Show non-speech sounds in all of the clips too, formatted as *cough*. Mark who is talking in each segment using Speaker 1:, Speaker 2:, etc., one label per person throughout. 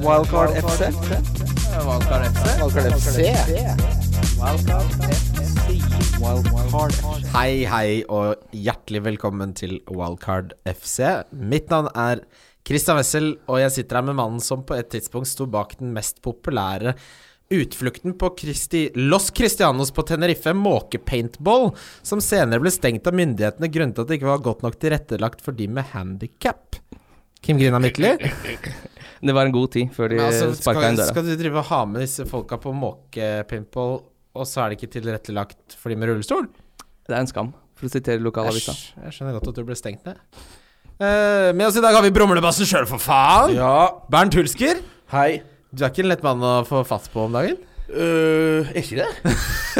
Speaker 1: Wildcard FC.
Speaker 2: Valkar FC.
Speaker 1: Wildcard FC. Wildcard FC.
Speaker 3: Hei, hei, og hjertelig velkommen til Wildcard FC. Mitt navn er Christian Wessel, og jeg sitter her med mannen som på et tidspunkt sto bak den mest populære utflukten på Christi, Los Cristianos på Tenerife, måkepaintball, som senere ble stengt av myndighetene grunnet at det ikke var godt nok tilrettelagt for de med handikap. Kim Grina Midtly?
Speaker 2: Det var en god tid før de
Speaker 3: Men altså,
Speaker 2: sparka
Speaker 3: skal,
Speaker 2: eh, inn døra.
Speaker 3: skal du drive og ha med disse folka på måkepaintball, og så er det ikke tilrettelagt for de med rullestol?
Speaker 2: Det er en skam, for å sitere lokalavisa.
Speaker 3: Æsj, jeg skjønner godt at du ble stengt ned. Eh, med oss i dag har vi brumlebassen sjøl, for faen!
Speaker 4: Ja,
Speaker 3: Bernt Hulsker,
Speaker 4: hei.
Speaker 3: du er ikke en lett mann å få fatt på om dagen?
Speaker 4: Øh, er
Speaker 2: *laughs*
Speaker 4: ikke det?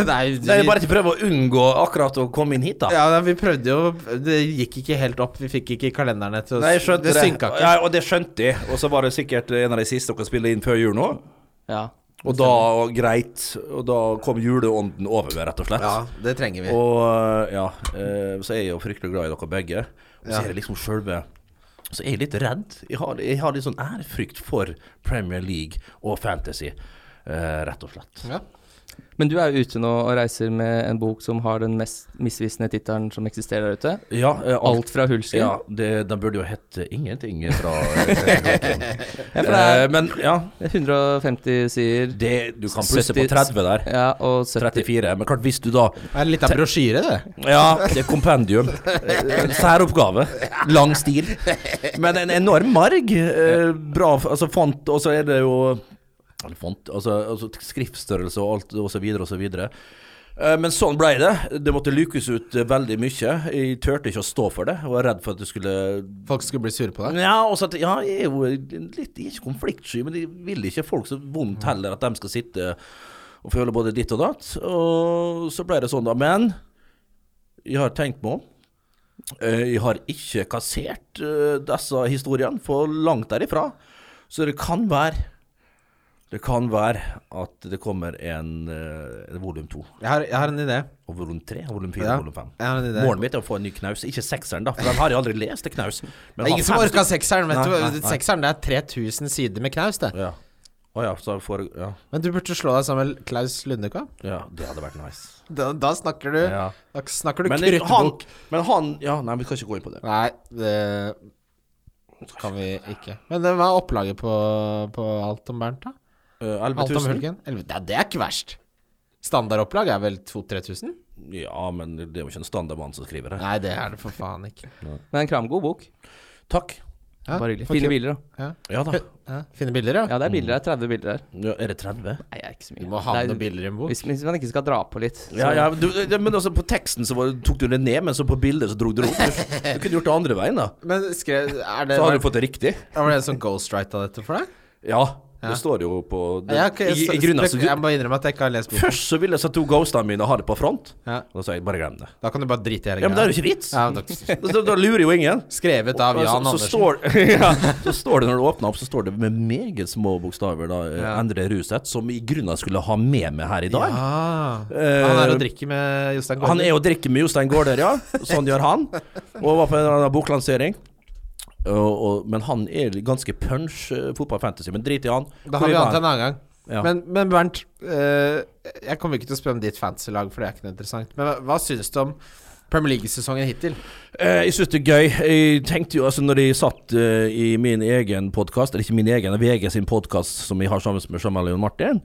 Speaker 3: Nei,
Speaker 4: Nei, jeg bare ikke prøver å unngå akkurat å komme inn hit, da.
Speaker 3: ja, nei, vi prøvde jo Det gikk ikke helt opp. Vi fikk ikke kalenderne til å
Speaker 4: Nei, jeg skjønte
Speaker 3: Det
Speaker 4: det.
Speaker 3: synka ikke.
Speaker 4: Ja, og det skjønte jeg. Og så var det sikkert en av de siste dere spilte inn før jul nå.
Speaker 2: Ja.
Speaker 4: Og da, greit, og da kom juleånden over meg, rett og slett.
Speaker 3: Ja, det trenger vi.
Speaker 4: Og ja, eh, så er jeg jo fryktelig glad i dere begge. Og så
Speaker 3: Ja.
Speaker 4: er det liksom sjølve Så er jeg litt redd. Jeg har, jeg har litt sånn ærefrykt for Premier League og Fantasy, eh, rett og slett.
Speaker 3: Ja.
Speaker 2: Men du er jo ute nå og reiser med en bok som har den mest misvisende tittelen som eksisterer der ute.
Speaker 4: Ja, eh, alt
Speaker 2: Alt fra Hulsker.
Speaker 4: ja, det, Den burde jo hette ingenting fra
Speaker 2: Ja, for det er
Speaker 4: Eh, Men ja,
Speaker 2: det er 150 sider.
Speaker 4: det, du kan plusse
Speaker 2: 70
Speaker 4: på 30 der.
Speaker 2: Ja, og 70
Speaker 4: 34. Men klart, hvis du da
Speaker 3: Det er litt av brosjyre, det.
Speaker 4: Ja, *laughs* det er kompendium. Eh, Særoppgave. Lang stil. Men en enorm marg. eh, Bra f- altså font, og så er det jo eller font, altså, altså skriftstørrelse og alt, og så videre, og så videre. Eh, Men sånn ble det. Det måtte lukes ut eh, veldig mye. Jeg turte ikke å stå for det. Jeg var redd for at det skulle
Speaker 3: Folk skulle bli sure på deg.
Speaker 4: Ja, også at, ja, jeg er jo litt jeg er ikke konfliktsky, men jeg vil ikke folk så vondt heller at de skal sitte og føle både ditt og datt. Og så ble det sånn, da. Men jeg har tenkt meg om. Eh, Jeg har ikke kassert eh, disse historiene, for langt derifra. Så det kan være Det kan være at det kommer en eh, volum to,
Speaker 3: Jeg har, jeg har en idé.
Speaker 4: og volum tre, og volum fire,
Speaker 3: Ja.
Speaker 4: og volum fem.
Speaker 3: Jeg har en idé.
Speaker 4: Målet mitt er å få en ny knaus. Ikke sekseren, da, for den har jeg aldri lest, til knaus. Men
Speaker 3: Det er
Speaker 4: ha
Speaker 3: ingen som
Speaker 4: fem
Speaker 3: orka sekseren. Vet
Speaker 4: Nei,
Speaker 3: du
Speaker 4: nei,
Speaker 3: hva?
Speaker 4: nei.
Speaker 3: Sekseren det er 3000 sider med knaus, det.
Speaker 4: Ja. Å ja, så for, ja.
Speaker 3: Men du burde slå deg sammen med Klaus Lundekvam.
Speaker 4: ja, det hadde vært nice.
Speaker 3: Da, da snakker du
Speaker 4: Ja.
Speaker 3: Da snakker du
Speaker 4: Men han,
Speaker 3: kruttbok.
Speaker 4: men han Ja, nei, vi skal ikke gå inn på det.
Speaker 3: Nei, det kan vi ikke. Men det var opplaget på, på alt om Bernt, da?
Speaker 4: Uh,
Speaker 3: Alt om Hulken? Elleve- Nei, det er ikke verst. Standardopplag er vel 2000-3000?
Speaker 4: Ja, men det er jo ikke en standard mann som skriver det.
Speaker 3: Nei, det er det for faen ikke.
Speaker 2: Men en kramgod bok.
Speaker 4: Takk.
Speaker 3: Ja,
Speaker 2: Bare hyggelig.
Speaker 3: for
Speaker 2: Fine
Speaker 3: kul.
Speaker 2: bilder, da.
Speaker 4: Ja da.
Speaker 3: *laughs* Ja, fine bilder, ja.
Speaker 2: Ja, det er bilder her. 30 bilder her.
Speaker 4: Ja, Mm. er det 30?
Speaker 2: Nei, det er ikke så mye.
Speaker 3: Vi må ha
Speaker 2: Det er-
Speaker 3: noen bilder i en bok.
Speaker 2: Hvis, hvis man ikke skal dra på litt. så-
Speaker 4: Ja, ja, du, det- men altså på teksten så var, tok du det ned, men så på bildet så dro du det opp. Du, du kunne gjort det andre veien, da.
Speaker 3: Men skrev er det,
Speaker 4: Så
Speaker 3: var,
Speaker 4: hadde du fått det riktig.
Speaker 3: var det en sånn ghostwrite av dette for deg?
Speaker 4: Ja.
Speaker 3: Ja.
Speaker 4: Det står jo på det,
Speaker 3: Ja, ok,
Speaker 4: i,
Speaker 3: så-
Speaker 4: i grunnen, altså, så,
Speaker 3: jeg må innrømme at jeg ikke har lest boken.
Speaker 4: Først så ville jeg satt to ghostene mine og ha det på front.
Speaker 3: Ja,
Speaker 4: Og da sa jeg bare glem det.
Speaker 3: da kan du bare drite i hele
Speaker 4: Ja, Men det er jo ikke vits!
Speaker 3: Ja, da-
Speaker 4: Da, da lurer jo ingen.
Speaker 3: Skrevet av
Speaker 4: *laughs* Og så-
Speaker 3: Jan
Speaker 4: så,
Speaker 3: Andersen.
Speaker 4: står, *laughs* ja, så står det når du åpner opp, så står det med meget små bokstaver da, eh, Endre Ruseth, som i grunnen skulle ha med meg her i dag.
Speaker 3: Ah,
Speaker 4: Eh,
Speaker 3: han er og drikker med Jostein
Speaker 4: Han
Speaker 3: Gaarder.
Speaker 4: er jo drikker med Jostein Gaarder, ja. Sånn gjør han. Og var på en eller annen boklansering. Og, og, men han er ganske punch eh, fotball fantasy, men drit i han.
Speaker 3: Da har vi annet en annen gang.
Speaker 4: Ja.
Speaker 3: Men, men Bernt, eh, jeg kommer ikke til å spørre om ditt fantasy-lag, for det er ikke noe interessant. Men hva- hva syns du om Premier League-sesongen hittil?
Speaker 4: Eh, jeg syns det er gøy. Jeg tenkte jo, altså når jeg satt eh, i min egen podkast, eller ikke min egen, VG sin podkast som jeg har sammen med Jamal og Martin,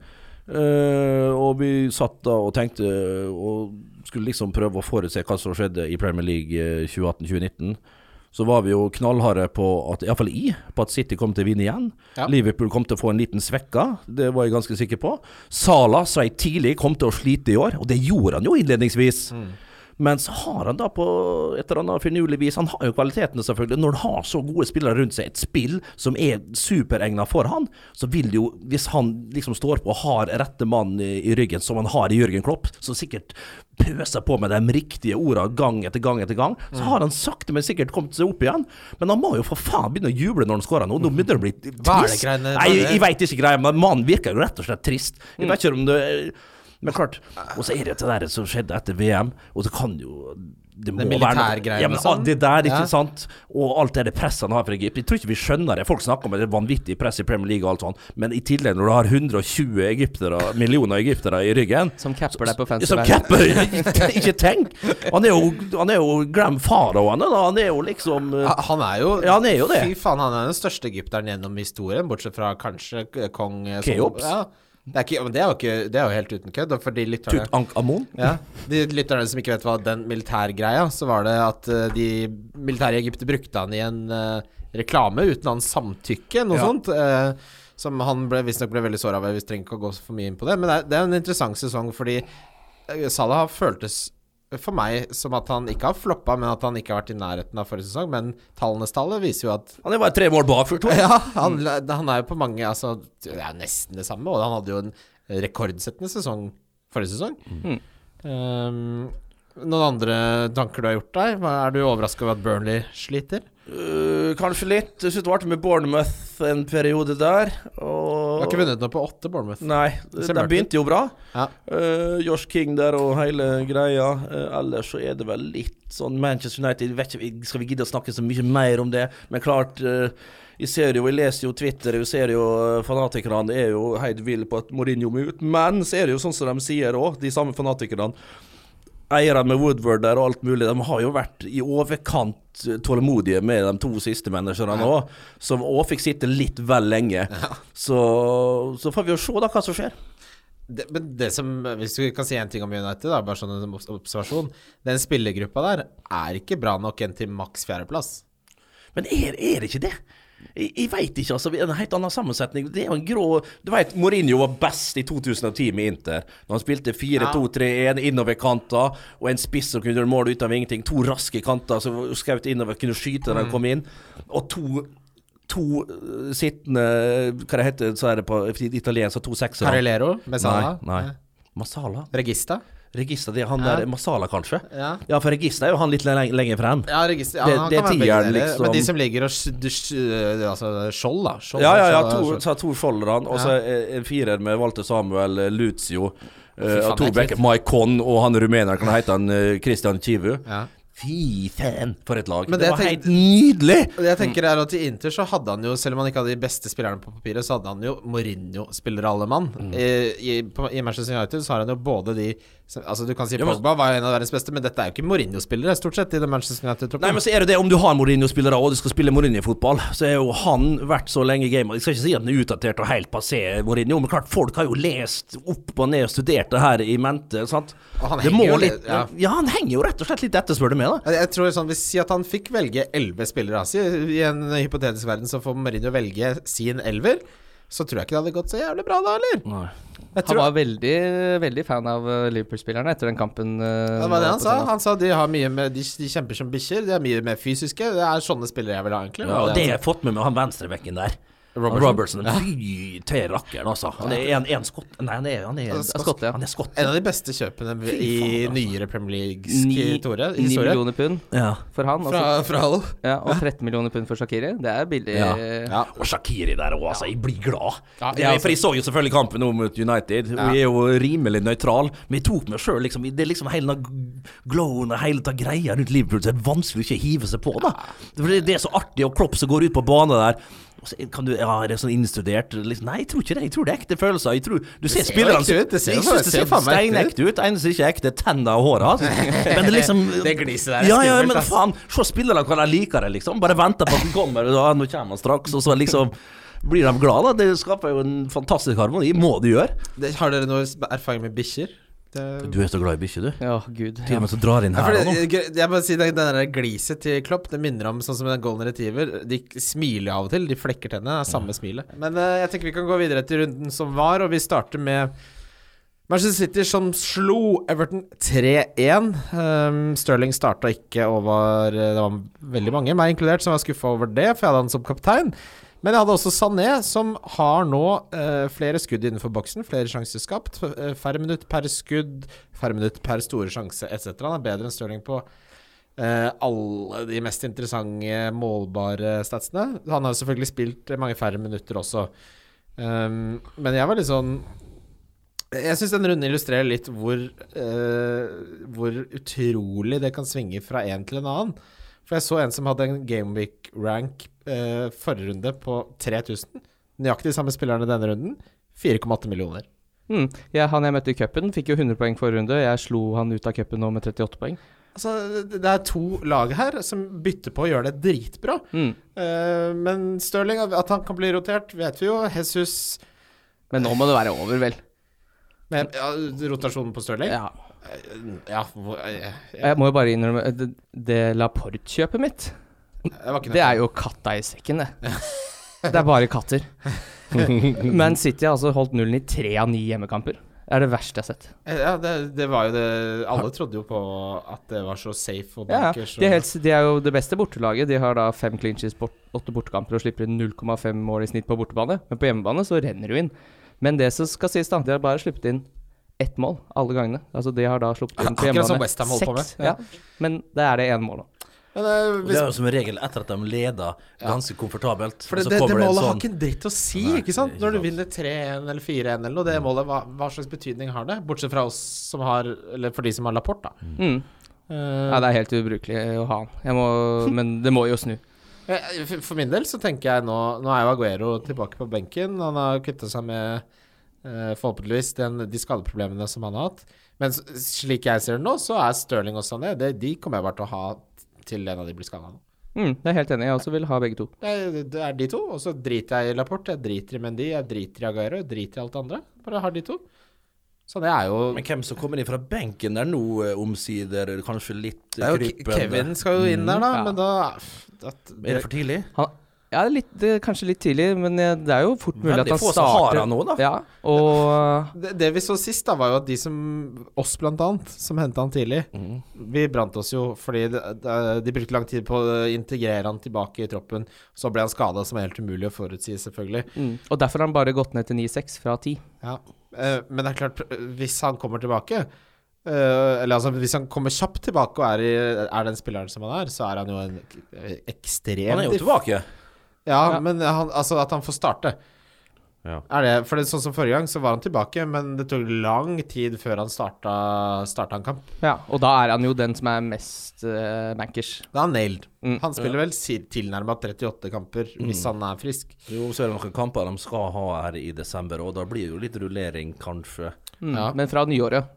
Speaker 4: eh, og vi satt da og tenkte eh, og skulle liksom prøve å forutse hva som skjedde i Premier League eh, 2018-2019, så var vi jo knallharde på at iallfall jeg, på at City kom til å vinne igjen.
Speaker 3: Ja.
Speaker 4: Liverpool kom til å få en liten svekka, det var jeg ganske sikker på. Sala sa jeg tidlig kom til å slite i år, og det gjorde han jo innledningsvis. Men så har han da på et eller annet finurlig vis Han har jo kvalitetene, selvfølgelig. Når han har så gode spillere rundt seg, et spill som er superegna for han, så vil det jo, hvis han liksom står på og har rette mann i, i ryggen, som han har i Jørgen Klopp, som sikkert pøser på med de riktige orda gang etter gang etter gang, så har han sakte, men sikkert kommet seg opp igjen. Men han må jo for faen begynne å juble når han scorer nå. Nå begynner det å bli trist.
Speaker 3: Hva er det greiene-
Speaker 4: Nei, jeg, jeg veit ikke greia, men mannen virker jo rett og slett trist. Jeg
Speaker 3: Mm.
Speaker 4: vet ikke om det men klart, og så er det det der som skjedde etter VM, og så kan jo det
Speaker 3: Det militærgreiene
Speaker 4: ja, men,
Speaker 3: og sånn.
Speaker 4: Det der, ikke
Speaker 3: Ja.
Speaker 4: sant? Og alt det der presset han har fra Egypt. Jeg tror ikke vi skjønner det. Folk snakker om det vanvittige presset i Premier League og alt sånt, men i tillegg, når du har 120 egyptere, millioner egyptere i ryggen
Speaker 2: Som capper deg på fancy
Speaker 4: Som
Speaker 2: land.
Speaker 4: capper! *laughs* Ikke tenk! Han er jo, han er jo Gram Faraoen, da. Han er jo liksom eh,
Speaker 3: Ha- Han er jo
Speaker 4: Ja, han er jo det.
Speaker 3: Fy faen, han er den største egypteren gjennom historien, bortsett fra kanskje k- kong eh, Sol-
Speaker 4: Keops.
Speaker 3: Ja. Det er, ikke, men det er jo ikke Det er jo helt uten kødd. og For de lytterne
Speaker 4: Tutankhamon.
Speaker 3: ja, De lytterne som ikke vet hva den militærgreia, så var det at eh, de militære i Egypt brukte han i en eh, reklame uten hans samtykke, noe
Speaker 4: Ja.
Speaker 3: sånt. eh, som han ble- visstnok ble veldig såra ved. Vi trenger ikke å gå så for mye inn på det. Men det er, det er en interessant sesong fordi eh, Salah føltes eh, for meg som at han ikke har floppa, men at han ikke har vært i nærheten av forrige sesong. Men tallenes tall viser jo at
Speaker 4: Han er bare tre mål bak for to.
Speaker 3: ja, han, han er jo på mange Altså, det er jo nesten det samme, og han hadde jo en rekordsettende sesong forrige sesong.
Speaker 4: Mm.
Speaker 3: Um, noen andre tanker du har gjort deg? Hva- Er du overraska over at Burnley sliter?
Speaker 4: Øh, kanskje litt. Jeg synes det var artig med Bournemouth en periode der.
Speaker 3: Du
Speaker 4: Og
Speaker 3: har ikke vunnet noe på åtte, Bournemouth.
Speaker 4: Nei,
Speaker 3: Det ser
Speaker 4: de
Speaker 3: mørkt ut.
Speaker 4: begynte jo bra.
Speaker 3: Ja.
Speaker 4: Øh, Josh King der og hele greia. Øh, ellers så er det vel litt sånn Manchester United jeg vet ikke, Skal vi gidde å snakke så mye mer om det? Men klart øh, Jeg ser jo, jeg leser jo Twitter, jeg ser jo øh, fanatikerne er jo helt ville på at Mourinho må ut. Men så er det jo sånn som de sier òg, de samme fanatikerne. Eierne med Woodward der og alt mulig, de har jo vært i overkant eh, tålmodige med de to siste managerne òg, som òg fikk sitte litt vel lenge. Så, så får vi jo se da hva som skjer.
Speaker 3: Det, men det som, hvis du kan si én ting om United, da, bare sånn en obs- observasjon Den spillergruppa der er ikke bra nok enn til maks fjerdeplass.
Speaker 4: Men er, er det ikke det? Jeg, jeg veit ikke, altså. vi- En helt annen sammensetning. Det er jo en grå Du veit Mourinho var best i 2010 med Inter. Når han spilte 4-2-3-1 innover kanta, og en spiss som kunne gjøre mål ut av ingenting. To raske kanter som skjøt innover, kunne skyte når han
Speaker 3: Mm.
Speaker 4: kom inn. Og to To eh, sittende Hva det heter så er det på italiensk? To seksere.
Speaker 3: Carrilero med Sala.
Speaker 4: Nei, nei. Masala?
Speaker 3: Regista.
Speaker 4: Regista, det er han
Speaker 3: Ja.
Speaker 4: der Masala, kanskje?
Speaker 3: Ja.
Speaker 4: Ja, for Regista er jo han litt le- lenger frem.
Speaker 3: Ja, register, ja
Speaker 4: Det-
Speaker 3: han
Speaker 4: det
Speaker 3: kan være begge
Speaker 4: tieren,
Speaker 3: deler.
Speaker 4: liksom.
Speaker 3: Men de som ligger og sj- du sj- Altså skjold, da. Skjold,
Speaker 4: Ja, ja, ja.
Speaker 3: skjold,
Speaker 4: To,
Speaker 3: skjold.
Speaker 4: så to Skjoldran, og så eh, en firer med Walter Samuel, eh, Lucio eh,
Speaker 3: faen,
Speaker 4: og to
Speaker 3: det er
Speaker 4: backer. Mike Conn og han rumeneren, kan hete han eh, Christian Kivu.
Speaker 3: Ja.
Speaker 4: Fy faen, for et lag.
Speaker 3: Men
Speaker 4: det,
Speaker 3: det
Speaker 4: var
Speaker 3: jeg
Speaker 4: helt nydelig!
Speaker 3: Og jeg tenker
Speaker 4: Mm.
Speaker 3: er at I Inter så hadde han jo, selv om han ikke hadde de beste spillerne på papiret, så hadde han jo Mourinho-spillere alle mann.
Speaker 4: Mm.
Speaker 3: I, i, på, I Manchester United så har han jo både de som- Altså Du kan si
Speaker 4: Ja, men-
Speaker 3: Pogba var jo en av verdens beste, men dette er jo ikke Mourinho-spillere, stort sett, i den Manchester
Speaker 4: Nei, men
Speaker 3: United-troppen.
Speaker 4: så er det det, om du har Mourinho-spillere og du skal spille Mourinho-fotball, så er jo han vært så lenge i gamet. Jeg skal ikke si at han er utdatert og helt passé, Mourinho, men klart, folk har jo lest opp og ned og studert det her i mente, sant?
Speaker 3: Og han
Speaker 4: Det
Speaker 3: henger
Speaker 4: må
Speaker 3: jo
Speaker 4: litt,
Speaker 3: litt- ja.
Speaker 4: ja, han henger jo rett og slett litt etter, spør du meg, da.
Speaker 3: Jeg tror sånn, Vi sier at han fikk velge elleve spillere. altså, I i en hypotetisk verden så får Mourinho velge sin elver. Så tror jeg ikke det hadde gått så jævlig bra da, eller? Jeg
Speaker 2: Han
Speaker 3: tror,
Speaker 2: var veldig, veldig fan av eh, Liverpool-spillerne etter den kampen. eh,
Speaker 3: det var det
Speaker 2: nå
Speaker 3: han
Speaker 2: på
Speaker 3: sa.
Speaker 2: søndag.
Speaker 3: Han sa de, har mye med, de, de kjemper som bikkjer, de er mye mer fysiske. Det er sånne spillere jeg vil ha, egentlig.
Speaker 4: Ja, og det
Speaker 3: er-
Speaker 4: har jeg fått med meg, han venstrebekken der.
Speaker 3: Robertson.
Speaker 4: Robertson. Fy til rakkeren, altså. Han er en, en skott... Nei, han er, han er,
Speaker 2: Skott, ja.
Speaker 4: Han er skott.
Speaker 3: En av de beste kjøpene
Speaker 4: Fy faen,
Speaker 3: i
Speaker 4: altså.
Speaker 3: nyere Premier Leagues
Speaker 2: Ni,
Speaker 3: historie.
Speaker 2: ni
Speaker 3: historie.
Speaker 2: millioner pund
Speaker 4: Ja.
Speaker 2: for han, og,
Speaker 3: Fra,
Speaker 2: så-
Speaker 3: fra alle.
Speaker 2: ja, og 13 millioner pund for Shakiri. Det er billig.
Speaker 4: Ja.
Speaker 2: eh,
Speaker 3: Ja.
Speaker 4: Og Shakiri der òg, altså. Jeg blir glad.
Speaker 3: Ja,
Speaker 4: Det
Speaker 3: jeg
Speaker 4: er-
Speaker 3: også.
Speaker 4: for jeg så jo selvfølgelig kampen nå mot United, og jeg er jo rimelig nøytral, men jeg tok meg sjøl, liksom. Det er liksom hele den glowen og hele den greia rundt Liverpool, så det er vanskelig å ikke hive seg på, da. For det det er så artig, og Klopp som går ut på banen der. Og så kan du, ja, er det sånn innstudert? Liksom, nei, jeg tror ikke det. Jeg tror det er ekte følelser. Jeg tror, du ser
Speaker 3: ser jo
Speaker 4: spillerne
Speaker 3: ekte ut, det ser jo
Speaker 4: Jeg synes
Speaker 3: faen- ser faen meg ekte ut.
Speaker 4: steinekte ut. Eneste som ikke er ekte, er tenna og
Speaker 3: *laughs*
Speaker 4: håret hans. Men det er liksom
Speaker 3: Det gliset der er
Speaker 4: Ja, ja,
Speaker 3: skummelt,
Speaker 4: men
Speaker 3: ass.
Speaker 4: faen. Se spillerne hva de liker det, liksom. Bare venter på at den kommer, og ja, nå kommer han straks. Og så liksom blir de glade. da. Det skaper jo en fantastisk harmoni. Må det gjøre.
Speaker 3: Det, har dere noe sp- erfaring med bikkjer? Det...
Speaker 4: Du er så glad i bikkjer, du.
Speaker 2: Å, gud.
Speaker 4: Til og med så drar inn
Speaker 3: Ja, for
Speaker 4: her
Speaker 3: det,
Speaker 4: nå.
Speaker 3: jeg, jeg må si det, det der gliset til Klopp Det minner om sånn som en golden retriever. De k- smiler av og til. De flekker tennene. Det er
Speaker 4: Mm.
Speaker 3: samme smilet. Men eh, jeg tenker vi kan gå videre til runden som var, og vi starter med Manchester City som slo Everton 3-1. Um, Sterling starta ikke og var eh, Det var veldig mange, meg inkludert, som var skuffa over det, for jeg hadde han som kaptein. Men jeg hadde også Sané, som har nå eh, flere skudd innenfor boksen, flere sjanser skapt. f- eh, Færre minutt per skudd, færre minutt per store sjanse etc. Han er bedre enn Stirling på eh, alle de mest interessante målbare statsene. Han har jo Ehm, selvfølgelig spilt mange færre minutter også. Um, men jeg var litt sånn Jeg syns den runden illustrerer litt hvor, eh, hvor utrolig det kan svinge fra en til en annen. For jeg så en som hadde en Gameweek-rank eh, forrige runde på 3000. Nøyaktig de samme spillerne denne runden. 4,8 millioner.
Speaker 2: Mm. Ja, han jeg møtte i cupen, fikk jo 100 poeng forrige runde. Jeg slo han ut av cupen nå med 38 poeng.
Speaker 3: Altså, det- det er to lag her som bytter på å gjøre det dritbra.
Speaker 2: Mm.
Speaker 3: Eh, men Stirling, at han kan bli rotert, vet vi jo. Jesus
Speaker 2: Men nå må det være over, vel.
Speaker 3: med ja, rotasjonen på Stirling.
Speaker 2: Ja.
Speaker 3: Ja, hvor- eh,
Speaker 2: Jeg må jo bare innrømme eh, det, det Laporte-kjøpet mitt,
Speaker 3: det var ikke
Speaker 2: det er jo katta i sekken, *laughs* det. Det er bare *laughs* katter. Men City har altså holdt nullen i tre av ni hjemmekamper. Det er det verste jeg har sett.
Speaker 3: Eh, Ja, det, det var jo det Alle trodde jo på at det var så safe og
Speaker 2: Ja,
Speaker 3: bankers.
Speaker 2: de, er helt, de er jo det beste bortelaget. De har da fem clinches, bort, åtte bortekamper og slipper inn 0,5 mål i snitt på bortebane. Men på hjemmebane så renner det jo inn. Men det som skal sies, da, de har bare sluppet inn ett mål alle gangene. Altså de har da sluppet inn på
Speaker 3: Akkurat som
Speaker 2: hjemmebane
Speaker 3: West Ham holder på med.
Speaker 2: seks. Ja. Men det er det ene målet.
Speaker 3: Men, eh,
Speaker 4: Og
Speaker 3: hvis,
Speaker 4: Det er jo som en regel etter at de leder ganske komfortabelt.
Speaker 3: for
Speaker 4: og
Speaker 3: det,
Speaker 4: så
Speaker 3: det, det
Speaker 4: kommer en
Speaker 3: målet har
Speaker 4: sånn-
Speaker 3: ikke en dritt å si,
Speaker 4: Nei,
Speaker 3: ikke sant?
Speaker 4: ikke
Speaker 3: Når du
Speaker 4: sant. Mm.
Speaker 3: vinner 3-1 eller 4-1 eller noe, det målet, hva, hva slags betydning har det? Bortsett fra oss som har Eller for de som har Laporte, da.
Speaker 2: Mm.
Speaker 3: Eh,
Speaker 2: Ja, det er helt ubrukelig å ha han. Jeg må, men det må jo snu.
Speaker 3: eh, for- For min del så tenker jeg nå Nå er jo Aguero tilbake på benken. Han har kvittet seg med eh, forhåpentligvis den, de skadeproblemene som han har hatt. Men s- slik jeg ser det nå, så er Stirling og Sané det, De kommer jeg bare til å ha til en av de blir skada nå.
Speaker 2: Mm, jeg er helt enig. Jeg også vil ha begge to.
Speaker 3: Det er, det er de to, og så driter jeg i Laporte, jeg driter i Mendy, jeg driter i Aguero, jeg driter i alt det andre. Bare har de to. Så det er jo
Speaker 4: Men hvem som kommer inn fra benken der nå, eh, omsider, kanskje litt
Speaker 3: det er
Speaker 4: eh,
Speaker 3: jo Ke-
Speaker 4: krypende?
Speaker 3: Kevin skal jo inn der, da,
Speaker 2: ja.
Speaker 3: men da at,
Speaker 4: Er det for tidlig?
Speaker 2: Han, ja, litt, det er kanskje litt tidlig, men eh, det er jo fort mulig
Speaker 4: Veldig
Speaker 2: at han
Speaker 4: få som har
Speaker 2: starter.
Speaker 4: han nå, da.
Speaker 2: Ja, og
Speaker 3: det, det vi så sist, da, var jo at de som oss, blant annet, som henta han tidlig Vi brant oss jo fordi det, det, de brukte lang tid på å integrere han tilbake i troppen. Så ble han skada, som er helt umulig å forutsi, selvfølgelig.
Speaker 2: Mm. Og derfor har han bare gått ned til 9,6 fra 10.
Speaker 3: Ja, eh, men det er klart, eh, hvis han kommer tilbake eh, Eller altså, hvis han kommer kjapt tilbake og er, i, er den spilleren som han er, så er han jo en eh, ekstremt
Speaker 4: Han er jo tilbake.
Speaker 3: Ja,
Speaker 2: Ja.
Speaker 3: men han, altså at han får starte.
Speaker 4: Ja.
Speaker 3: Er det, for det er sånn som Forrige gang så var han tilbake, men det tok lang tid før han starta, starta en kamp.
Speaker 2: Ja, og da er han jo den som er mest eh, bankers.
Speaker 3: Da er han nailed.
Speaker 2: Mm.
Speaker 3: Han spiller vel si, tilnærma 38 kamper hvis han er frisk.
Speaker 4: Jo, så er det noen kamper de skal ha her i desember, og da blir det jo litt rullering, kanskje.
Speaker 2: Mm.
Speaker 3: Ja.
Speaker 2: Men fra nyåret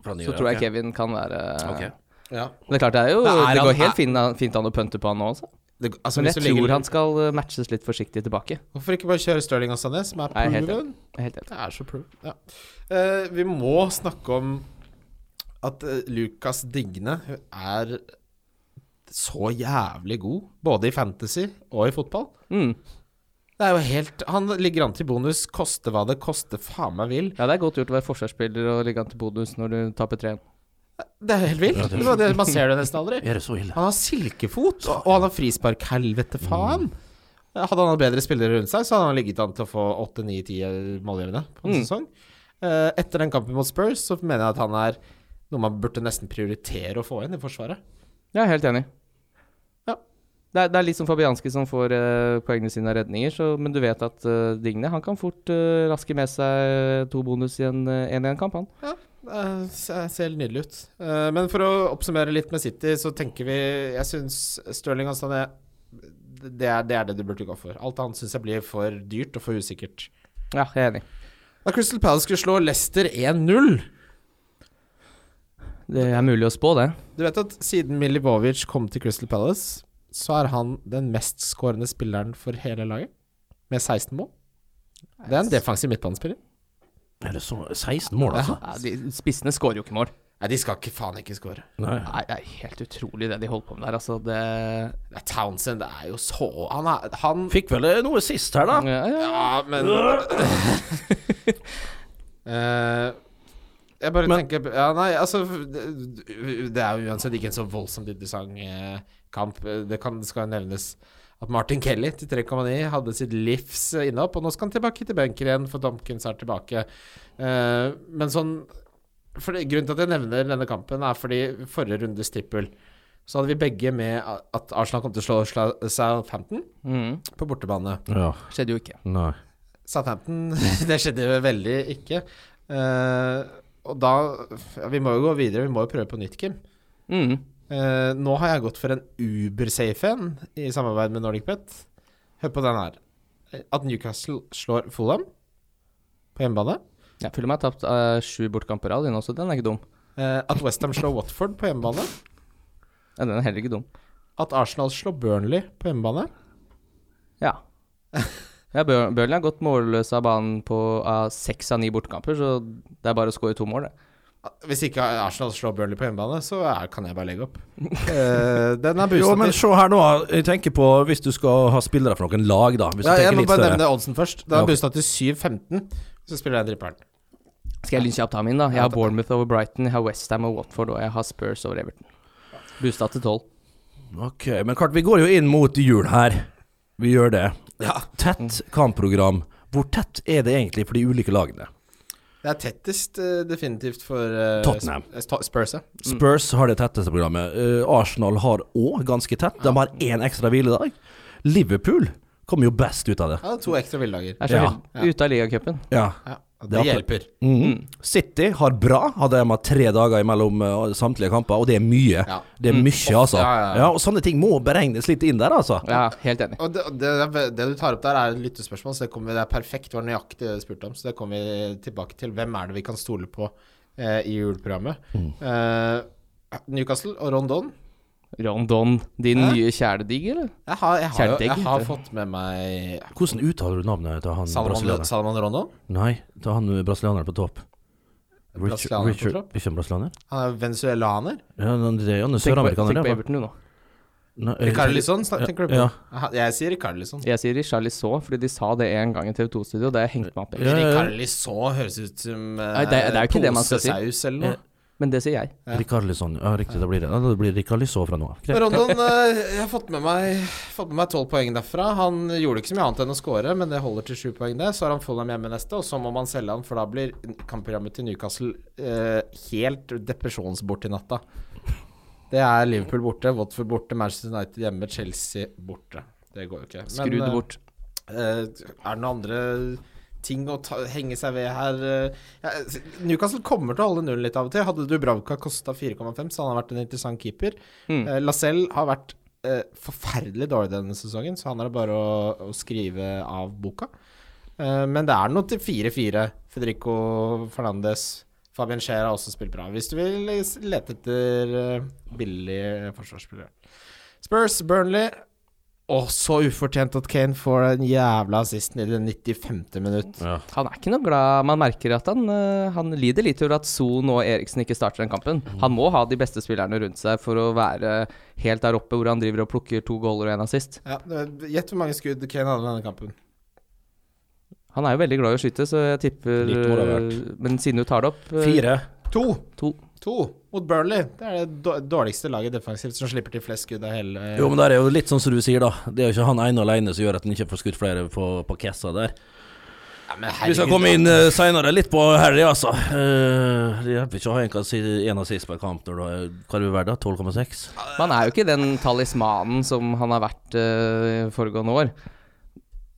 Speaker 4: Fra
Speaker 2: så tror jeg Kevin kan være
Speaker 4: Ok.
Speaker 3: Ja.
Speaker 2: Men det er klart, det er jo
Speaker 3: Men er
Speaker 2: Det
Speaker 3: han-
Speaker 2: går helt fin, fint an å pønte på han nå, altså.
Speaker 3: Det, altså,
Speaker 2: Men
Speaker 3: hvis
Speaker 2: jeg
Speaker 3: du ligger-
Speaker 2: tror han skal eh, matches litt forsiktig tilbake.
Speaker 3: Hvorfor ikke bare kjøre Stirling og Sané, som er
Speaker 2: Jeg er helt
Speaker 3: proven?
Speaker 2: Jeg er Helt enig.
Speaker 3: Det er så pro. Ja. Eh, vi må snakke om at eh, Lukas Digne er så jævlig god, både i fantasy og i fotball.
Speaker 2: Mm.
Speaker 3: Det er jo helt Han ligger an til bonus, koste hva det koste, faen meg vil.
Speaker 2: Ja, det er godt gjort å være forsvarsspiller og ligge an til bonus når du taper 3-1.
Speaker 3: Det er helt vilt. Det var det, man ser det nesten aldri.
Speaker 4: Er det så ille?
Speaker 3: Han har silkefot, og og han har frispark. Helvete, faen. Hadde han hatt bedre spillere rundt seg, så hadde han ligget an til å få 8-9-10 målgivende på en
Speaker 2: Mm.
Speaker 3: sesong. Eh, etter den kampen mot Spurs så mener jeg at han er noe man burde nesten prioritere å få inn i Forsvaret.
Speaker 2: Jeg er helt enig.
Speaker 3: Ja.
Speaker 2: Det er, det er litt som Fabianski som får eh, poengene sine av redninger, så, men du vet at eh, Digne han kan fort eh, raske med seg eh, to bonus i en 1-1-kamp, han.
Speaker 3: Det ser ser helt nydelig ut. Eh, men for å oppsummere litt med City, så tenker vi Jeg syns Stirling og Sané det er, det er det du burde gå for. Alt annet syns jeg blir for dyrt og for usikkert.
Speaker 2: Ja, jeg er enig.
Speaker 3: Da Crystal Palace skulle slå Leicester 1-0
Speaker 2: Det er mulig å spå, det.
Speaker 3: Du vet at siden Milivojevic kom til Crystal Palace, så er han den mestskårende spilleren for hele laget, med 16 mål. Det er en defensiv midtbanespiller.
Speaker 4: Er det så 16 mål, altså?
Speaker 2: Ja, de, spissene skårer jo ikke mål.
Speaker 3: Nei, de skal ikke faen ikke skåre.
Speaker 4: Nei.
Speaker 2: Nei, Det er helt utrolig det de holder på med der. Altså, det
Speaker 3: Det er Townsend det er jo så Han er Han
Speaker 4: Fikk vel eh, noe sist her, da.
Speaker 2: ja, ja.
Speaker 3: Ja, men Eh, Jeg bare tenker Ja, nei, altså Det, det er jo uansett ikke en så voldsomt interessant eh, kamp. Det kan, det skal nevnes at Martin Kelly til 3,9 hadde sitt livs eh, innhopp, og nå skal han tilbake til benken igjen, for Tompkins er tilbake. Eh, men sånn for det, Grunnen til at jeg nevner denne kampen, er fordi forrige rundes trippel så hadde vi begge med at Arsenal kom til å slå Sla- Southampton
Speaker 2: Mm,
Speaker 3: på bortebane.
Speaker 4: Ja.
Speaker 2: skjedde jo ikke.
Speaker 4: Nei.
Speaker 3: *laughs* Southampton Det skjedde jo veldig ikke. Eh, Eh, og da ja, Vi må jo gå videre, vi må jo prøve på nytt, Kim.
Speaker 2: Mm.
Speaker 3: Eh, nå har jeg gått for en ubersafe en i samarbeid med Nordic Pet. Hør på den her. Eh, At Newcastle slår Fulham på hjemmebane.
Speaker 2: Jeg føler meg tapt av sju bortkamper av dine også, den er ikke dum.
Speaker 3: Eh, at Westham slår Watford på hjemmebane.
Speaker 2: Ja, den er heller ikke dum.
Speaker 3: At Arsenal slår Burnley på hjemmebane.
Speaker 2: Ja. ja Bur- Burnley har gått målløs av banen på av seks av ni bortekamper, så det er bare å skåre to mål, det.
Speaker 3: Hvis ikke Arsenal slår Burnley på hjemmebane, så er, kan jeg bare legge opp. Eh, den er
Speaker 4: Jo, men
Speaker 3: boostet til
Speaker 4: se her nå. Jeg tenker på hvis du skal ha spillere fra noen lag, da. Hvis
Speaker 3: ja,
Speaker 4: du
Speaker 3: Jeg
Speaker 4: tenker
Speaker 3: må
Speaker 4: litt
Speaker 3: bare
Speaker 4: større.
Speaker 3: nevne oddsen først. Den
Speaker 4: Ja,
Speaker 3: er
Speaker 4: ok.
Speaker 3: boostet til 7-15. Så spiller jeg tripperen.
Speaker 2: Skal jeg lynkjapt ta min, da? Jeg har Bournemouth over Brighton, jeg har Westham og Watford, og jeg har Spurs over Everton. Boosta til tolv.
Speaker 4: Ok, men klart, vi går jo inn mot jul her. Vi gjør det. Tett kampprogram. Hvor tett er det egentlig for de ulike lagene?
Speaker 3: Det er tettest eh, definitivt for eh,
Speaker 4: Tottenham.
Speaker 3: Sp- eh, Sto- Spurs, ja.
Speaker 4: Spurs har det tetteste programmet. Eh, Arsenal har òg ganske tett. De har én ekstra hviledag. Liverpool kommer jo best ut av det.
Speaker 3: ja. det er To ekstra hviledager.
Speaker 2: Jeg er så
Speaker 4: Ja.
Speaker 2: heldig. Ute av ligacupen.
Speaker 4: Ja.
Speaker 3: Ja,
Speaker 4: Det
Speaker 3: det
Speaker 4: er
Speaker 3: hjelper. Mm.
Speaker 4: Mhm. City har bra. Hadde de hatt tre dager imellom eh, samtlige kamper, og det er mye.
Speaker 3: Ja. Mm.
Speaker 4: Det er mye, altså.
Speaker 3: Ja, ja, ja.
Speaker 4: Ja, og sånne ting må beregnes litt inn der, altså.
Speaker 2: Ja, helt enig.
Speaker 3: Og det, og det, er ve- det du tar opp der, er et lyttespørsmål, så det, kommer, det er perfekt. Det var nøyaktig det du spurte om, så det kommer vi tilbake til. Hvem er det vi kan stole på eh, i juleprogrammet?
Speaker 4: Mm.
Speaker 3: Eh, Newcastle og Rondon.
Speaker 2: Rondon, din
Speaker 3: Hæ?
Speaker 2: nye kjæledigg, eller?
Speaker 3: Jeg har, jeg har, jo-
Speaker 2: Kjærtegg,
Speaker 3: jeg har
Speaker 2: heter
Speaker 3: fått med meg
Speaker 4: Hvordan uttaler du navnet til han
Speaker 3: Salman,
Speaker 4: brasilianeren?
Speaker 3: Salman Rondon.
Speaker 4: Nei, til han brasilianeren på topp.
Speaker 3: Brasilianer på topp?
Speaker 4: Ikke en brasilianer?
Speaker 3: Han er venezuelaner.
Speaker 4: Ja, han det er jo en
Speaker 2: Tenk på,
Speaker 4: søramerikaner.
Speaker 2: tenk på
Speaker 4: det,
Speaker 2: Everton, du nå.
Speaker 4: hva? Nei, eh,
Speaker 3: Rikarlison, snak-
Speaker 4: ja,
Speaker 3: tenker du på?
Speaker 4: ja.
Speaker 3: Aha, Jeg sier Rikarlison.
Speaker 2: Jeg sier Richarlison fordi de sa det en gang i TV2-studio, og det har jeg hengt meg opp i.
Speaker 4: Ja, ja, ja.
Speaker 3: Rikarlison høres ut som eh,
Speaker 2: Nei, det er- det er jo ikke det man skal si.
Speaker 3: posesaus eller noe.
Speaker 2: Men det sier jeg.
Speaker 4: Rikarlison. Ja, riktig, det blir det. Ja, det blir Rikarlison fra nå av. Greit.
Speaker 3: Rondon, eh, jeg har fått med meg Fått med meg 12 poeng derfra. Han gjorde ikke så mye annet enn å score, men det holder til 7 poeng. det Så har han Fulham hjemme neste, og så må man selge han, for da blir kampprogrammet til Newcastle eh, helt depresjonsbort i natta. Det er Liverpool borte, Watford borte, Manchester United hjemme, Chelsea borte. Det går jo ikke. Men,
Speaker 2: Skru det
Speaker 3: eh,
Speaker 2: bort.
Speaker 3: Eh, er det noen andre ting å ta, henge seg ved her? Eh, ja, s- Newcastle kommer til å holde nullen litt av og til. Hadde Dubravka kosta 4,5, så han har vært en interessant keeper.
Speaker 2: Mm.
Speaker 3: Eh, Lacelle har vært eh, forferdelig dårlig denne sesongen, så han er det bare å, å skrive av boka. Eh, men det er noe til 4-4. Federico Fernandes. Fabian Scheer har også spilt bra, hvis du vil s- lete etter eh, billige forsvarsspillere. Spurs, Burnley. Og så ufortjent at Kane får den jævla assisten i det 95. minutt.
Speaker 4: Ja.
Speaker 2: Han er ikke noe glad Man merker at han, eh, han lider litt over at Son og Eriksen ikke starter den kampen.
Speaker 4: Mm.
Speaker 2: Han må ha de beste spillerne rundt seg for å være helt der oppe hvor han driver og plukker to goaler og en assist.
Speaker 3: Ja, det- Gjett hvor mange skudd Kane hadde i denne kampen.
Speaker 2: Han er jo veldig glad i å skyte, så jeg tipper
Speaker 4: Litt må det ha vært.
Speaker 2: eh, Men siden du tar det opp eh,
Speaker 4: Fire.
Speaker 3: To!
Speaker 2: To.
Speaker 3: To mot Burnley. Det er det dår- dårligste laget defensivt som slipper til flest skudd av hele
Speaker 4: Jo, men der er jo litt sånn som du sier, da. Det er jo ikke han ene alene som gjør at han ikke får skutt flere på, på kessa der.
Speaker 3: ja, men
Speaker 4: Vi skal komme inn uh, seinere litt på Harry, altså. Eh, det hjelper ikke å ha en, kassi- en assist per kamp når du har Hva er det vi verdt, da? 12,6?
Speaker 2: Man er jo ikke den talismanen som han har vært eh, foregående år.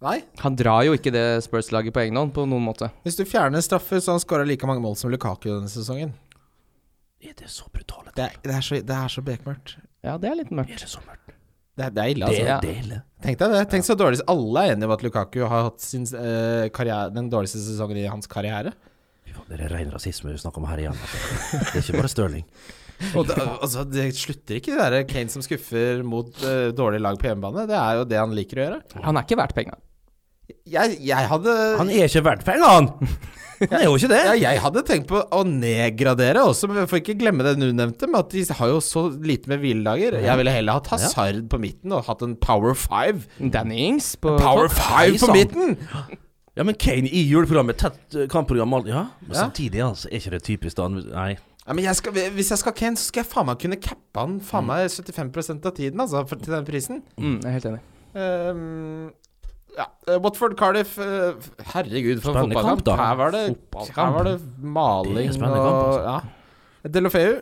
Speaker 3: Nei.
Speaker 2: Han drar jo ikke det Spurs-laget på egen hånd på noen måte.
Speaker 3: Hvis du fjerner straffer, så har han skåra like mange mål som Lukaku denne sesongen.
Speaker 4: Er det så brutale?
Speaker 3: Det er, det er, så, det er så bekmørkt.
Speaker 2: Ja, det er litt mørkt.
Speaker 4: Er det så mørkt?
Speaker 3: Det, er- det er ille,
Speaker 4: Det
Speaker 3: altså.
Speaker 4: er
Speaker 2: ja.
Speaker 4: deilig.
Speaker 3: Tenk deg det. Tenk så dårlig Alle er enige om at Lukaku har hatt sin, eh, karriere, den dårligste sesongen i hans karriere.
Speaker 4: Fy faen, Det er ren rasisme vi snakker om her igjen. Altså. Det er ikke bare Stirling.
Speaker 3: Og det, altså, det slutter ikke, det der Kane som skuffer mot eh, dårlige lag på hjemmebane. Det er jo det han liker å gjøre.
Speaker 2: Han er ikke verdt penga.
Speaker 3: Jeg, jeg hadde
Speaker 4: Han er ikke verdt pengene, han! Han er jo ikke det.
Speaker 3: ja, jeg hadde tenkt på å nedgradere også, men vi får ikke glemme det du nevnte, med at de har jo så lite med hviledager. Jeg ville heller hatt Hazard på midten og hatt en Power Five.
Speaker 2: Danny Ings på
Speaker 3: Power
Speaker 2: topp.
Speaker 3: Five på
Speaker 4: sant.
Speaker 3: midten!
Speaker 4: Ja, men Kane i juleprogrammet, tett eh, kampprogram alt- Ja, men
Speaker 3: Ja.
Speaker 4: samtidig, altså, er ikke det typisk da han- Nei.
Speaker 3: Ja, men jeg skal, hvis jeg skal ha Kane, så skal jeg faen meg kunne cappe han
Speaker 4: Mm.
Speaker 3: faen meg 75 av tiden, altså, for, til den prisen.
Speaker 2: Mm, jeg er helt enig.
Speaker 3: Ehm, ja, eh, Watford Cardiff eh, Herregud, for en
Speaker 4: Spennende
Speaker 3: fotballkamp.
Speaker 4: kamp, da.
Speaker 3: Her var det,
Speaker 4: Fotballkamp.
Speaker 3: her var det maling
Speaker 4: Det er
Speaker 3: og
Speaker 4: spennende kamp, altså.
Speaker 3: ja. Delofeu,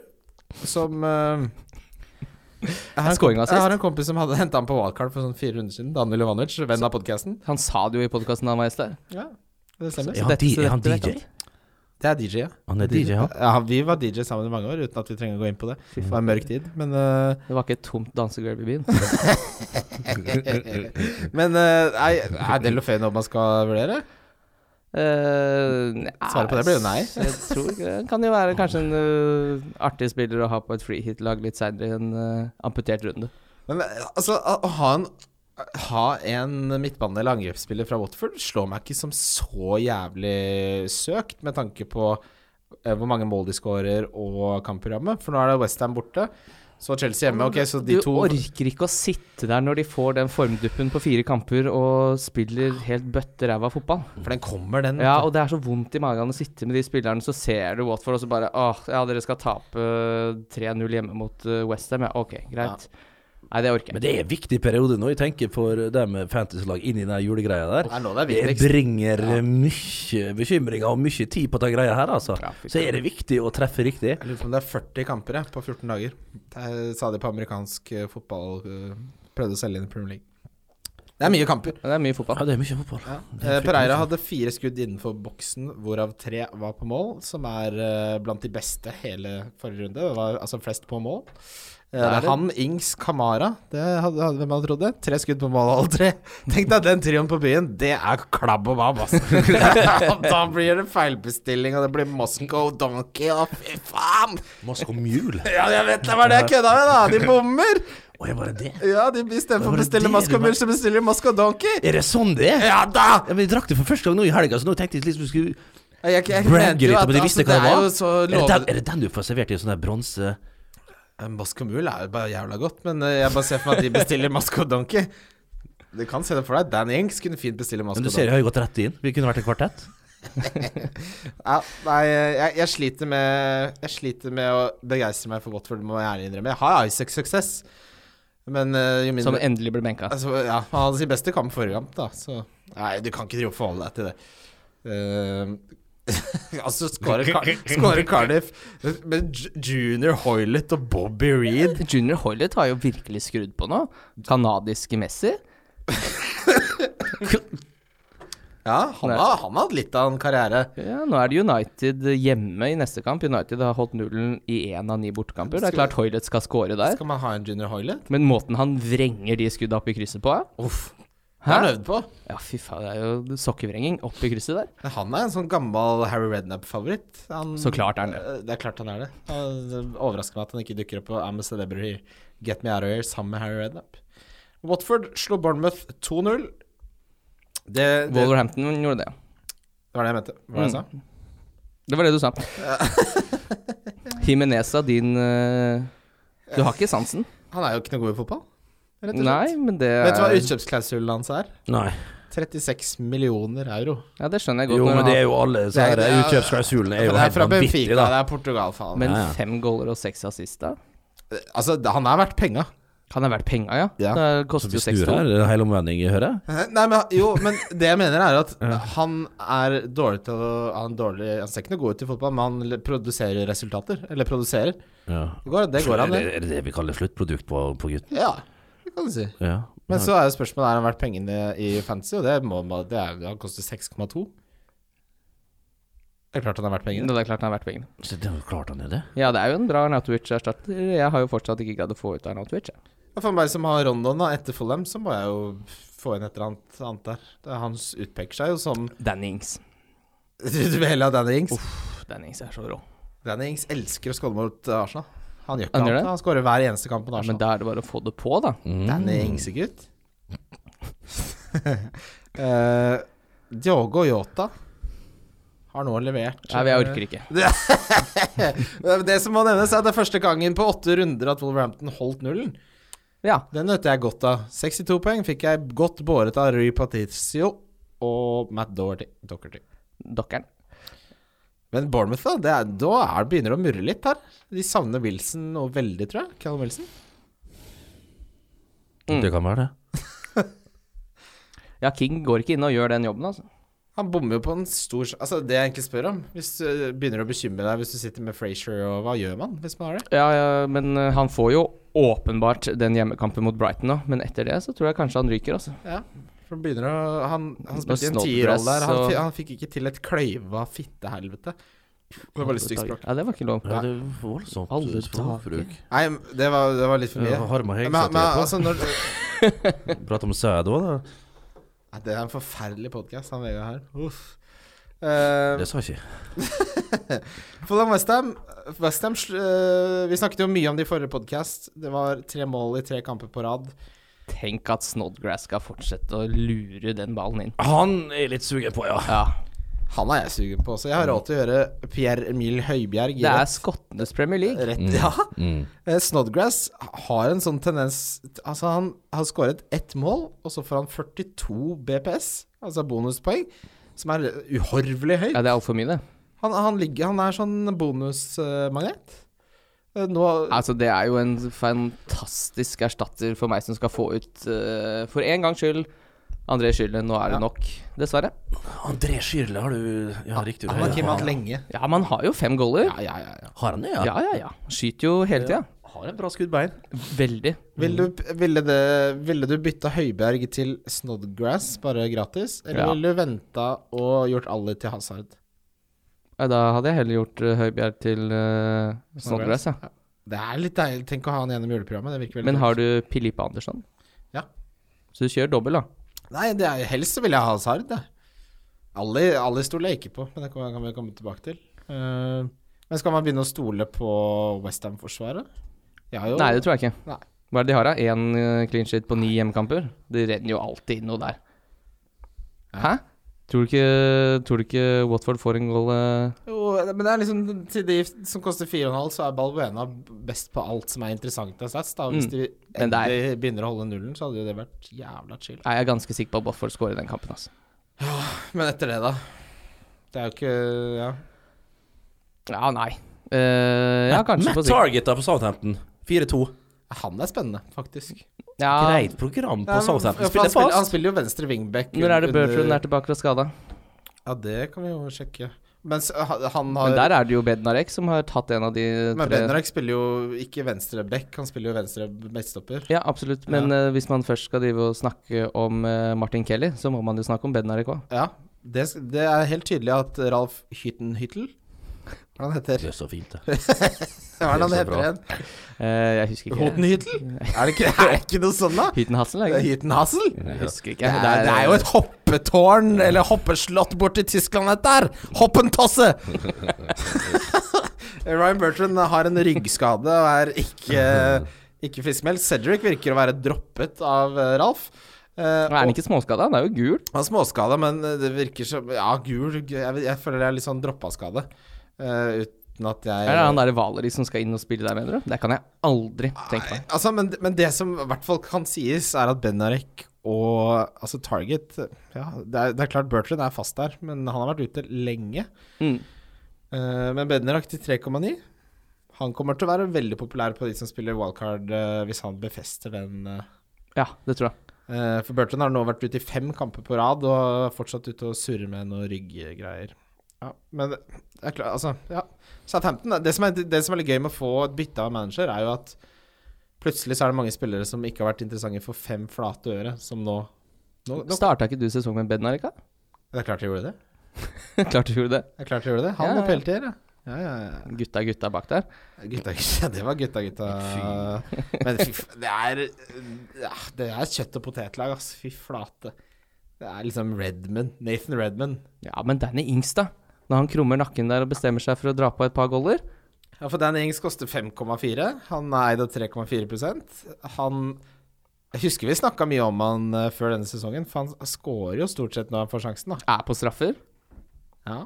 Speaker 3: som eh, jeg, har en
Speaker 2: Scoring
Speaker 3: komp-
Speaker 2: assist.
Speaker 3: jeg har en kompis som hadde *laughs* henta han på wildcard for sånn fire runder siden. Daniel Jovanovic, venn av podkasten.
Speaker 2: Han sa det jo i podkasten han var gjest der.
Speaker 3: Ja, det stemmer.
Speaker 4: Er han,
Speaker 2: dette-
Speaker 4: di- er han
Speaker 2: dette vet
Speaker 4: DJ?
Speaker 2: jeg.
Speaker 3: Det er DJ, ja.
Speaker 4: Han er DJ, han.
Speaker 3: Ja, Vi var DJ sammen i mange år, uten at vi trenger å gå inn på det. Det var en mørk tid. Men, eh,
Speaker 2: Det var ikke et tomt dansegulv i
Speaker 3: *laughs*
Speaker 2: byen.
Speaker 3: men eh, nei, er Del Ofeo noe man skal vurdere?
Speaker 2: Eh, nei,
Speaker 3: Svaret på det blir jo nei.
Speaker 2: Jeg tror ikke det. Kan jo være kanskje en eh, artig spiller å ha på et freehit-lag litt seinere i en eh, amputert runde.
Speaker 3: Men eh, altså, å å ha en ha en midtbane- eller angrepsspiller fra Watford slår meg ikke som så jævlig søkt, med tanke på eh, hvor mange mål de skårer og kampprogrammet. For nå er det Westham borte, så Chelsea hjemme. Ok, så de
Speaker 2: du
Speaker 3: to
Speaker 2: orker ikke å sitte der når de får den formduppen på fire kamper og spiller helt bøtte ræva fotball.
Speaker 3: For den kommer, den.
Speaker 2: Ja, og det er så vondt i magen å sitte med de spillerne, så ser du Watford, og så bare Åh, ja, dere skal tape 3-0 hjemme mot Westham, ja. Ok, greit. Nei, det orker jeg
Speaker 4: Men det er en viktig periode nå, jeg tenker, for det med fantasy-lag inn i den julegreia der.
Speaker 3: Det er nå det er
Speaker 4: Det
Speaker 3: viktigst.
Speaker 4: bringer mye bekymringer og mye tid på den greia her, altså. Så er det viktig å treffe riktig.
Speaker 3: Jeg lurer på om det er 40 kamper jeg, på 14 dager. Det er- sa de på amerikansk eh, fotball eh, Prøvde å selge inn i Premier League. Det er mye kamper.
Speaker 2: Men det er mye
Speaker 4: Ja,
Speaker 2: fotball.
Speaker 4: det er mye fotball.
Speaker 3: Eh, Pereira hadde fire skudd innenfor boksen, hvorav tre var på mål, som er eh, blant de beste hele forrige runde. Det var altså flest på mål. Eh, det er han, Ings, Kamara. Det hadde, hadde hvem hadde trodd det? Tre skudd på mål, alle tre. Tenk deg den trioen på byen. Det er klabb og babb, altså. *laughs* da blir det feilbestilling, og det blir Moscow Donkey, og fy faen!
Speaker 4: Moscow *laughs* Mule.
Speaker 3: Ja, jeg vet det var det jeg kødda med, da! De bommer!
Speaker 4: Å, er bare det?
Speaker 3: Ja, de istedenfor
Speaker 4: Hva var
Speaker 3: å
Speaker 4: det
Speaker 3: bestille
Speaker 4: det
Speaker 3: Moscow
Speaker 4: du
Speaker 3: Mule, så bestiller de Moscow Donkey!
Speaker 4: Er det sånn det er?
Speaker 3: Ja da!
Speaker 4: Ja, men Vi drakk det for første gang nå i helga, så nå tenkte jeg liksom vi skulle
Speaker 3: Jeg, jeg, jeg
Speaker 4: bragge litt
Speaker 3: jo altså,
Speaker 4: om at de visste hva det
Speaker 3: er
Speaker 4: var.
Speaker 3: jo så
Speaker 4: Er det den,
Speaker 3: lovende
Speaker 4: er det den du får servert i sånn der bronse
Speaker 3: Moscow Mule er jo bare jævla godt, men eh, jeg bare ser for meg at de bestiller Moscow Donkey. Du kan se det for deg. Dan Ings kunne fint bestille
Speaker 4: Men
Speaker 3: Moscow
Speaker 4: du ser,
Speaker 3: Donkey.
Speaker 4: jeg har jo gått rett inn. Vi kunne vært en kvartett.
Speaker 3: Ja, nei, jeg, jeg sliter med Jeg sliter med å begeistre meg for Watford, må jeg ærlig innrømme. Jeg har Isaac-suksess, men eh, jo
Speaker 2: Som
Speaker 3: mindre
Speaker 2: endelig ble benka.
Speaker 3: Altså, ja, han hadde sin beste kamp forrige kamp, da, så Nei, du kan ikke drive og forholde deg til det. Eh, *laughs* altså, skårer Car skårer Cardiff med Ju- Junior Hoilet og Bobby Reed
Speaker 2: Junior Hoilett har jo virkelig skrudd på nå. Kanadiske Messi.
Speaker 3: Ja, han har, han har hatt litt av en karriere.
Speaker 2: Ja, nå er det United hjemme i neste kamp. United har holdt nullen i én av ni bortekamper. Det er klart Hoilett skal score der.
Speaker 3: Skal man ha en Junior Hoilet?
Speaker 2: Men måten han vrenger de skudda opp i krysset på
Speaker 3: Uff.
Speaker 2: Hæ?
Speaker 3: Det har han øvd på.
Speaker 2: Ja, fy faen, det er jo sokkevrenging opp i krysset der.
Speaker 3: Men han er en sånn gammel Harry Rednap-favoritt. Han-
Speaker 2: Så klart er han det.
Speaker 3: Eh, Det er klart han er det. Han- Det overrasker meg at han ikke dukker opp på I'm a Celebrity, Get Me Out of Here sammen med Harry Redknapp. Watford slo Bournemouth 2-0. Det, det var det
Speaker 2: Wolverhampton gjorde det.
Speaker 3: jeg mente. Hva var det jeg sa?
Speaker 2: Mm. Det var det du sa.
Speaker 3: *laughs*
Speaker 2: Himeneza, din eh, Du har ikke sansen?
Speaker 3: Han er jo ikke noe god i fotball. Rett og slett.
Speaker 2: Nei, men det
Speaker 3: Vet du hva
Speaker 2: er
Speaker 3: utkjøpsklausulen hans er?
Speaker 4: Nei.
Speaker 3: 36 millioner euro.
Speaker 2: Ja, det skjønner jeg godt.
Speaker 4: Jo,
Speaker 2: når
Speaker 4: men
Speaker 2: han
Speaker 4: det
Speaker 2: har-
Speaker 4: er jo alle så her
Speaker 3: Det er-
Speaker 4: utkjøpsklausulene er
Speaker 3: Men
Speaker 4: jo
Speaker 3: det er
Speaker 4: helt
Speaker 3: fra
Speaker 4: vanvittige,
Speaker 3: Benfica,
Speaker 4: da.
Speaker 3: det er Portugal, faen.
Speaker 2: Men
Speaker 4: Ja, ja.
Speaker 2: fem goaler og seks assist, da?
Speaker 3: altså, det- han er verdt penga.
Speaker 2: Kan det ha vært penga, ja?
Speaker 3: Ja.
Speaker 2: Det
Speaker 4: Så
Speaker 2: koster
Speaker 4: vi
Speaker 2: jo seks
Speaker 4: snur her,
Speaker 2: dollar.
Speaker 4: det er en hel omvending, hører jeg.
Speaker 3: Eh, Nei, men jo, men det jeg mener er *laughs* at han er dårlig til å Han, er dårlig, han ser ikke noe god ut i fotball, men han le- produserer resultater. Eller produserer.
Speaker 4: Ja.
Speaker 3: Det går, det går an,
Speaker 4: er, det,
Speaker 3: det.
Speaker 4: er det det vi kaller sluttprodukt på, på gutten?
Speaker 3: Ja, det kan du si.
Speaker 4: Ja.
Speaker 3: Men så er jo spørsmålet er han verdt pengene i fantasy, og det må man Det er, han koster 6,2. Det er klart han er verdt
Speaker 2: Ja,
Speaker 3: pengene.
Speaker 2: Det er klart han har vært pengene.
Speaker 4: Så det er jo klart han er det.
Speaker 2: Ja, det er jo en bra Arnautovic-erstatter. Jeg har jo fortsatt ikke greid å få ut Arnautovic. jeg.
Speaker 3: Og for meg som har Rondon da, etter Fulham, så må jeg jo få inn et eller annet annet der. Det er, han utpeker seg jo som
Speaker 2: Danny Ings.
Speaker 3: *laughs* Du vil heller ha Danny Ings?
Speaker 2: Pff, Danny Ings er så rå.
Speaker 3: Danny Ings elsker å skåre mot eh, Arsenal. Han gjør ikke
Speaker 2: Han gjør
Speaker 3: annet.
Speaker 2: det?
Speaker 3: Han skårer hver eneste kamp mot
Speaker 2: Ja, men
Speaker 3: Arsenal.
Speaker 2: da er det bare å få det på, da.
Speaker 3: Danny *laughs* Ingsegutt. uh, Diogo Yota har nå levert eh,
Speaker 2: Nei, jeg orker ikke.
Speaker 3: Det som må nevnes, er at det er første gangen på åtte runder at Wolverhampton holdt nullen.
Speaker 2: Ja.
Speaker 3: Den nøt jeg godt av. 62 poeng fikk jeg godt båret av Rui Patricio og Matt Doherty. Doherty.
Speaker 2: Dokkeren.
Speaker 3: Men Bournemouth, da, det er, da er, begynner det å murre litt her. De savner Wilson noe veldig, tror jeg. Callum Wilson. Mm.
Speaker 4: Det kan være det.
Speaker 2: Ja, King går ikke inn og gjør den jobben, altså.
Speaker 3: Han bommer jo på en stor sj- Altså, det jeg egentlig spør om Hvis du øh, begynner å bekymre deg hvis du sitter med Frazier, og hva gjør man hvis man har det?
Speaker 2: Ja, ja, men eh, han får jo åpenbart den hjemmekampen mot Brighton nå, men etter det så tror jeg kanskje han ryker, altså.
Speaker 3: Ja. For han begynner å Han, han
Speaker 2: Nå
Speaker 3: spilte i en
Speaker 2: snodder
Speaker 3: tierrolle
Speaker 2: press,
Speaker 3: der. Han,
Speaker 2: og-
Speaker 3: fi- han fikk ikke til et kløyva fittehelvete. Det var litt stygt språk.
Speaker 2: Ja, det var ikke lov.
Speaker 4: Ja, det er voldsomt
Speaker 2: Aldri
Speaker 4: språkbruk.
Speaker 3: Nei, det var, det var litt for mye.
Speaker 4: Harma
Speaker 3: Men,
Speaker 4: Hegg
Speaker 3: men
Speaker 4: satt
Speaker 3: altså, når
Speaker 4: i Prate om sæd òg, da.
Speaker 3: Nei, Det er en forferdelig podkast, han Vegard her. Uff. Eh,
Speaker 4: Det sa jeg ikke.
Speaker 3: Fulham Westham Westham uh, Vi snakket jo mye om det i forrige podkast. Det var tre mål i tre kamper på rad.
Speaker 2: Tenk at Snodgrass skal fortsette å lure den ballen inn.
Speaker 4: Han er litt sugen på, ja.
Speaker 2: Ja,
Speaker 3: Han er jeg sugen på også. Jeg har råd til å gjøre Pierre Emil Høibjerg i
Speaker 2: Mm. Det er
Speaker 3: rett-
Speaker 2: skottenes Premier League.
Speaker 3: rett. Ja.
Speaker 4: Mm.
Speaker 3: Eh, Snodgrass har en sånn tendens Altså, han har skåret ett mål, og så får han 42 BPS, altså bonuspoeng, som er uhorvelig høyt.
Speaker 2: Ja, det er altfor mye, det.
Speaker 3: Han, han, ligger, han er sånn bonusmagnet. Eh, nå
Speaker 2: Altså, det er jo en fantastisk erstatter for meg som skal få ut eh, For en gangs skyld André Schürrle, nå er det
Speaker 3: Ja.
Speaker 2: nok, dessverre.
Speaker 4: André Schürrle har du Ja, riktig.
Speaker 3: Han har
Speaker 4: du-
Speaker 3: ikke vært lenge.
Speaker 2: Ja, man har jo fem goaler.
Speaker 3: Ja, ja, ja, ja.
Speaker 4: Har han det, ja?
Speaker 2: Ja, ja, ja. Skyter jo hele tida.
Speaker 4: Har en bra skuddbein.
Speaker 2: Veldig.
Speaker 3: Ville du, ville, det, ville du bytta Høibjerg til Snodgrass, bare gratis? Eller
Speaker 2: Ja.
Speaker 3: ville du venta og gjort alle til Hazard?
Speaker 2: Nei, Da hadde jeg heller gjort eh, Høibjerg til eh, Snodgrass, ja.
Speaker 3: Det er litt deilig. Tenk å ha han gjennom juleprogrammet. Det virker veldig
Speaker 2: Men har du Pilippe Andersson?
Speaker 3: Ja.
Speaker 2: Så du kjører dobbel, da?
Speaker 3: Nei, det er, helst så vil jeg ha Hazard, jeg. Alle, alle stoler jeg ikke på, men det kan, kan vi komme tilbake til. Eh, men skal man begynne å stole på Westham-forsvaret? Ja, jo.
Speaker 2: Nei, det tror jeg ikke.
Speaker 3: Nei.
Speaker 2: Hva er det de har, da? Én eh, clean sheet på ni hjemmekamper? Det renner jo alltid inn noe der.
Speaker 3: Ja.
Speaker 2: Hæ? Tror du, ikke, tror du ikke Watford får en goal eh?
Speaker 3: Jo, men det er liksom til de som koster 4,5, så er Balbuena best på alt som er interessant av sats. Da.
Speaker 2: Mm.
Speaker 3: Hvis de
Speaker 2: Men det er-
Speaker 3: endelig begynner å holde nullen, så hadde jo det vært jævla chill.
Speaker 2: Nei, Jeg er ganske sikker på at Watford scorer den kampen, altså.
Speaker 3: Men etter det, da? Det er jo ikke Ja.
Speaker 2: Ja, nei. Eh, ja, kanskje
Speaker 4: Matt
Speaker 2: på sikt.
Speaker 4: Target da på Southampton. 4-2.
Speaker 3: Han er spennende, faktisk.
Speaker 2: Ja,
Speaker 4: Greit program
Speaker 3: Ja,
Speaker 4: på
Speaker 3: men-
Speaker 4: Southampton.
Speaker 3: ja, for
Speaker 4: Spiller
Speaker 3: han, spiller, han
Speaker 4: fast.
Speaker 3: spiller jo venstre wingback.
Speaker 2: når er det
Speaker 3: under-
Speaker 2: Bertrand er tilbake fra skada?
Speaker 3: Ja, det kan vi jo sjekke. Mens eh, han han har
Speaker 2: Men der er det jo Bednarek som har tatt en av de
Speaker 3: Men
Speaker 2: tre
Speaker 3: Benarek spiller jo ikke venstre back, han spiller jo venstre midtstopper.
Speaker 2: Ja, absolutt. Men eh, hvis man først skal drive og snakke om eh, Martin Kelly, så må man jo snakke om Bednarek òg.
Speaker 3: Ja, det, sk- det er helt tydelig at Ralf Hyttenhyttel Hva er det han heter
Speaker 4: Det er så fint, det.
Speaker 3: Hva er det han
Speaker 4: Det er så
Speaker 3: heter
Speaker 4: bra.
Speaker 3: igjen?
Speaker 2: Eh, jeg husker ikke.
Speaker 3: Hotenhyttel? Er det ikke, er det ikke noe sånn, da?
Speaker 2: Hytenhassel, er det ikke?
Speaker 3: Hytenhassel?
Speaker 2: Jeg husker ikke.
Speaker 3: Det er, det er jo et hoppetårn, eller hoppeslott borti Tyskland, dette her! Hoppentosse! *laughs* Ryan Bertrand har en ryggskade og er ikke, ikke friskmeldt. Cedric virker å være droppet av eh, Ralf. Eh,
Speaker 2: Er han
Speaker 3: og-
Speaker 2: ikke småskada? Han er jo gul.
Speaker 3: Han er småskada, men det virker som Ja, gul Jeg, jeg føler det er litt sånn droppa-skade. eh, uten at jeg
Speaker 2: Er det han derre Valeri som skal inn og spille der, mener du? Det kan jeg aldri tenke meg.
Speaker 3: Altså, men, men det som i hvert fall kan sies, er at Benarek og altså Target Ja, det er, det er klart Bertrand er fast der, men han har vært ute lenge.
Speaker 2: Mm.
Speaker 3: Eh, men Benarek til 3,9 Han kommer til å være veldig populær på de som spiller wildcard, eh, hvis han befester den. eh.
Speaker 2: Ja, det tror jeg.
Speaker 3: Eh, for Bertrand har nå vært ute i fem kamper på rad og er fortsatt ute og surrer med noen rygggreier. Ja, men det det er klart, altså Ja. Southampton, det som, er, det som er litt gøy med å få et bytte av manager, er jo at plutselig så er det mange spillere som ikke har vært interessante for fem flate øre, som nå, nå, nå
Speaker 2: Starta ikke du sesongen med Bednarek, da? *laughs*
Speaker 3: Det er klart de gjorde det.
Speaker 2: Klart du gjorde det.
Speaker 3: Det er klart de gjorde det. Han
Speaker 2: Ja,
Speaker 3: og
Speaker 2: ja.
Speaker 3: peltier, ja. Ja, ja, ja.
Speaker 2: Gutta, gutta bak der.
Speaker 3: Gutta, gutta, det var gutta, gutta. Men fy, f- det er ja, Det er kjøtt og potetlag, ass. Fy flate. Det er liksom Redman. Nathan Redman.
Speaker 2: Ja, men Danny Ings, da. Når han krummer nakken der og bestemmer seg for å dra på et par goller.
Speaker 3: Ja, for Dan Ings koster 5,4. Han er eid av 3,4 Han Jeg husker vi snakka mye om han eh, før denne sesongen, for han scorer jo stort sett når han får sjansen, da.
Speaker 2: Er på straffer.
Speaker 3: Ja.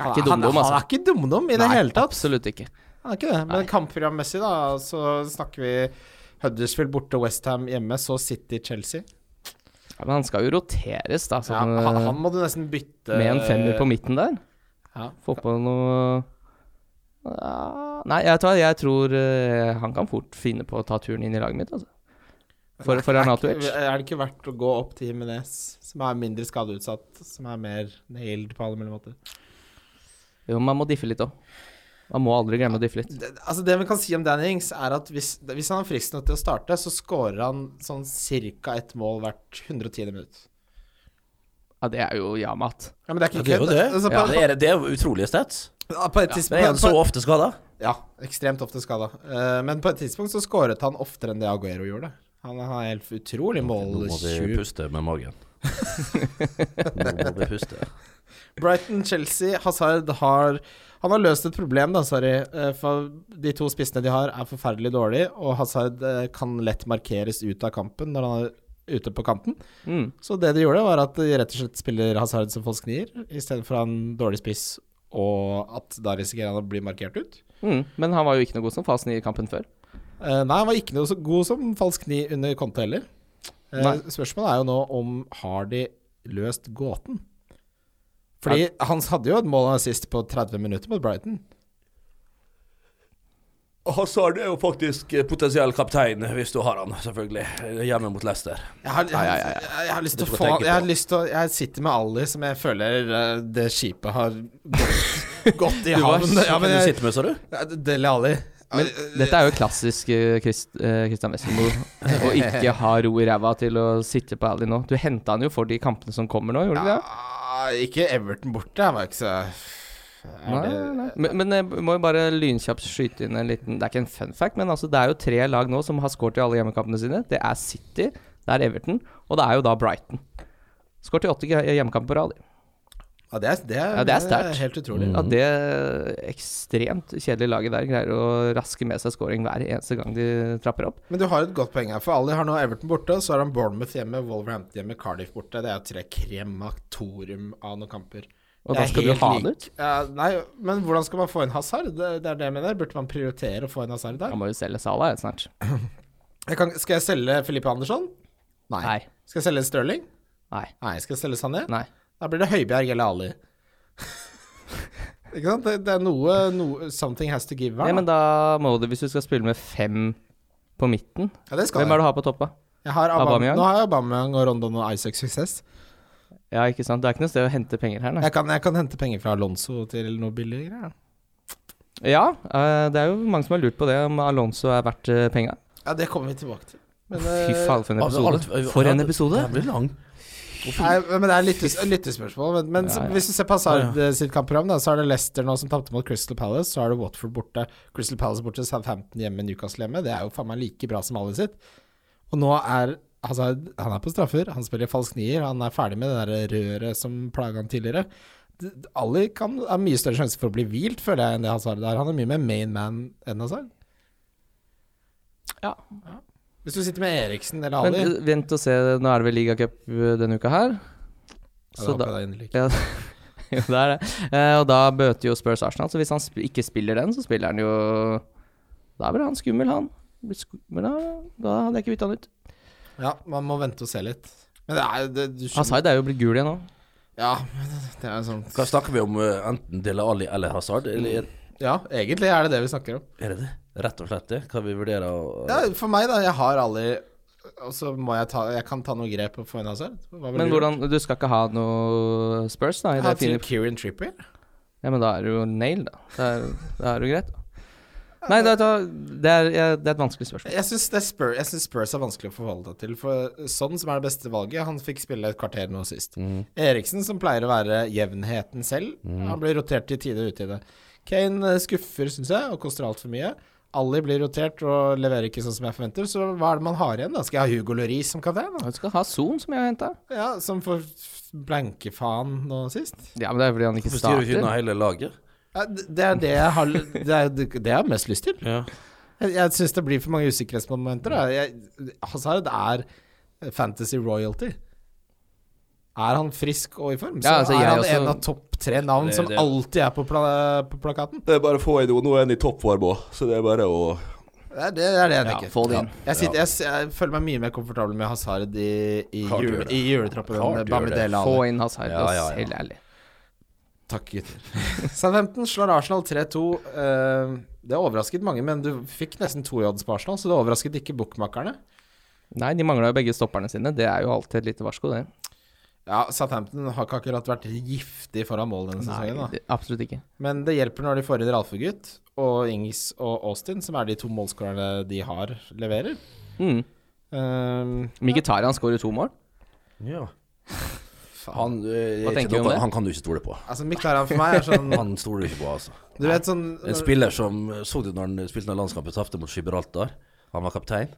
Speaker 2: Er
Speaker 3: Han,
Speaker 2: ikke
Speaker 3: han,
Speaker 2: dumdum,
Speaker 3: han
Speaker 2: altså.
Speaker 3: er ikke dumdum i det hele tatt.
Speaker 2: Absolutt ikke.
Speaker 3: Han er ikke det. Men kampprogrammessig, da, så snakker vi Huddersfield borte, Westham hjemme, så eh, City, Chelsea.
Speaker 2: Ja, men han skal jo roteres, da.
Speaker 3: Ja,
Speaker 2: Sånn, eh,
Speaker 3: han, han må du nesten bytte
Speaker 2: Med en femmer på midten der.
Speaker 3: Ja.
Speaker 2: Få på noe ja, Nei, jeg tror, jeg tror eh, han kan fort finne på å ta turen inn i laget mitt. Altså. For, for Arnato
Speaker 3: Er
Speaker 2: Edge.
Speaker 3: det ikke verdt å gå opp til Jimenez, som er mindre skadeutsatt, som er mer nailed på alle mulige måter?
Speaker 2: Jo, man må diffe litt òg. Man må aldri glemme å diffe litt.
Speaker 3: det, altså det vi kan si om Danny Ings, er at hvis, hvis han er frisk nok til å starte, så scorer han sånn ca. ett mål hvert 110. minutt.
Speaker 2: Ja, det er jo ja-mat.
Speaker 3: Ja, men det er
Speaker 4: Ja,
Speaker 3: ikke
Speaker 4: det er jo
Speaker 3: kødd.
Speaker 4: det.
Speaker 3: Altså,
Speaker 4: Ja,
Speaker 3: på-
Speaker 4: det, er, det er jo utrolige stats.
Speaker 3: Ja, På et
Speaker 4: Men er han
Speaker 3: tidspunkt
Speaker 4: så
Speaker 3: på,
Speaker 4: ofte skada?
Speaker 3: Ja, ekstremt ofte skada. Eh, men på et tidspunkt så skåret han oftere enn det Aguero gjorde. Han har helt utrolig
Speaker 4: Nå må vi
Speaker 3: måltjuv.
Speaker 4: puste med magen. Nå må vi *laughs* puste.
Speaker 3: Brighton, Chelsea, Hazard har Han har løst et problem, da, sorry. Eh, For de to spissene de har, er forferdelig dårlige, og Hazard eh, kan lett markeres ut av kampen når han er ute på kanten.
Speaker 2: Mm.
Speaker 3: Så det de gjorde, var at de rett og slett spiller Hazard som falsk nier, i stedet for en dårlig spiss, og at da risikerer han å bli markert ut.
Speaker 2: Mm. Men han var jo ikke noe god som fasen i kampen før.
Speaker 3: Eh, nei, han var ikke noe så god som falsk ni under Conte heller. Eh,
Speaker 2: Nei.
Speaker 3: spørsmålet er jo nå om har de løst gåten? Fordi han hadde jo et mål og assist på 30 minutter mot Brighton.
Speaker 4: Hazard er jo faktisk eh, potensiell kaptein, hvis du har han, selvfølgelig. Hjemme mot Leicester.
Speaker 3: Jeg har, jeg,
Speaker 4: ja, ja,
Speaker 3: jeg, har lyst til
Speaker 4: Det
Speaker 3: å
Speaker 4: får
Speaker 3: få
Speaker 4: tenke
Speaker 3: Jeg har
Speaker 4: på.
Speaker 3: lyst til å Jeg sitter med Ali, som jeg føler eh, det skipet har
Speaker 4: *laughs*
Speaker 3: gått, gått i
Speaker 2: Du var
Speaker 3: havn. Ja,
Speaker 4: Hvem
Speaker 3: men
Speaker 4: du
Speaker 3: jeg,
Speaker 4: sitter med, sa du?
Speaker 3: Dele Ali.
Speaker 2: Men dette er jo klassisk eh, Christ, eh, Christian Wesselmo. *laughs* Å ikke ha ro i ræva til å sitte på Ally nå. Du henta han jo for de kampene som kommer nå, gjorde du ikke det?
Speaker 3: Ja, Ah, ikke Everton borte, jeg var ikke så er
Speaker 2: Nei,
Speaker 3: det-
Speaker 2: nei. Men, men jeg må jo bare lynkjapt skyte inn en liten Det er ikke en fun fact, men altså, det er jo tre lag nå som har skåret i alle hjemmekampene sine. Det er City, det er Everton, og det er jo da Brighton. Skåret i åtte ge- hjemmekamper på rad.
Speaker 3: Ja, det er, det er,
Speaker 2: Ja, det er sterkt. Mm.
Speaker 3: helt utrolig.
Speaker 2: At det eh, ekstremt kjedelige laget der greier å raske med seg scoring hver eneste gang de trapper opp.
Speaker 3: Men du har et godt poeng her, for Ali har nå Everton borte, og så har han Bournemouth hjemme, Wolverhampton hjemme, Cardiff borte. Det er jo tre krematorium av noen kamper.
Speaker 2: Og
Speaker 3: Det
Speaker 2: da
Speaker 3: er
Speaker 2: skal du
Speaker 3: helt
Speaker 2: ha
Speaker 3: lik-
Speaker 2: han ut?
Speaker 3: Ja, nei, men hvordan skal man få inn Hazard? Det, det er det jeg mener. Burde man prioritere å få inn Hazard der?
Speaker 2: Han må jo selge Salah ja, snart.
Speaker 3: Jeg kan, skal jeg selge Filippe Andersson? Nei.
Speaker 2: Nei.
Speaker 3: Skal jeg selge Stirling?
Speaker 2: Nei.
Speaker 3: Nei. Skal jeg selge Sané?
Speaker 2: Nei.
Speaker 3: Da blir det Høibjerg eller Ali. Ikke sant? Det, det er noe, noe Something has to give her.
Speaker 2: Ja,
Speaker 3: da.
Speaker 2: men da må du, hvis du skal spille med fem på midten
Speaker 3: ja, det skal
Speaker 2: Hvem er
Speaker 3: jeg.
Speaker 2: det du har på toppa?
Speaker 3: Jeg har Abam
Speaker 2: Aubameyang?
Speaker 3: Nå har jeg Aubameyang og Rondon og Isaac Success.
Speaker 2: Ja, ikke sant? Det er ikke noe sted å hente penger her, nei.
Speaker 3: Jeg kan, jeg kan hente penger fra Alonso til noe billige greier. da.
Speaker 2: Ja, eh, det er jo mange som har lurt på det, om Alonso er verdt eh, penga.
Speaker 3: Ja, det kommer vi tilbake til. Men,
Speaker 2: Fy
Speaker 3: eh,
Speaker 2: faen, for en episode. For en episode!
Speaker 4: Den blir lang.
Speaker 3: Nei, men det er lyttes, lyttespørsmål. Men, men
Speaker 2: Ja, ja.
Speaker 3: hvis du ser på Hazard eh, sitt kampprogram, da, så er det Leicester nå som tapte mot Crystal Palace. Så er det Watford borte, Crystal Palace borte, Southampton hjemme, Newcastle hjemme. Det er jo faen meg like bra som alle sitt. Og nå er Hazard Han er på straffer, han spiller falsk nier, han er ferdig med det der røret som plaga han tidligere. D- d- Ali kan, har mye større sjanse for å bli hvilt, føler jeg, enn det Hazard er. Han er mye mer main man enn Hazard.
Speaker 2: Ja.
Speaker 3: Hvis du sitter med Eriksen eller
Speaker 2: Men
Speaker 3: Ali
Speaker 2: eh, vent og se, nå er det vel ligacup eh, denne uka her.
Speaker 3: Ja,
Speaker 2: eh,
Speaker 3: da
Speaker 2: Så da *laughs*
Speaker 3: håper jeg det er innlykke.
Speaker 2: ja, Jo, det er det. Eh, og da bøter jo Spurs Arsenal, så hvis han sp ikke spiller den, så spiller han jo Da blir han skummel, han. Blir skummel, da, da hadde jeg ikke bytta han ut.
Speaker 3: Ja, man må vente og se litt. Men det er det, du skjønner-
Speaker 2: Hazard er jo blitt gul igjen nå.
Speaker 3: Ja, *laughs* men det er sånn
Speaker 4: Hva snakker vi om? eh, Enten Dele Alli eller Hazard? Eller er-
Speaker 3: Ja, egentlig er det det vi snakker om.
Speaker 4: er det det? Rett og slett det? Hva vi vurderer å
Speaker 3: Ja, for meg, da. Jeg har alle Og så må jeg ta Jeg kan ta noen grep og få inn Hazard. Hva vil
Speaker 2: Men
Speaker 3: du gjøre?
Speaker 2: hvordan Du skal ikke ha noe Spurs, da? I
Speaker 3: Jeg
Speaker 2: det
Speaker 3: har
Speaker 2: fine
Speaker 3: til Kieran Trippier.
Speaker 2: Ja, men da er det jo nail, da. Da er, da er det jo greit, da. Nei, det er, det er, det er et vanskelig spørsmål.
Speaker 3: Jeg syns Spurs, jeg synes Spurs er vanskelig å forholde deg til. For sånn som er det beste valget Han fikk spille et kvarter nå sist. Eriksen, som pleier å være jevnheten selv, han blir rotert i tide og utide. Kane eh, skuffer, syns jeg, og koster altfor mye. Ali blir rotert og leverer ikke sånn som jeg forventer, så hva er det man har igjen, da? Skal jeg ha Hugo Lloris som kaptein? da?
Speaker 2: Du skal ha Son, som jeg har henta.
Speaker 3: Ja, som får blanke faen nå sist.
Speaker 2: Ja, men det er fordi han ikke
Speaker 4: Hvorfor styrer vi
Speaker 2: starter.
Speaker 4: unna hele laget?
Speaker 3: Ja, d- det er det jeg har Det er det jeg har mest lyst til.
Speaker 4: Ja.
Speaker 3: Jeg, jeg syns det blir for mange usikkerhetsmomenter. Da. Jeg, Hazard er fantasy royalty. Er han frisk og i form, så
Speaker 2: Ja, altså, jeg
Speaker 3: er han
Speaker 2: også-
Speaker 3: en av topp tre navn
Speaker 4: Det-
Speaker 3: som
Speaker 4: det-
Speaker 3: alltid er på, pla på plakaten.
Speaker 4: Det er bare å få inn noe. Nå er han i toppvarme òg, så det er bare å
Speaker 3: Det er det, det, er det jeg
Speaker 2: Ja,
Speaker 3: tenker.
Speaker 2: få det inn.
Speaker 3: Jeg, sitter, jeg, s- jeg føler meg mye mer komfortabel med Hazard i, i,
Speaker 4: Klart du
Speaker 3: jule,
Speaker 4: gjør det.
Speaker 3: i juletroppen
Speaker 4: Klart
Speaker 3: enn
Speaker 4: du gjør det.
Speaker 3: Bamidele
Speaker 2: Få
Speaker 3: Ali.
Speaker 2: inn Hazard,
Speaker 4: Ja, ja, ja.
Speaker 2: helt ærlig.
Speaker 3: Takk, gutter. *laughs* Southampton slår Arsenal 3-2. Eh, det overrasket mange, men du fikk nesten to i odds på Arsenal, så det overrasket ikke bookmakerne.
Speaker 2: Nei, de mangla jo begge stopperne sine. Det er jo alltid et lite varsko, det.
Speaker 3: Ja, Southampton har ikke akkurat vært giftig foran mål denne
Speaker 2: Nei,
Speaker 3: sesongen, da.
Speaker 2: det- absolutt ikke.
Speaker 3: Men det hjelper når de får inn Ralfegutt og Ings og Austin, som er de to målskårerne de har, leverer.
Speaker 2: Mm.
Speaker 3: Um,
Speaker 2: Mkhitaryan skårer to mål.
Speaker 4: Ja.
Speaker 3: faen.
Speaker 4: Han, eh,
Speaker 2: Hva
Speaker 4: er ikke
Speaker 2: tenker du om
Speaker 4: noe-
Speaker 2: det?
Speaker 4: han kan du ikke stole på.
Speaker 3: Altså, Mkhitaryan for meg er
Speaker 4: *laughs*
Speaker 3: sånn
Speaker 4: Han stoler du ikke på, altså.
Speaker 3: Du vet sånn
Speaker 4: En spiller som Så du når han spilte den landskampen tapte mot Gibraltar? Han var kaptein.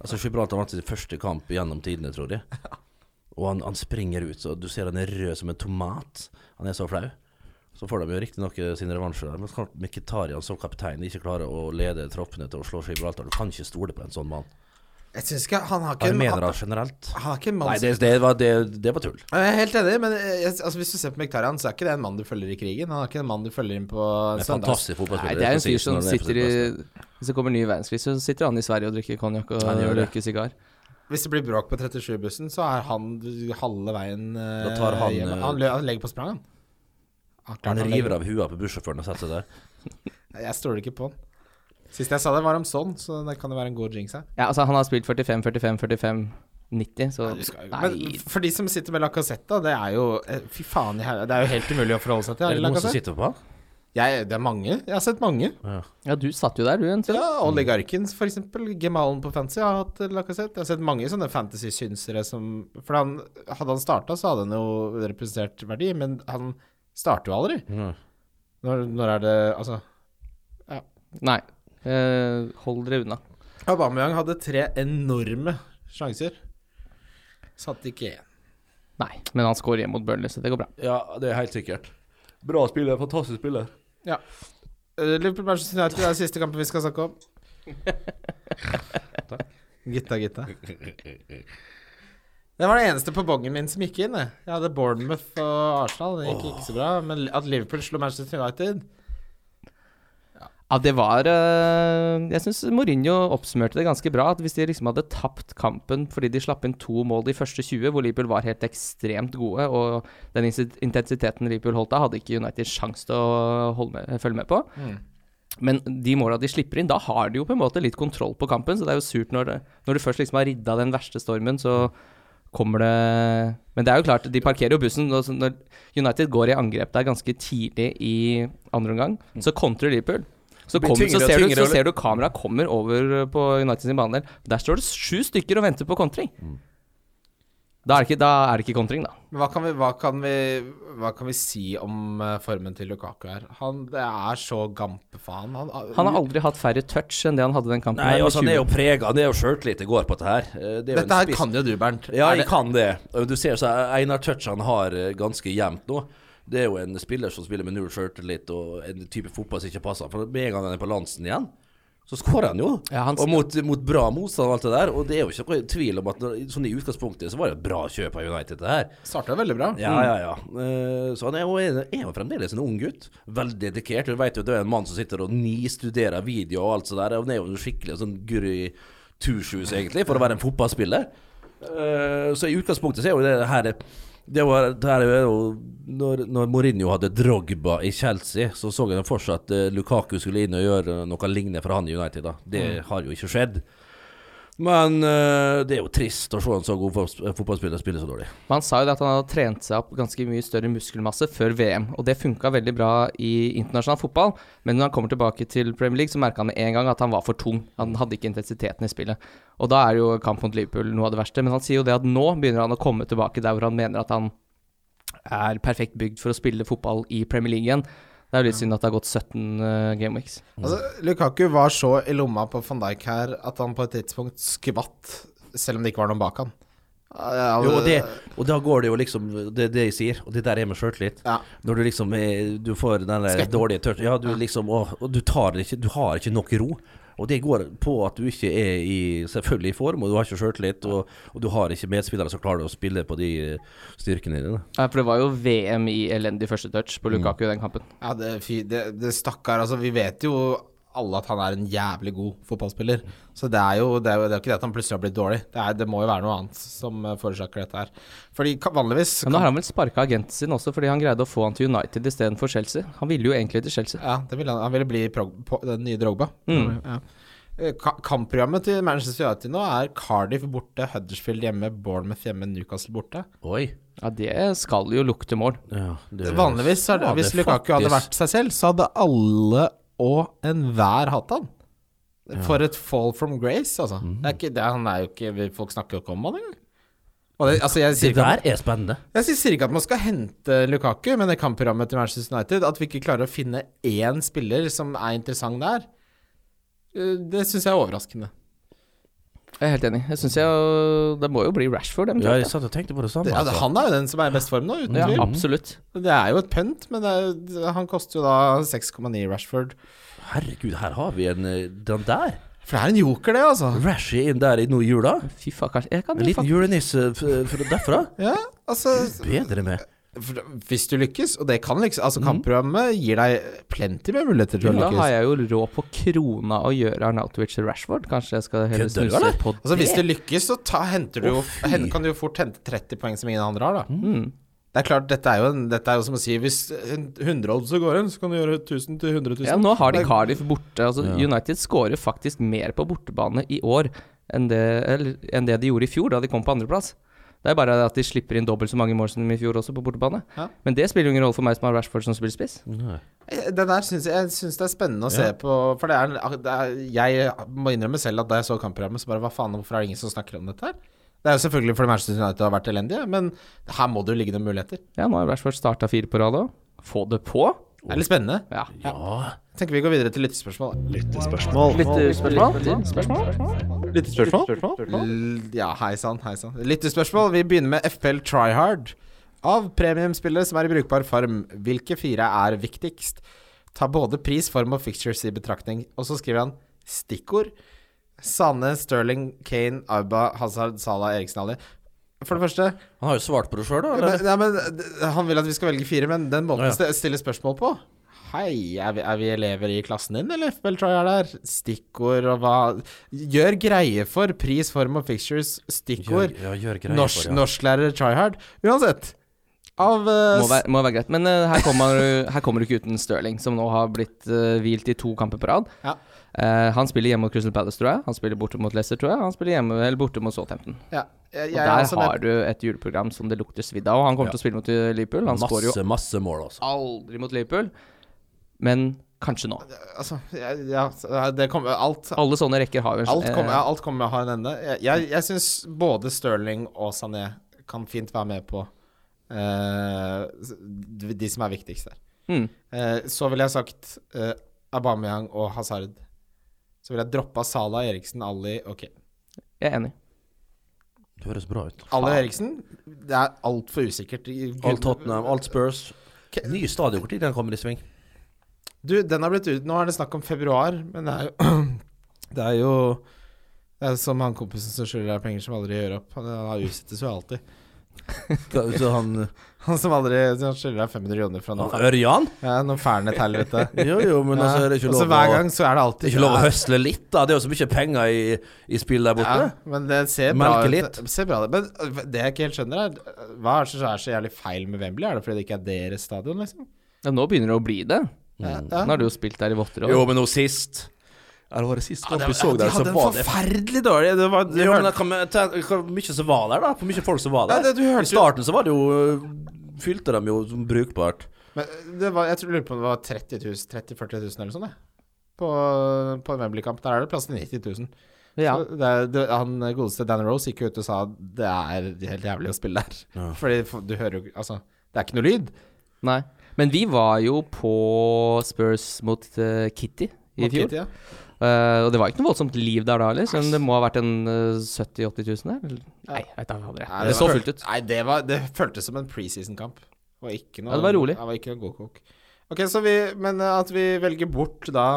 Speaker 4: Altså Gibraltar vant sin første kamp gjennom tidene, tror jeg. Og han, han springer ut, så du ser han er rød som en tomat. Han er så flau. Så får de jo riktignok eh, sin revansje, der, men klart Mkhitarian som kaptein ikke klarer å lede troppene til å slå Gibraltar. Du kan ikke stole på en sånn mann.
Speaker 3: Jeg syns ikke Han har ikke
Speaker 4: Hva
Speaker 3: en-
Speaker 4: mener han generelt?
Speaker 3: Han har ikke en mann
Speaker 4: Nei, det, det, var, det, det var tull.
Speaker 3: Jeg er helt enig, men jeg, altså, hvis du ser på Mkhitaryan, så er ikke det en mann du følger i krigen. Han er ikke en mann du følger inn på
Speaker 4: En
Speaker 3: søndags...
Speaker 4: fantastisk
Speaker 2: Sånn, Nei,
Speaker 4: fotballspiller.
Speaker 2: det er en
Speaker 4: skal
Speaker 2: fyr
Speaker 4: sies
Speaker 2: som
Speaker 4: når han er på sitt
Speaker 2: sitter i
Speaker 4: beste.
Speaker 2: Hvis det kommer ny verdenskrig, så sitter han i Sverige og drikker konjakk og
Speaker 4: Han gjør det.
Speaker 2: røyker sigar.
Speaker 3: Hvis det blir bråk på 37-bussen, så er han halve veien eh,
Speaker 4: Da tar han,
Speaker 3: hjem.
Speaker 4: eh,
Speaker 3: han, lø- han legger på sprang, han.
Speaker 4: Han
Speaker 3: legger-
Speaker 4: river av huet på bussjåføren og setter seg der.
Speaker 3: Jeg stoler ikke på han. Sist jeg sa det, var om sånn, så det kan jo være en god jinx her.
Speaker 2: Ja, altså, han har spilt 45, 45, 45, 90, så
Speaker 3: Men for de som sitter med Lacassette, det er jo eh, Fy faen i helvete, det er jo helt umulig å forholde seg til.
Speaker 4: Er
Speaker 3: Er
Speaker 4: det
Speaker 3: det
Speaker 4: noen som
Speaker 3: Lacazette?
Speaker 4: sitter på han?
Speaker 3: Jeg, det er mange. Jeg har sett mange.
Speaker 2: Ja, du satt jo der, du, en stund.
Speaker 3: Ja, Oligarken, for eksempel. Gemalen på Fantasy har hatt Lacassette. Jeg har sett mange sånne fantasy-synsere som For han, hadde han starta, så hadde han jo representert verdi, men han starter jo aldri.
Speaker 4: Nei.
Speaker 3: Når, når er det Altså.
Speaker 2: Nei. Eh, hold dere unna.
Speaker 3: Aubameyang hadde tre enorme sjanser. Satt ikke én.
Speaker 2: Nei, men han scorer hjem mot Burnley, så det går bra.
Speaker 4: Ja, det er helt sikkert. Bra spiller, fantastisk spiller.
Speaker 3: Eh, Liverpool Manchester United det er siste kampen vi skal snakke om. Gitta, gitta. Det var det eneste på bongen min som gikk inn. Jeg, jeg hadde Bournemouth og Arsenal. Det gikk ikke så bra. Men at Liverpool slo Manchester United
Speaker 2: Ja, det var eh, Jeg syns Mourinho oppsummerte det ganske bra. At hvis de liksom hadde tapt kampen fordi de slapp inn to mål de første 20, hvor Liverpool var helt ekstremt gode, og den insi- intensiteten Liverpool holdt av, hadde ikke United sjanse til å holde med, følge med på. Men de måla de slipper inn, da har de jo på en måte litt kontroll på kampen. Så det er jo surt når, det- når du først liksom har ridda den verste stormen, så kommer det Men det er jo klart, de parkerer jo bussen. og så Når United går i angrep der ganske tidlig i andre omgang, så kontrer Liverpool. Så,
Speaker 4: Mm. Det blir
Speaker 2: kommer- så,
Speaker 4: tyngre og
Speaker 2: ser du,
Speaker 4: tyngre,
Speaker 2: så ser du kameraet kommer over på United sin banedel. Der står det sju stykker og venter på kontring.
Speaker 4: Mm.
Speaker 2: Da er det ikke, da er det ikke kontring, da.
Speaker 3: Men hva kan vi, hva kan vi, hva kan vi si om eh, formen til Lukaku her? Han det er så gampefaen. Han,
Speaker 2: Han har aldri hatt færre touch enn det han hadde den kampen.
Speaker 4: Nei,
Speaker 2: her med
Speaker 4: altså, han
Speaker 2: 20.
Speaker 4: er jo prega, han er jo sjøltillit det går på dette her. Eh, Det er jo en
Speaker 3: Dette her
Speaker 4: spiss-
Speaker 3: kan jo du, Bernt.
Speaker 4: Ja,
Speaker 3: Er
Speaker 4: jeg
Speaker 3: det-
Speaker 4: kan det. Og Du ser så er Einar Touch han har eh, ganske jevnt nå. Det er jo en spiller som spiller med null sjøltillit og en type fotball som ikke passer. For med en gang han er på Lansen igjen, så skårer han jo.
Speaker 2: Ja, han-
Speaker 4: og mot, mot bra motstand og alt det der. Og det er jo ikke noe tvil om at når, sånn i utgangspunktet så var det et bra kjøp av United, det her.
Speaker 3: starta veldig bra.
Speaker 4: Ja, ja, ja. Eh, Så han er jo, er jo fremdeles en ung gutt. Veldig dedikert. Du vet jo det er en mann som sitter og nistuderer video og alt sånt der. og Han er jo en skikkelig sånn guru i turshoes, egentlig, for å være en fotballspiller. Eh, Så i utgangspunktet så er jo det her det var, det her er jo, når, når Mourinho hadde Drogba i Chelsea, så så han for seg at eh, Lukaku skulle inn og gjøre noe lignende for han i United. da Det har jo ikke skjedd. Men eh, det er jo trist å se en så god fos- fotballspiller spille så dårlig.
Speaker 2: Men han sa jo det at han hadde trent seg opp ganske mye større muskelmasse før VM, og det funka veldig bra i internasjonal fotball, men når han kommer tilbake til Premier League, så merka han med en gang at han var for tung. Han hadde ikke intensiteten i spillet. Og da er jo kamp mot Liverpool noe av det verste, men han sier jo det at nå begynner han å komme tilbake der hvor han mener at han er perfekt bygd for å spille fotball i Premier League igjen. Det er jo litt synd at det har gått 17 eh, game weeks.
Speaker 3: Altså, Lukaku var så i lomma på van Dijk her at han på et tidspunkt skvatt, selv om det ikke var noen bak han. Ja, altså,
Speaker 4: Jo, og, det, og da går det jo liksom Det er det jeg sier, og det der er med sjøltillit.
Speaker 3: Ja.
Speaker 4: Når du liksom eh, Du får den der
Speaker 3: Skvetten.
Speaker 4: dårlige touch Ja, du liksom åh, Og du tar det ikke Du har ikke nok ro. Og det går på at du ikke er i selvfølgelig i form, og du har ikke sjøltillit, og, og du har ikke medspillere som klarer å spille på de eh, styrkene dine.
Speaker 2: Ja, for det var jo VM i elendig første touch på Lukaku i den kampen.
Speaker 3: Ja, det, fy, det, det stakkar. Altså, vi vet jo alle at han er en jævlig god fotballspiller. Så det er jo, det er jo, det er jo ikke det at han plutselig har blitt dårlig. Det, er, det må jo være noe annet som eh, forårsaker dette her. Fordi ka- vanligvis
Speaker 2: Men nå har han vel sparka agenten sin også, fordi han greide å få han til United istedenfor Chelsea. Han ville jo egentlig til Chelsea.
Speaker 3: Ja, det ville han, han ville bli prog på den nye Drogba.
Speaker 2: Mm.
Speaker 3: Ja. Eh, Ka kampprogrammet til Manchester United nå er Cardiff borte, Huddersfield hjemme, Bournemouth hjemme, Newcastle borte.
Speaker 4: Oi.
Speaker 2: Ja, det skal jo lukte mål.
Speaker 4: Ja, det-
Speaker 3: Vanligvis, så er det,
Speaker 4: Ja, det
Speaker 3: hvis Lukaku
Speaker 4: faktisk-
Speaker 3: hadde vært seg selv, så hadde alle og enhver hatt han. For et fall from grace, altså. Det er ikke, det, han er jo ikke, folk snakker jo ikke om han engang. Og det, altså, jeg sier
Speaker 4: Det
Speaker 3: ikke at-
Speaker 4: der er spennende.
Speaker 3: jeg sier- sier ikke at man skal hente Lukaku, men det kampprogrammet til Manchester United At vi ikke klarer å finne én spiller som er interessant der, eh, det syns jeg er overraskende.
Speaker 2: Jeg er helt enig. Jeg synes jeg Det må jo bli Rashford,
Speaker 4: Ja,
Speaker 2: eventuelt.
Speaker 4: jeg satt og tenkte på det samme. altså.
Speaker 3: Det, ja, det, Altså, han er jo den som er i best form nå, uten
Speaker 2: Ja,
Speaker 3: tvil.
Speaker 2: absolutt.
Speaker 3: Det er jo et pønt, men det er, det- han koster jo da 6,9 Rashford.
Speaker 4: Herregud, her har vi en eh, Den der.
Speaker 3: For det er en joker, det, altså.
Speaker 4: Rashy inn der i nå i jula.
Speaker 2: Fy faen, kanskje Jeg kan
Speaker 4: En
Speaker 2: jo
Speaker 4: liten
Speaker 2: faen
Speaker 4: julenisse f- f- derfra.
Speaker 3: Ja, altså
Speaker 4: Bedre med.
Speaker 3: for, Hvis du lykkes, og det kan lykkes Altså, kampprogrammet gir deg plenty med muligheter til å
Speaker 2: Da har
Speaker 3: lykkes.
Speaker 2: jeg jo råd på krona å gjøre Arnautovic til Rashford. Kanskje jeg skal heller
Speaker 4: Kødder du,
Speaker 2: snuse
Speaker 4: eller?
Speaker 2: på
Speaker 3: Altså, hvis du
Speaker 2: det?
Speaker 3: lykkes, så ta, henter du jo, hen- kan du jo fort hente 30 poeng som ingen andre har, da.
Speaker 2: Mm.
Speaker 3: Det er klart, dette er jo, en, dette er jo som å si Hvis en 100 odds går inn, så kan du gjøre 1000 til 100 000.
Speaker 2: Ja, nå har de Cardiff borte. Altså, United skårer faktisk mer på bortebane i år enn det, eller, enn det de gjorde i fjor, da de kom på andreplass. Det er bare at de slipper inn dobbelt så mange mål som i fjor også, på bortebane.
Speaker 3: Ja.
Speaker 2: Men det spiller jo ingen rolle for meg som har Rashford som spiller spiss.
Speaker 3: Det Eh, der syns jeg, jeg synes det er spennende å se
Speaker 4: Ja.
Speaker 3: på. For det er, det er Jeg må innrømme selv at da jeg så kampprogrammet, så bare hva faen, hvorfor er det ingen som snakker om dette her? Det er jo selvfølgelig fordi Manchester United har vært elendige, men her må det jo ligge noen muligheter.
Speaker 2: Ja, nå har Rashford starta fire på rad òg. Få det på!
Speaker 3: Det er litt spennende.
Speaker 2: Ja.
Speaker 4: Ja.
Speaker 3: Tenker vi går videre til lyttespørsmål. da.
Speaker 1: Lyttespørsmål.
Speaker 2: Lyttespørsmål?
Speaker 3: L- Ja, hei sann, hei sann. Lyttespørsmål. Vi begynner med FPL Try Hard. Av premiumspillere som er i brukbar form, hvilke fire er viktigst? Ta både pris, form og fixtures i betraktning. Og så skriver han stikkord. Sane, Sterling, Kane, Auba, Hazard, Salah, Eriksen Ali. For det første
Speaker 4: Han har jo svart på det sjøl, da.
Speaker 3: men,
Speaker 4: Eller?
Speaker 3: nei, men, d- Han vil at vi skal velge fire, men den måten
Speaker 4: Ja, ja.
Speaker 3: å st- stille spørsmål på Hei, er vi, er vi elever i klassen din, eller FBL tror jeg er der? Stikkord og hva Gjør greie for pris, form og fixtures. Stikkord.
Speaker 4: Gjør, ja, gjør greier
Speaker 3: Norsk,
Speaker 4: for det.
Speaker 3: norsklærer try hard. Uansett. Av eh,
Speaker 2: Må være, må være greit. Men eh, her, kommer, her kommer du ikke uten Stirling, som nå har blitt eh, hvilt i to kamper på rad.
Speaker 3: Ja.
Speaker 2: Eh, han spiller hjemme mot Crystal Palace, tror jeg. Han spiller borte mot Leicester, tror jeg. Han spiller hjemme, eller borte mot Southampton.
Speaker 3: ja, jeg,
Speaker 2: Og
Speaker 3: jeg, er
Speaker 2: der
Speaker 3: også med-
Speaker 2: har du et juleprogram som det lukter svidd av. Og han kommer til å spille mot eh, Liverpool. Han skårer jo
Speaker 4: Masse, masse mål, altså.
Speaker 2: aldri mot Liverpool, men kanskje nå.
Speaker 3: Altså, jeg, ja, så det kommer Alt
Speaker 2: Alle sånne rekker har jo Eh, en
Speaker 3: Alt kommer ja, alt kommer med å ha en ende. Jeg, jeg, jeg syns både Sterling og Sané kan fint være med på eh, de de som er viktigst der.
Speaker 2: Mm.
Speaker 3: Eh, så ville jeg sagt eh, Aubameyang og Hazard. Så ville jeg droppa Salah, Eriksen, Ali Ok.
Speaker 2: Jeg er enig.
Speaker 4: Det høres bra ut.
Speaker 3: Ali og Eriksen, det er altfor usikkert.
Speaker 4: Alt Tottenham, alt Spurs.
Speaker 3: Ke-
Speaker 4: Ny stadion, når den kommer i sving?
Speaker 3: Du, den har blitt ut Nå er det snakk om februar, men det er jo *clears throat* Det er jo det er som han kompisen som skylder deg penger som aldri gjør opp. Han, han utsettes jo alltid. *laughs*
Speaker 4: Hva- Så han
Speaker 3: Han som aldri han skylder deg 500 kroner fra nå.
Speaker 4: *laughs* han- Ørjan?
Speaker 3: Ja, noen ferne til helvete.
Speaker 4: Jo, jo, *laughs* men altså, er det
Speaker 3: Ja,
Speaker 4: ikke
Speaker 3: og så
Speaker 4: lov
Speaker 3: hver
Speaker 4: å
Speaker 3: gang så er det
Speaker 4: det
Speaker 3: alltid
Speaker 4: er ikke lov å høsle litt, da. Det er jo så mye penger i, i spill der borte.
Speaker 3: Ja, men det ser bra
Speaker 4: Melke
Speaker 3: ut.
Speaker 4: litt.
Speaker 3: Det Ser bra ut. Men øh, det jeg ikke helt skjønner, er øh, hva er det som er så jævlig feil med Wembley? Er det fordi det ikke er deres stadion, liksom?
Speaker 2: Ja, nå begynner det å bli det.
Speaker 3: Ja,
Speaker 2: Nå har du jo spilt der i votter
Speaker 4: Jo,
Speaker 2: òg.
Speaker 4: men nå sist Eller var det sist
Speaker 3: Ja,
Speaker 4: kamp
Speaker 3: det-
Speaker 4: vi så
Speaker 3: de
Speaker 4: der, så
Speaker 3: hadde en
Speaker 4: var det
Speaker 3: forferdelig dårlig det var, det
Speaker 4: Jo,
Speaker 3: var,
Speaker 4: men da kan vi ta- Hvor mye som var der, da? Hvor mye folk som var der?
Speaker 3: Ja, det- du hørte
Speaker 4: I
Speaker 3: jo-
Speaker 4: starten så var det jo øh, Fylte de jo som brukbart.
Speaker 3: men, øh, det var, Jeg tror jeg lurer på om det var 30 000, 30 40 000 eller sånn, jeg. På, på en Wembley-kamp. Der er det plass til 90 000.
Speaker 2: Ja.
Speaker 3: Så Det, er- det, han godeste Dan Rose gikk jo ut og sa det er helt jævlig å spille der.
Speaker 4: Ja.
Speaker 3: Fordi f- du hører jo ikke- Altså, det er ikke noe lyd.
Speaker 2: Nei. Men vi var jo på Spurs mot eh, Kitty i
Speaker 3: Mot
Speaker 2: fjor.
Speaker 3: City, ja.
Speaker 2: Eh, og det var ikke noe voldsomt liv der da heller, så det må ha vært en eh, 70 000-80 000 der. eller? Nei, jeg vet da fader, jeg.
Speaker 3: Nei,
Speaker 2: det så
Speaker 3: var-
Speaker 2: fullt ut.
Speaker 3: Nei, det, var, det føltes som en preseason-kamp. Det var ikke noe
Speaker 2: Ja, det var rolig.
Speaker 3: Det var ikke noe godkok. Ok, så vi Men eh, at vi velger bort da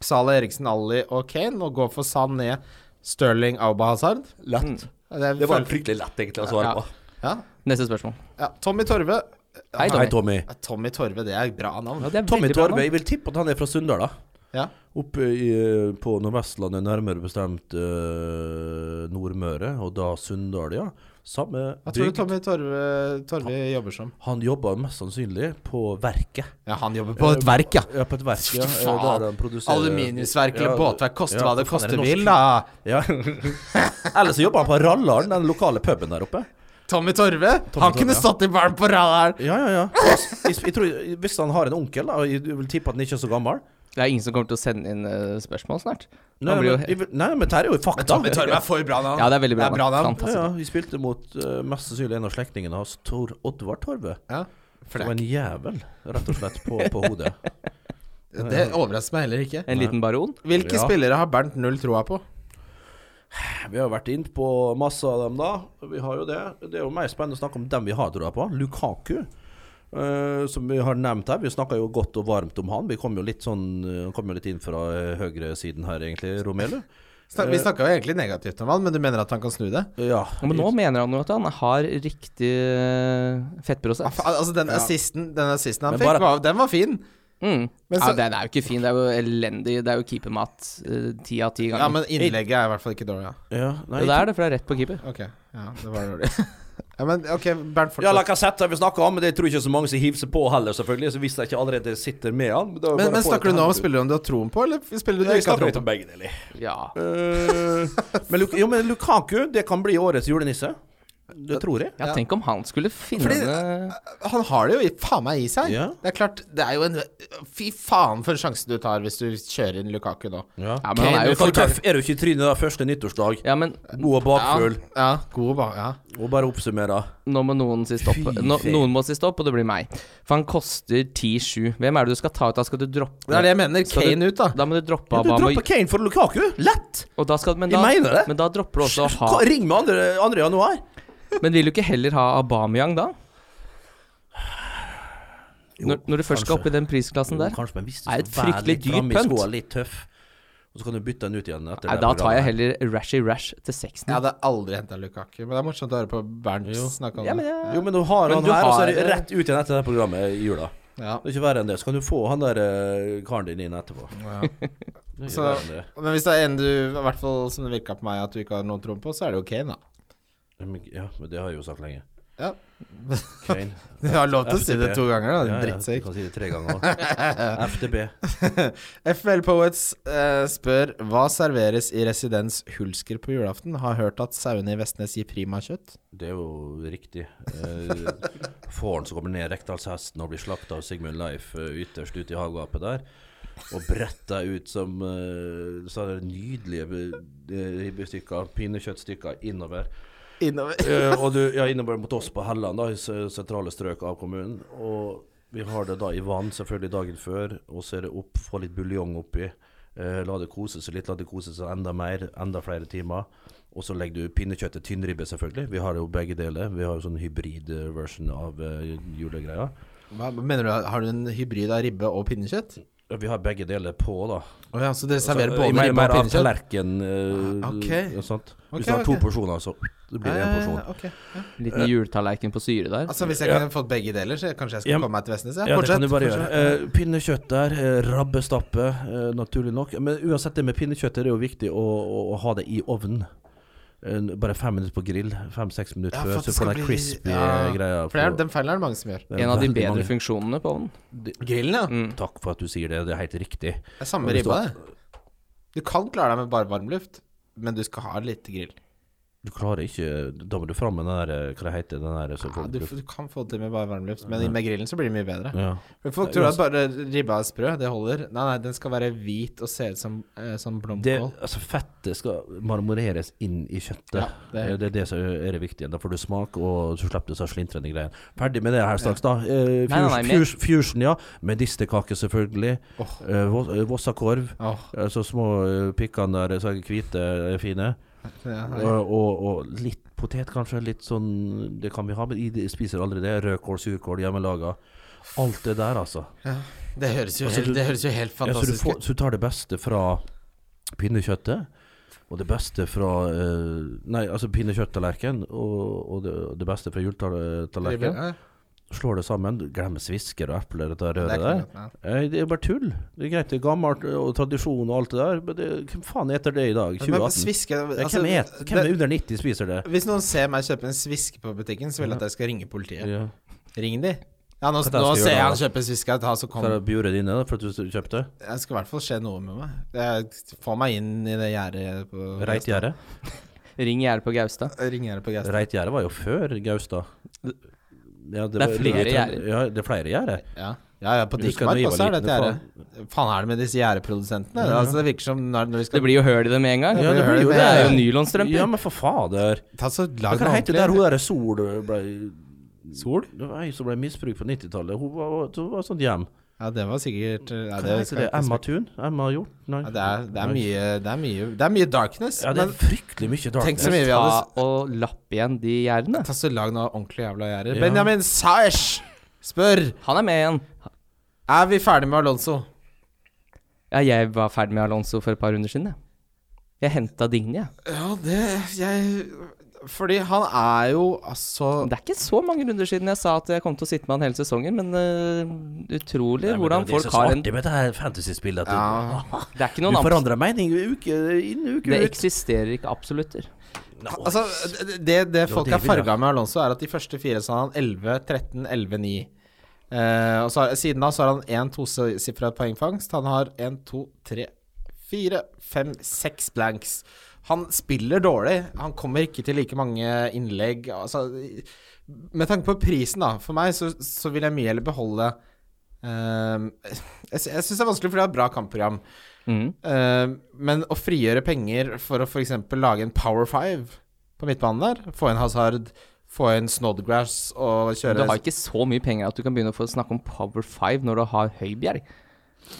Speaker 3: Salah Eriksen, Ali og Kane og går for Sané, Sterling, Auba Hazard
Speaker 4: Lett.
Speaker 3: Det,
Speaker 4: Det var
Speaker 3: føl-
Speaker 4: fryktelig lett, egentlig, å svare
Speaker 2: Ja.
Speaker 4: på.
Speaker 3: ja.
Speaker 2: Neste spørsmål.
Speaker 3: ja. Tommy Torve.
Speaker 2: Hei,
Speaker 4: Hei,
Speaker 2: Tommy.
Speaker 4: Tommy.
Speaker 3: Ja, Tommy Torve, det er et bra navn.
Speaker 2: Ja, det er
Speaker 4: Tommy
Speaker 2: veldig bra
Speaker 4: Torve, jeg vil tippe at han er fra Sunndal, da.
Speaker 3: Ja.
Speaker 4: Oppe i, eh, på Nordvestlandet, nærmere bestemt eh, Nordmøre, og da Sunndal, ja. Samme
Speaker 3: Hva tror du
Speaker 4: bygd.
Speaker 3: Tommy Torve, Torve jobber som?
Speaker 4: Han jobber mest sannsynlig på verket.
Speaker 3: Ja, han jobber på et verk, ja.
Speaker 4: Ja, på et verk, *laughs* ja.
Speaker 3: Fy faen.
Speaker 4: Der han produserer-
Speaker 3: Eh, Aluminiumsverk eller
Speaker 4: Ja,
Speaker 3: båtverk, koste
Speaker 4: ja,
Speaker 3: hva det
Speaker 4: for faen, er
Speaker 3: koste
Speaker 4: norsk?
Speaker 3: vil, da.
Speaker 4: *laughs* Ja. Eller så jobber han på Rallaren, den lokale puben der oppe.
Speaker 3: Tommy Torve? han
Speaker 4: Torve,
Speaker 3: kunne
Speaker 4: ja.
Speaker 3: stått i baren på radaren.
Speaker 4: Ja, ja, ja. Jeg, jeg tror, hvis han har en onkel, da, og jeg vil tippe at han ikke er så gammel
Speaker 2: Det er ingen som kommer til å sende inn eh, spørsmål snart.
Speaker 4: Nei,
Speaker 2: Han blir jo-
Speaker 4: men, vi- nei, men Terje er jo fakta.
Speaker 3: Men Torm er for bra navn.
Speaker 2: Ja, det er veldig bra.
Speaker 3: Det er bra navn.
Speaker 2: Fantastisk.
Speaker 4: Ja, ja, vi spilte mot eh, mest sannsynlig en av slektningene hans, Tor Oddvar Torve.
Speaker 3: Ja,
Speaker 4: Det
Speaker 3: for
Speaker 4: var
Speaker 3: det,
Speaker 4: en jævel, rett og slett, på, på
Speaker 3: *laughs*
Speaker 4: hodet.
Speaker 3: er ikke- det overrasker meg heller ikke.
Speaker 2: En liten baron.
Speaker 3: Hvilke
Speaker 4: Ja.
Speaker 3: spillere har Bernt null troa på?
Speaker 4: Vi har jo vært inne på masse av dem, da. Vi har jo det. Det er jo mer spennende å snakke om dem vi har troa på. Lukaku. eh, som vi har nevnt her, vi snakka jo godt og varmt om han. Vi kom jo litt sånn eh, Han kom jo litt inn fra eh, høyresiden her, egentlig,
Speaker 3: *laughs*
Speaker 4: Romelu.
Speaker 3: Snak, vi snakka jo egentlig negativt om han, men du mener at han kan snu det?
Speaker 4: Ja.
Speaker 2: Men nå mener han jo at han har riktig eh,
Speaker 3: Ja,
Speaker 2: fettprosent.
Speaker 3: fa- Altså, den assisten, den assisten han
Speaker 4: Men
Speaker 3: fikk,
Speaker 4: bare-
Speaker 3: var, den var fin.
Speaker 2: Mm.
Speaker 3: Men
Speaker 2: ja,
Speaker 3: så-
Speaker 2: den er jo ikke fin. Det er jo elendig. Det er jo keepermat eh, ti av ti ganger.
Speaker 3: Ja, men innlegget er i hvert fall ikke dårlig. Ja.
Speaker 4: ja nei,
Speaker 2: Jo, det er det, for det er rett på keeper.
Speaker 3: Ok, ja, det var dårlig. *laughs* ja, men ok, Bernt
Speaker 4: Ja,
Speaker 3: fortsett.
Speaker 4: Lacassette har vi snakka om, men det tror jeg ikke så mange som hiver seg på heller, selvfølgelig. Så hvis jeg ikke allerede sitter med han da
Speaker 3: men,
Speaker 4: bare
Speaker 3: men
Speaker 4: får
Speaker 3: snakker
Speaker 4: jeg
Speaker 3: du nå om
Speaker 4: til-
Speaker 3: spillere om du har troen på, eller spillere du
Speaker 4: Jeg
Speaker 3: ikke har
Speaker 4: snakker
Speaker 3: troen
Speaker 4: litt
Speaker 3: på?
Speaker 4: om begge deler.
Speaker 2: Ja.
Speaker 4: Eh, men, Luk jo, men Lukaku, det kan bli årets julenisse. Det tror jeg.
Speaker 2: ja, tenk om han skulle finne
Speaker 3: Fordi- Han har det jo i, faen meg i seg.
Speaker 4: Ja.
Speaker 3: Det er klart, det er jo en Fy faen for en sjanse du tar hvis du kjører inn Lukaku nå.
Speaker 2: Ja, men han er jo
Speaker 4: Hvor
Speaker 2: for
Speaker 4: tøff er du ikke i trynet da første nyttårsdag?
Speaker 2: Ja, men
Speaker 4: God og bakfull.
Speaker 3: Ja, god ba, ja.
Speaker 4: Og bare oppsummere.
Speaker 2: nå må noen si stopp.
Speaker 4: Fy
Speaker 2: Nå,
Speaker 4: faen.
Speaker 2: noen må si stopp, og det blir meg. For han koster 10-7. Hvem er det du skal ta ut? Da skal du droppe
Speaker 3: Det er det jeg mener.
Speaker 2: Skal du-
Speaker 3: Kane ut, da.
Speaker 2: Da må du droppe
Speaker 4: Ja, du
Speaker 2: Aubameyang.
Speaker 4: dropper Kane for Lukaku? Lett!
Speaker 2: Og da skal, men,
Speaker 4: Jeg
Speaker 2: da,
Speaker 4: mener det.
Speaker 2: men da dropper du også å ha
Speaker 4: Hva- Ring med andre, andre januar.
Speaker 2: Men vil du ikke heller ha Aubameyang da? Når, når du først skal
Speaker 4: kanskje.
Speaker 2: opp i den prisklassen Sånn der?
Speaker 4: Jo, kanskje, men hvis du
Speaker 2: Er
Speaker 4: skal
Speaker 2: et
Speaker 4: være
Speaker 2: fryktelig
Speaker 4: litt fram i
Speaker 2: dyrt
Speaker 4: skoa,
Speaker 2: punt.
Speaker 4: Litt tøff, og så kan du bytte den ut igjen etter
Speaker 2: Nei,
Speaker 4: det
Speaker 2: da tar jeg
Speaker 4: programmet.
Speaker 2: heller Rashy Rash til 60.
Speaker 3: Jeg hadde aldri henta Lukaku, men det er morsomt å høre på Bernt snakke om
Speaker 2: Ja, men
Speaker 3: det.
Speaker 2: jeg-
Speaker 4: Jo, men du har
Speaker 2: Men
Speaker 4: han
Speaker 2: du
Speaker 4: her, og så er det
Speaker 2: har-
Speaker 4: rett ut igjen etter det programmet i jula.
Speaker 3: Ja.
Speaker 4: Det er ikke verre enn det. Så kan du få han der eh, karen din inn etterpå. Det er ikke
Speaker 3: Så-
Speaker 4: verre enn det.
Speaker 3: Men hvis det er en du, i hvert fall som det virka på meg, at du ikke har noen tro på, så er det jo Kane, da.
Speaker 4: Men- Ja, men det har jeg jo sagt lenge.
Speaker 3: Ja. *laughs*
Speaker 4: Kane.
Speaker 3: Du har lov til å si det to ganger, da,
Speaker 4: Ja,
Speaker 3: din
Speaker 4: ja, du
Speaker 3: drittsekk.
Speaker 4: kan si det tre ganger også. FDB.
Speaker 3: FL Poets eh, spør hva serveres i Residens Hulsker på julaften? Har hørt at sauene i Vestnes gir prima kjøtt.
Speaker 4: Det er jo riktig. Eh, Fåren som kommer ned Rekdalshesten og blir slakta av Sigmund Leif eh, ytterst ute i havgapet der. Og bretta ut som eh, sånne nydelige eh, ribbestykker, pinnekjøttstykker innover.
Speaker 3: Innover.
Speaker 4: Eh, og du, ja, innover mot oss på Helland, da, i s- sentrale strøk av kommunen. Og vi har det da i vann selvfølgelig dagen før, og så er det opp, få litt buljong oppi. Eh, la det kose seg litt, la det kose seg enda mer, enda flere timer. Og så legger du pinnekjøttet tynnribbe, selvfølgelig. Vi har jo begge deler. Vi har jo sånn hybrid-version av eh, julegreia.
Speaker 3: Hva mener du, har du en hybrid av ribbe og pinnekjøtt?
Speaker 4: Ja, Vi har begge deler på, da.
Speaker 3: Å ja, så dere serverer
Speaker 4: Altså, i
Speaker 3: både
Speaker 4: mer-
Speaker 3: ribbe
Speaker 4: mer
Speaker 3: og
Speaker 4: av
Speaker 3: pinnekjøtt?
Speaker 4: tallerken. eh,
Speaker 3: Ah, Ok.
Speaker 4: og sånt.
Speaker 3: Ok,
Speaker 4: Hvis du har to
Speaker 3: ok.
Speaker 4: porsjoner, så det blir det én porsjon.
Speaker 3: Eh, ok.
Speaker 2: Liten juletallerken på syre der.
Speaker 3: Altså Hvis jeg kunne fått begge deler, så kanskje jeg skal
Speaker 4: Ja.
Speaker 3: komme meg til Vestnes?
Speaker 4: Ja, det kan du bare gjøre. Eh, pinnekjøtt der, eh, rabbestappe, eh, naturlig nok. Men uansett, det med pinnekjøttet det er jo viktig å, å, å ha det i ovnen. Eh, bare fem minutter på grill, fem-seks minutter
Speaker 3: Ja, for
Speaker 4: før,
Speaker 3: at
Speaker 4: så
Speaker 3: det
Speaker 4: får
Speaker 3: skal
Speaker 4: du den
Speaker 3: bli-
Speaker 4: crispy
Speaker 3: ja.
Speaker 4: eh, greia.
Speaker 3: For det er,
Speaker 4: på-
Speaker 3: den feilen er det mange som gjør.
Speaker 4: det er
Speaker 2: En av de
Speaker 4: veldig
Speaker 2: bedre
Speaker 4: mange-
Speaker 2: funksjonene på ovnen.
Speaker 3: Grillen, ja.
Speaker 2: Mm.
Speaker 4: Takk for at du sier det, det er helt riktig.
Speaker 3: Det er samme
Speaker 4: Og det
Speaker 3: ribba, det. Du kan klare deg med bare varmluft, men du skal ha litt grill.
Speaker 4: Du klarer ikke Da må du fram med den der eh, Hva det heter den der som
Speaker 3: Ja,
Speaker 4: får
Speaker 3: du, du kan få det til med bare varmluft, men med grillen så blir det mye bedre.
Speaker 4: ja. altså-
Speaker 3: For folk tror at bare ribba er sprø, det holder. Nei, nei, den skal være hvit og se ut som, eh, som
Speaker 4: det,
Speaker 3: blomkål.
Speaker 4: altså Fettet skal marmoreres inn i kjøttet. Eh,
Speaker 3: Ja,
Speaker 4: det,
Speaker 3: det
Speaker 4: er
Speaker 3: er-
Speaker 4: det som er det viktige. Da får du smak, og så slipper du så slintrende greier. Ferdig med det her straks, da.
Speaker 2: Nei, nei,
Speaker 4: Eh, fus-
Speaker 2: nei, mer.
Speaker 4: fus- Fusion, ja. Medisterkake, selvfølgelig. Eh, vos- eh, Vossakorv.
Speaker 3: Åh,
Speaker 4: Eh, Så små eh, pikkene der, så hvite, eh,
Speaker 3: ja,
Speaker 4: fine. Eh,
Speaker 3: ja.
Speaker 4: Og, og litt potet, kanskje. Litt sånn Det kan vi ha, men jeg spiser aldri det. Rødkål, surkål, hjemmelaga. Alt det der, altså.
Speaker 3: Det, høres jo
Speaker 4: Altså,
Speaker 3: helt,
Speaker 4: du-
Speaker 3: det høres jo helt
Speaker 4: Ja, så, du
Speaker 3: fantastisk
Speaker 4: får,
Speaker 3: ut.
Speaker 4: så du tar det beste fra pinnekjøttet, og det beste fra eh, Nei, altså pinnekjøtttallerken og, og det, det beste fra
Speaker 3: Ribbe,
Speaker 4: juletallerken.
Speaker 3: ja.
Speaker 4: Slår det sammen. Glemmer svisker og epler og dette
Speaker 3: Det er
Speaker 4: røret
Speaker 3: ikke
Speaker 4: der.
Speaker 3: noe annet,
Speaker 4: Eh, Det er bare tull. Det er greit, det er gammelt eh, og tradisjon og alt det der, men det, hvem faen eter det i dag?
Speaker 3: ja. Men
Speaker 4: 2018?
Speaker 3: sviske
Speaker 4: Ja,
Speaker 3: altså,
Speaker 4: hvem, et, hvem er under 90 spiser det?
Speaker 3: det- Hvis noen ser meg kjøpe en sviske på butikken, så vil jeg at dere skal ringe politiet.
Speaker 4: Ja.
Speaker 3: Ring de. Ja, nå,
Speaker 4: At jeg
Speaker 3: nå
Speaker 4: skal gjøre
Speaker 3: ser jeg
Speaker 4: det,
Speaker 3: han
Speaker 4: da.
Speaker 3: kjøper sviska. Ta, så kom.
Speaker 4: Hva er buret dine da, for at du kjøpte?
Speaker 3: Jeg skal i hvert fall skje noe med meg. Jeg får meg inn i det gjerdet på
Speaker 4: Reitgjerde?
Speaker 2: Ring gjerdet på Gaustad.
Speaker 3: Ringgjerde på Gaustad.
Speaker 4: Reitgjerde var jo før Gaustad. Ja,
Speaker 2: Det er flere
Speaker 4: ligger i Trønd- Ja, det er flere gjerder.
Speaker 3: Ja. Ja, ja, på
Speaker 4: Jeg husker da
Speaker 3: Dickmark
Speaker 4: jeg
Speaker 3: også
Speaker 4: var
Speaker 3: er det et gjerde.
Speaker 4: liten,
Speaker 3: Faen er det med disse gjerdeprodusentene? Altså, det virker som når, når de
Speaker 2: Det
Speaker 3: skal
Speaker 2: blir jo høl i det med en gang.
Speaker 4: Ja, det blir jo
Speaker 2: Det er jo
Speaker 4: det.
Speaker 2: nylonstrømper.
Speaker 4: Ja, men for fader.
Speaker 3: ta så
Speaker 4: Hva
Speaker 3: lag
Speaker 4: heter
Speaker 3: ordentlig.
Speaker 4: det der hun derre Sol ble
Speaker 3: Sol?
Speaker 4: Det var ei som ble misbrukt på 90-tallet. Hun var, hun var sånn hjem.
Speaker 3: Ja, det var sikkert ja,
Speaker 4: Hva
Speaker 3: det,
Speaker 4: heter
Speaker 3: skal
Speaker 4: det?
Speaker 3: jeg ikke
Speaker 4: Emma
Speaker 3: spørre.
Speaker 4: Thun? Emma Hjort? Nei.
Speaker 3: ja, det, er, det, er
Speaker 4: Nei.
Speaker 3: mye, det, er mye, det er mye darkness.
Speaker 4: Ja, det er
Speaker 3: men
Speaker 4: fryktelig mye darkness.
Speaker 3: tenk så mye vi hadde
Speaker 2: Ta og lapp igjen de gjerdene.
Speaker 3: Ta så lag noe ordentlig jævla gjerder.
Speaker 4: Ja.
Speaker 3: Benjamin Saesh spør
Speaker 2: Han er med igjen.
Speaker 3: Er vi ferdig med Alonso.
Speaker 2: Ja, jeg var ferdig med Alonso for et par runder siden, jeg. Jeg henta Digny, jeg.
Speaker 3: Ja, det Jeg Fordi han er jo altså
Speaker 2: Det er ikke så mange runder siden jeg sa at jeg kom til å sitte med han hele sesongen, men øh, utrolig
Speaker 4: Nei, men
Speaker 2: hvordan
Speaker 4: det er
Speaker 2: folk har en
Speaker 4: Det som er så artig med det her fantasy-spillet. *laughs* at
Speaker 3: Ja.
Speaker 4: Du,
Speaker 2: Det er ikke
Speaker 4: du
Speaker 2: noen abs
Speaker 4: forandrer mening uke inn uke
Speaker 2: Det
Speaker 4: ut.
Speaker 2: eksisterer ikke absolutter.
Speaker 4: Nei,
Speaker 3: Altså, det, det, det folk
Speaker 4: det
Speaker 3: er
Speaker 4: vil jeg.
Speaker 3: farga med Alonso, er at de første fire så har han 11, 13, 11, 9. Eh, og så har, siden da så har han én tosifra poengfangst. Han har én, to, tre, fire, fem, seks blanks. Han spiller dårlig. Han kommer ikke til like mange innlegg. Altså, med tanke på prisen, da, for meg, så, så vil jeg mye heller beholde eh, Jeg, sy- jeg syns det er vanskelig, for det er et bra kampprogram.
Speaker 2: Mm.
Speaker 3: Eh, men å frigjøre penger for å f.eks. lage en Power Five på midtbanen der, få inn Hazard, få inn Snodgrass og
Speaker 2: Du
Speaker 3: kjøre
Speaker 2: har ikke så mye penger at du kan begynne å få snakke om Power 5 når du har Høibjerg.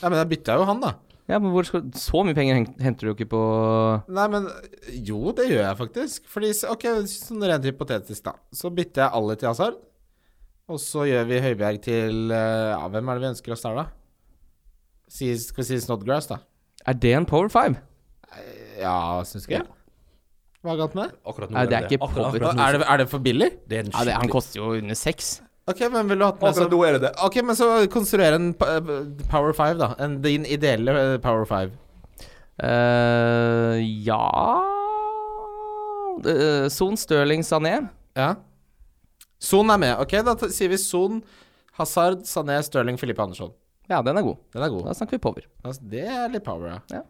Speaker 3: Ja, men jeg bytta jo han, da.
Speaker 2: Ja, men hvor skal, Så mye penger hen- henter du jo ikke på
Speaker 3: Nei, men jo, det gjør jeg faktisk. Fordi, s- ok, sånn rent hypotetisk, da. Så bytter jeg alle til Hazard, og så gjør vi Høibjerg til eh, Ja, hvem er det vi ønsker oss der, da? Si, skal vi si Snodgrass, da?
Speaker 2: Er det en Power 5?
Speaker 3: Ja, syns ikke jeg. Hva er galt med det?
Speaker 4: akkurat
Speaker 2: Nei, det er ikke
Speaker 4: Akkurat-
Speaker 2: påbudt.
Speaker 4: akkurat nå-
Speaker 3: Er det, er det for billig?
Speaker 4: det er en
Speaker 2: Ja, det, Han
Speaker 4: skikkelig-
Speaker 2: koster jo under seks.
Speaker 3: Ok, men vil du ha hatt med som-
Speaker 4: nå er det det.
Speaker 3: Ok, men så konstruer en pa- eh, Power 5, da. En, din ideelle eh, Power 5.
Speaker 2: eh ja Eh, Son Stirling Sané.
Speaker 3: Ja. Son er med. Ok, da t- sier vi Son, Hazard, Sané, Stirling, Filippe Andersson.
Speaker 2: Ja, den er god.
Speaker 3: Den er
Speaker 2: Da
Speaker 3: god.
Speaker 2: snakker vi power.
Speaker 3: Altså, det er litt power, ja.
Speaker 2: Ja.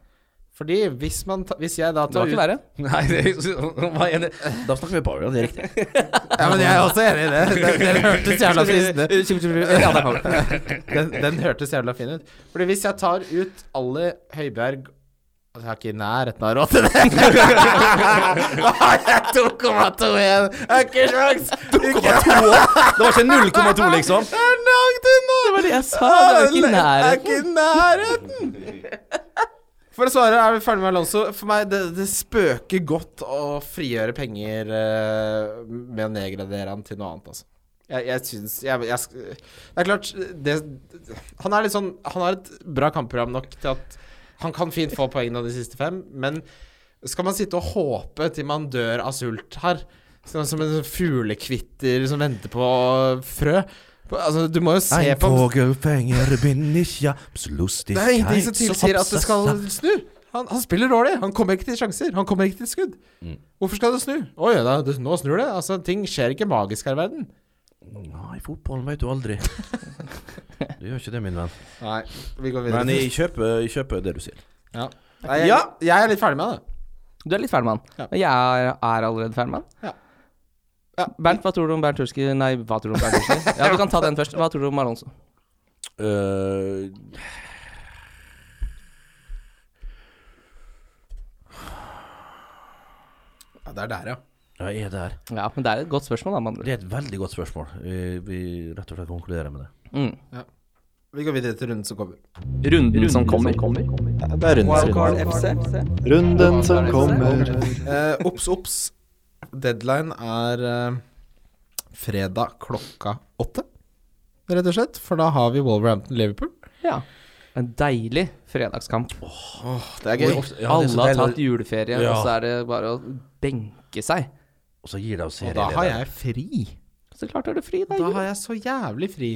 Speaker 3: Fordi hvis man ta, Hvis jeg da
Speaker 2: Det var
Speaker 3: tar
Speaker 2: ikke
Speaker 3: *laughs*
Speaker 2: verre.
Speaker 4: Nei, det er, hva er det? Da snakker vi power, ja, det er riktig.
Speaker 3: Ja, men jeg er også enig i det. Den,
Speaker 2: *laughs*
Speaker 3: den hørtes jævla fristende
Speaker 2: Ja, det er power.
Speaker 3: den, den hørtes jævla fin ut. Fordi hvis jeg tar ut alle Høibjerg Altså, jeg har ikke i nærheten av råd til det. Da har jeg 2,2 igjen. Jeg har ikke sjans. Ikke-
Speaker 4: 2,2 *laughs* Det var ikke 0,2, liksom.
Speaker 3: Det er langt unna!
Speaker 2: Det var det jeg sa! Det var ikke i nærheten.
Speaker 3: Det er ikke i nærheten. For å svare, er vi ferdig med Alonso? For meg, det, det spøker godt å frigjøre penger eh, med å nedgradere han til noe annet, altså. Jeg, jeg syns jeg, jeg, sk- Det er klart det, Han er litt sånn Han har et bra kampprogram nok til at han kan fint få poengene av de siste fem, men skal man sitte og håpe til man dør av sult her? Sånn Som en fuglekvitter som venter på frø? Altså, du må jo se
Speaker 4: Ein
Speaker 3: på
Speaker 4: Vogel fenger bin ich ja so lustig.
Speaker 3: det er ingenting som tilsier at det skal snu. Han, han spiller dårlig. Han kommer ikke til sjanser. Han kommer ikke til skudd. Hvorfor skal det snu? Oi, da, det, nå snur det. Altså, ting skjer ikke magisk her i verden.
Speaker 4: Nei, fotballen vet du aldri. Du gjør ikke det, min venn.
Speaker 3: Nei, vi går videre.
Speaker 4: Men jeg kjøper, jeg kjøper det du sier.
Speaker 3: ja. Nei, jeg,
Speaker 4: Ja.
Speaker 3: jeg er litt ferdig med det.
Speaker 2: Du er litt ferdig med
Speaker 3: Ja.
Speaker 2: han. Og jeg er, er allerede ferdig med han.
Speaker 3: Ja. Ja.
Speaker 2: Bernt, hva tror du om Bernt Hulski Nei, hva tror du om Bernt
Speaker 3: *laughs*
Speaker 2: Hulski? Ja, du kan ta den først. Hva tror du om Alonso?
Speaker 4: Eh,
Speaker 3: Ja, det er der, ja.
Speaker 4: ja, jeg er der.
Speaker 2: Ja, men det er et godt spørsmål, da, med andre
Speaker 4: Det er et veldig godt spørsmål. Vi, vi rett og slett konkluderer med det.
Speaker 2: ord. Mm.
Speaker 3: Vi går videre til runden som kommer.
Speaker 2: Runden som kommer.
Speaker 1: Det er rundens runde.
Speaker 2: Wildcard FC.
Speaker 1: Runden som kommer.
Speaker 3: Eh, Ops, ops. Deadline er eh, fredag klokka åtte, rett og slett. For da har vi Wolverhampton-Liverpool.
Speaker 2: Ja. En deilig fredagskamp.
Speaker 3: Det er
Speaker 4: Oi, ja, det er
Speaker 2: Alle
Speaker 4: så
Speaker 2: har
Speaker 4: deilig.
Speaker 2: tatt juleferie,
Speaker 4: Ja.
Speaker 2: og så er det bare å benke seg.
Speaker 4: Og så gir det oss
Speaker 3: Og da har jeg fri.
Speaker 2: Så klart er du fri, da.
Speaker 3: Da har jeg så jævlig fri.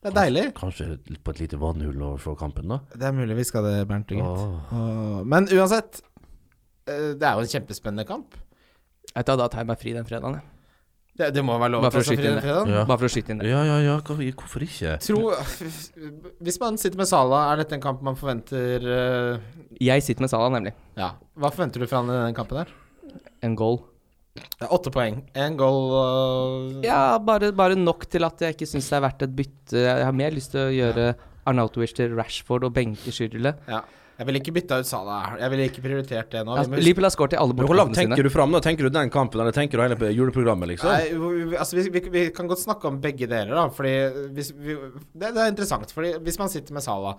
Speaker 3: Det er deilig.
Speaker 4: Kanskje på et lite vannhull overfor kampen, da.
Speaker 3: Det er mulig vi skal det, Bernt. og Gitt.
Speaker 4: Åh.
Speaker 3: Åh, Men uansett, eh, det er jo en kjempespennende kamp.
Speaker 2: Vet du hva, da tar jeg meg fri den fredagen, jeg.
Speaker 3: Det, det må være lov
Speaker 2: Bare
Speaker 3: å ta
Speaker 2: for å
Speaker 3: seg fri
Speaker 2: skyte inn
Speaker 3: den
Speaker 2: det.
Speaker 3: fredagen.
Speaker 4: Ja.
Speaker 2: Bare for å skyte inn det.
Speaker 4: Ja, ja, ja, hva- hvorfor ikke?
Speaker 3: Tro, hvis man sitter med Sala, er dette en kamp man forventer eh,
Speaker 2: Jeg sitter med Salah, nemlig.
Speaker 3: Ja. Hva forventer du fra han i denne kampen her?
Speaker 2: En goal.
Speaker 3: Det er Åtte poeng. Én goal øh,
Speaker 2: Ja, bare, bare nok til at jeg ikke syns det er verdt et bytte. Jeg har mer lyst til å gjøre Arnautovic til Rashford og benke Schürrle.
Speaker 3: ja. Jeg ville ikke bytta ut Salah. her. Jeg ville ikke prioritert det nå. Vi
Speaker 2: Altså,
Speaker 3: må huske-
Speaker 2: Liverpool har skåret i alle
Speaker 4: Men hvor langt
Speaker 2: bortekampene sine.
Speaker 4: tenker du fram? da? Tenker du den kampen, eller tenker du hele p- juleprogrammet, liksom?
Speaker 3: Nei, hvor- vi- altså vi, vi, vi kan godt snakke om begge deler, da. Fordi hvis vi, det, det er interessant. Fordi hvis man sitter med Salah,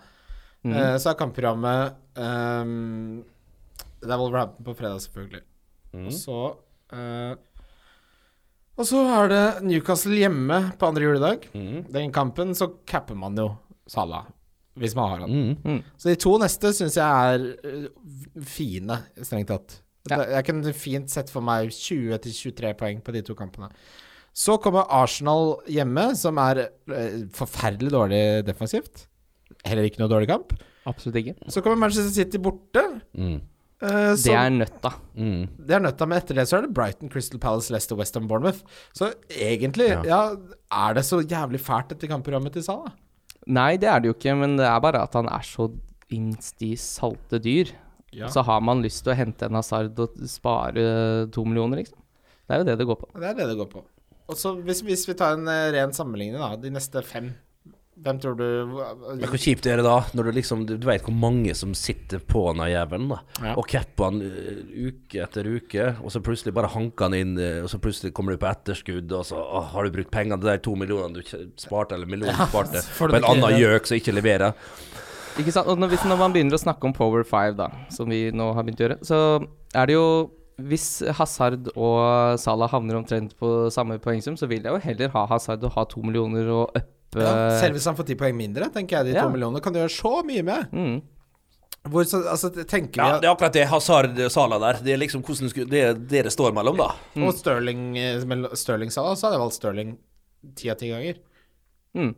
Speaker 3: eh, så er kampprogrammet ehm, Det er Wolverhampton på fredag, selvfølgelig. Og så eh, Og så er det Newcastle hjemme på andre juledag. Den kampen så capper man jo Salah, hvis man har han.
Speaker 2: Mm.
Speaker 3: Så de to neste syns jeg er eh, fine, strengt tatt.
Speaker 2: Ja.
Speaker 3: Det- Jeg kunne fint sett for meg 20-23 poeng på de to kampene. Så kommer Arsenal hjemme, som er eh, forferdelig dårlig defensivt. Heller ikke noe dårlig kamp.
Speaker 2: Absolutt ikke.
Speaker 3: Så kommer Manchester City borte.
Speaker 4: Mm.
Speaker 3: eh,
Speaker 2: Det
Speaker 3: som,
Speaker 2: er nøtta.
Speaker 4: Mm.
Speaker 3: det er nøtta, men etter det så er det Brighton, Crystal Palace, Leicester, Western Bournemouth. Så egentlig,
Speaker 4: Ja.
Speaker 3: ja. er det så jævlig fælt dette kampprogrammet til Salah?
Speaker 2: Nei, det er det jo ikke, men det er bare at han er så insti salte dyr.
Speaker 3: Ja.
Speaker 2: Så har man lyst til å hente en hasard og spare to millioner, liksom. Det er jo det det går på.
Speaker 3: Det er det det går på. Og så hvis, hvis vi tar en eh, ren sammenligning, da. De neste fem. Hvem tror du
Speaker 4: Men hvor kjipt er det da, når du liksom Du, du veit hvor mange som sitter på den her jævelen, da.
Speaker 3: Ja.
Speaker 4: Og capper han ø, uke etter uke, og så plutselig bare hanker han inn, ø, og så plutselig kommer du på etterskudd, og så å, har du brukt pengene, de der to millionene du kj- sparte, eller millionen du sparte,
Speaker 3: *laughs* får du
Speaker 4: på en
Speaker 3: ikke
Speaker 4: annen
Speaker 3: det.
Speaker 4: gjøk som ikke leverer.
Speaker 2: Ikke sant? Og når, hvis, når man begynner å snakke om Power 5, da, som vi nå har begynt å gjøre, så er det jo Hvis Hazard og Salah havner omtrent på samme poengsum, så vil jeg jo heller ha Hazard og ha to millioner og uppe
Speaker 3: ja, Selv hvis han får ti poeng mindre, tenker jeg de
Speaker 2: Ja.
Speaker 3: to millionene kan du gjøre så mye med.
Speaker 2: mm.
Speaker 3: Hvor så, altså, tenker
Speaker 4: Ja,
Speaker 3: vi
Speaker 4: det er akkurat det Hazard-sala der. Det er liksom hvordan sku, det er det det står mellom, da.
Speaker 3: at
Speaker 2: Mm.
Speaker 3: Og Stirling, eh, mell- Stirling sa da, så hadde jeg valgt Stirling ti av ti ganger.
Speaker 2: Mm.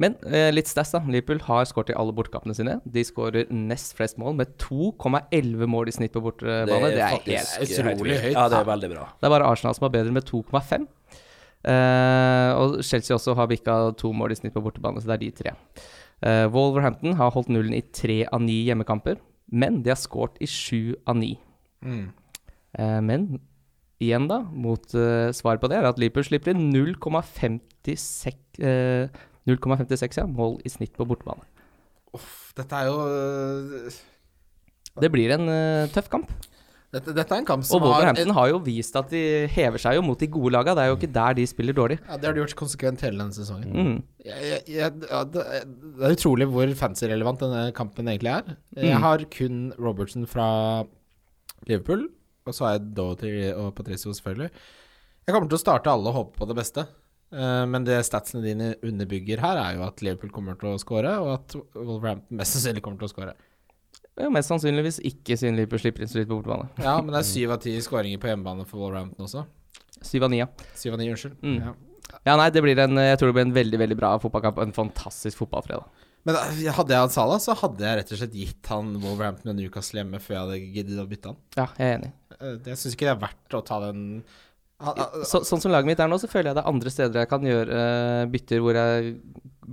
Speaker 2: Men eh, litt stats, da. Liverpool har skåret i alle bortekampene sine. De skårer nest flest mål, med 2,11 mål i snitt på bortebane. Det er, helt
Speaker 3: utrolig høyt.
Speaker 4: Ja, det er veldig bra.
Speaker 2: Det er bare Arsenal som er bedre med 2,5. Eh, og Chelsea også har bikka to mål i snitt på bortebane, så det er de tre. Eh, Wolverhampton har holdt nullen i tre av ni hjemmekamper, men de har skåret i sju av ni. Eh, men igjen, da, mot eh, svaret på det, er at Liverpool slipper inn 0,56 eh, 0,56 ja, mål i snitt på bortebane.
Speaker 3: Uff, dette er jo eh,
Speaker 2: Det blir en eh, tøff kamp.
Speaker 3: dette, dette er en kamp som
Speaker 2: Og Wolverhampton har jo vist at de hever seg jo mot de gode laga. Det er jo ikke der de spiller dårlig.
Speaker 3: ja, Det har du gjort konsekvent hele denne sesongen.
Speaker 2: Mm.
Speaker 3: Jeg, jeg, jeg, ja, det, det er utrolig hvor fancy-relevant denne kampen egentlig er. Jeg har kun Robertson fra Liverpool, og så har jeg Doherty og Patricio, selvfølgelig. Jeg kommer til å starte alle og håpe på det beste. Eh, Men det statsene dine underbygger her, er jo at Liverpool kommer til å skåre, og at Wolverhampton mest sannsynlig kommer til å skåre.
Speaker 2: Ja, mest sannsynligvis ikke, siden Liverpool slipper inn så litt på bortebane.
Speaker 3: Ja, men det er syv av ti skåringer på hjemmebane for Wolverhampton også.
Speaker 2: Syv av ni, ja.
Speaker 3: Syv av ni, unnskyld.
Speaker 2: Mm.
Speaker 3: Ja.
Speaker 2: Ja, nei, det blir en, jeg tror det blir en veldig veldig bra fotballkamp. En fantastisk fotballfredag.
Speaker 3: Men eh, hadde jeg hatt Salah, så hadde jeg rett og slett gitt han Wolverhampton og Newcastle hjemme før jeg hadde giddet å bytte han.
Speaker 2: Ja, jeg er enig.
Speaker 3: Eh, Jeg syns ikke det er verdt å ta den Han- han-
Speaker 2: Så, sånn som laget mitt er nå, så føler jeg det er andre steder jeg kan gjøre eh, bytter hvor jeg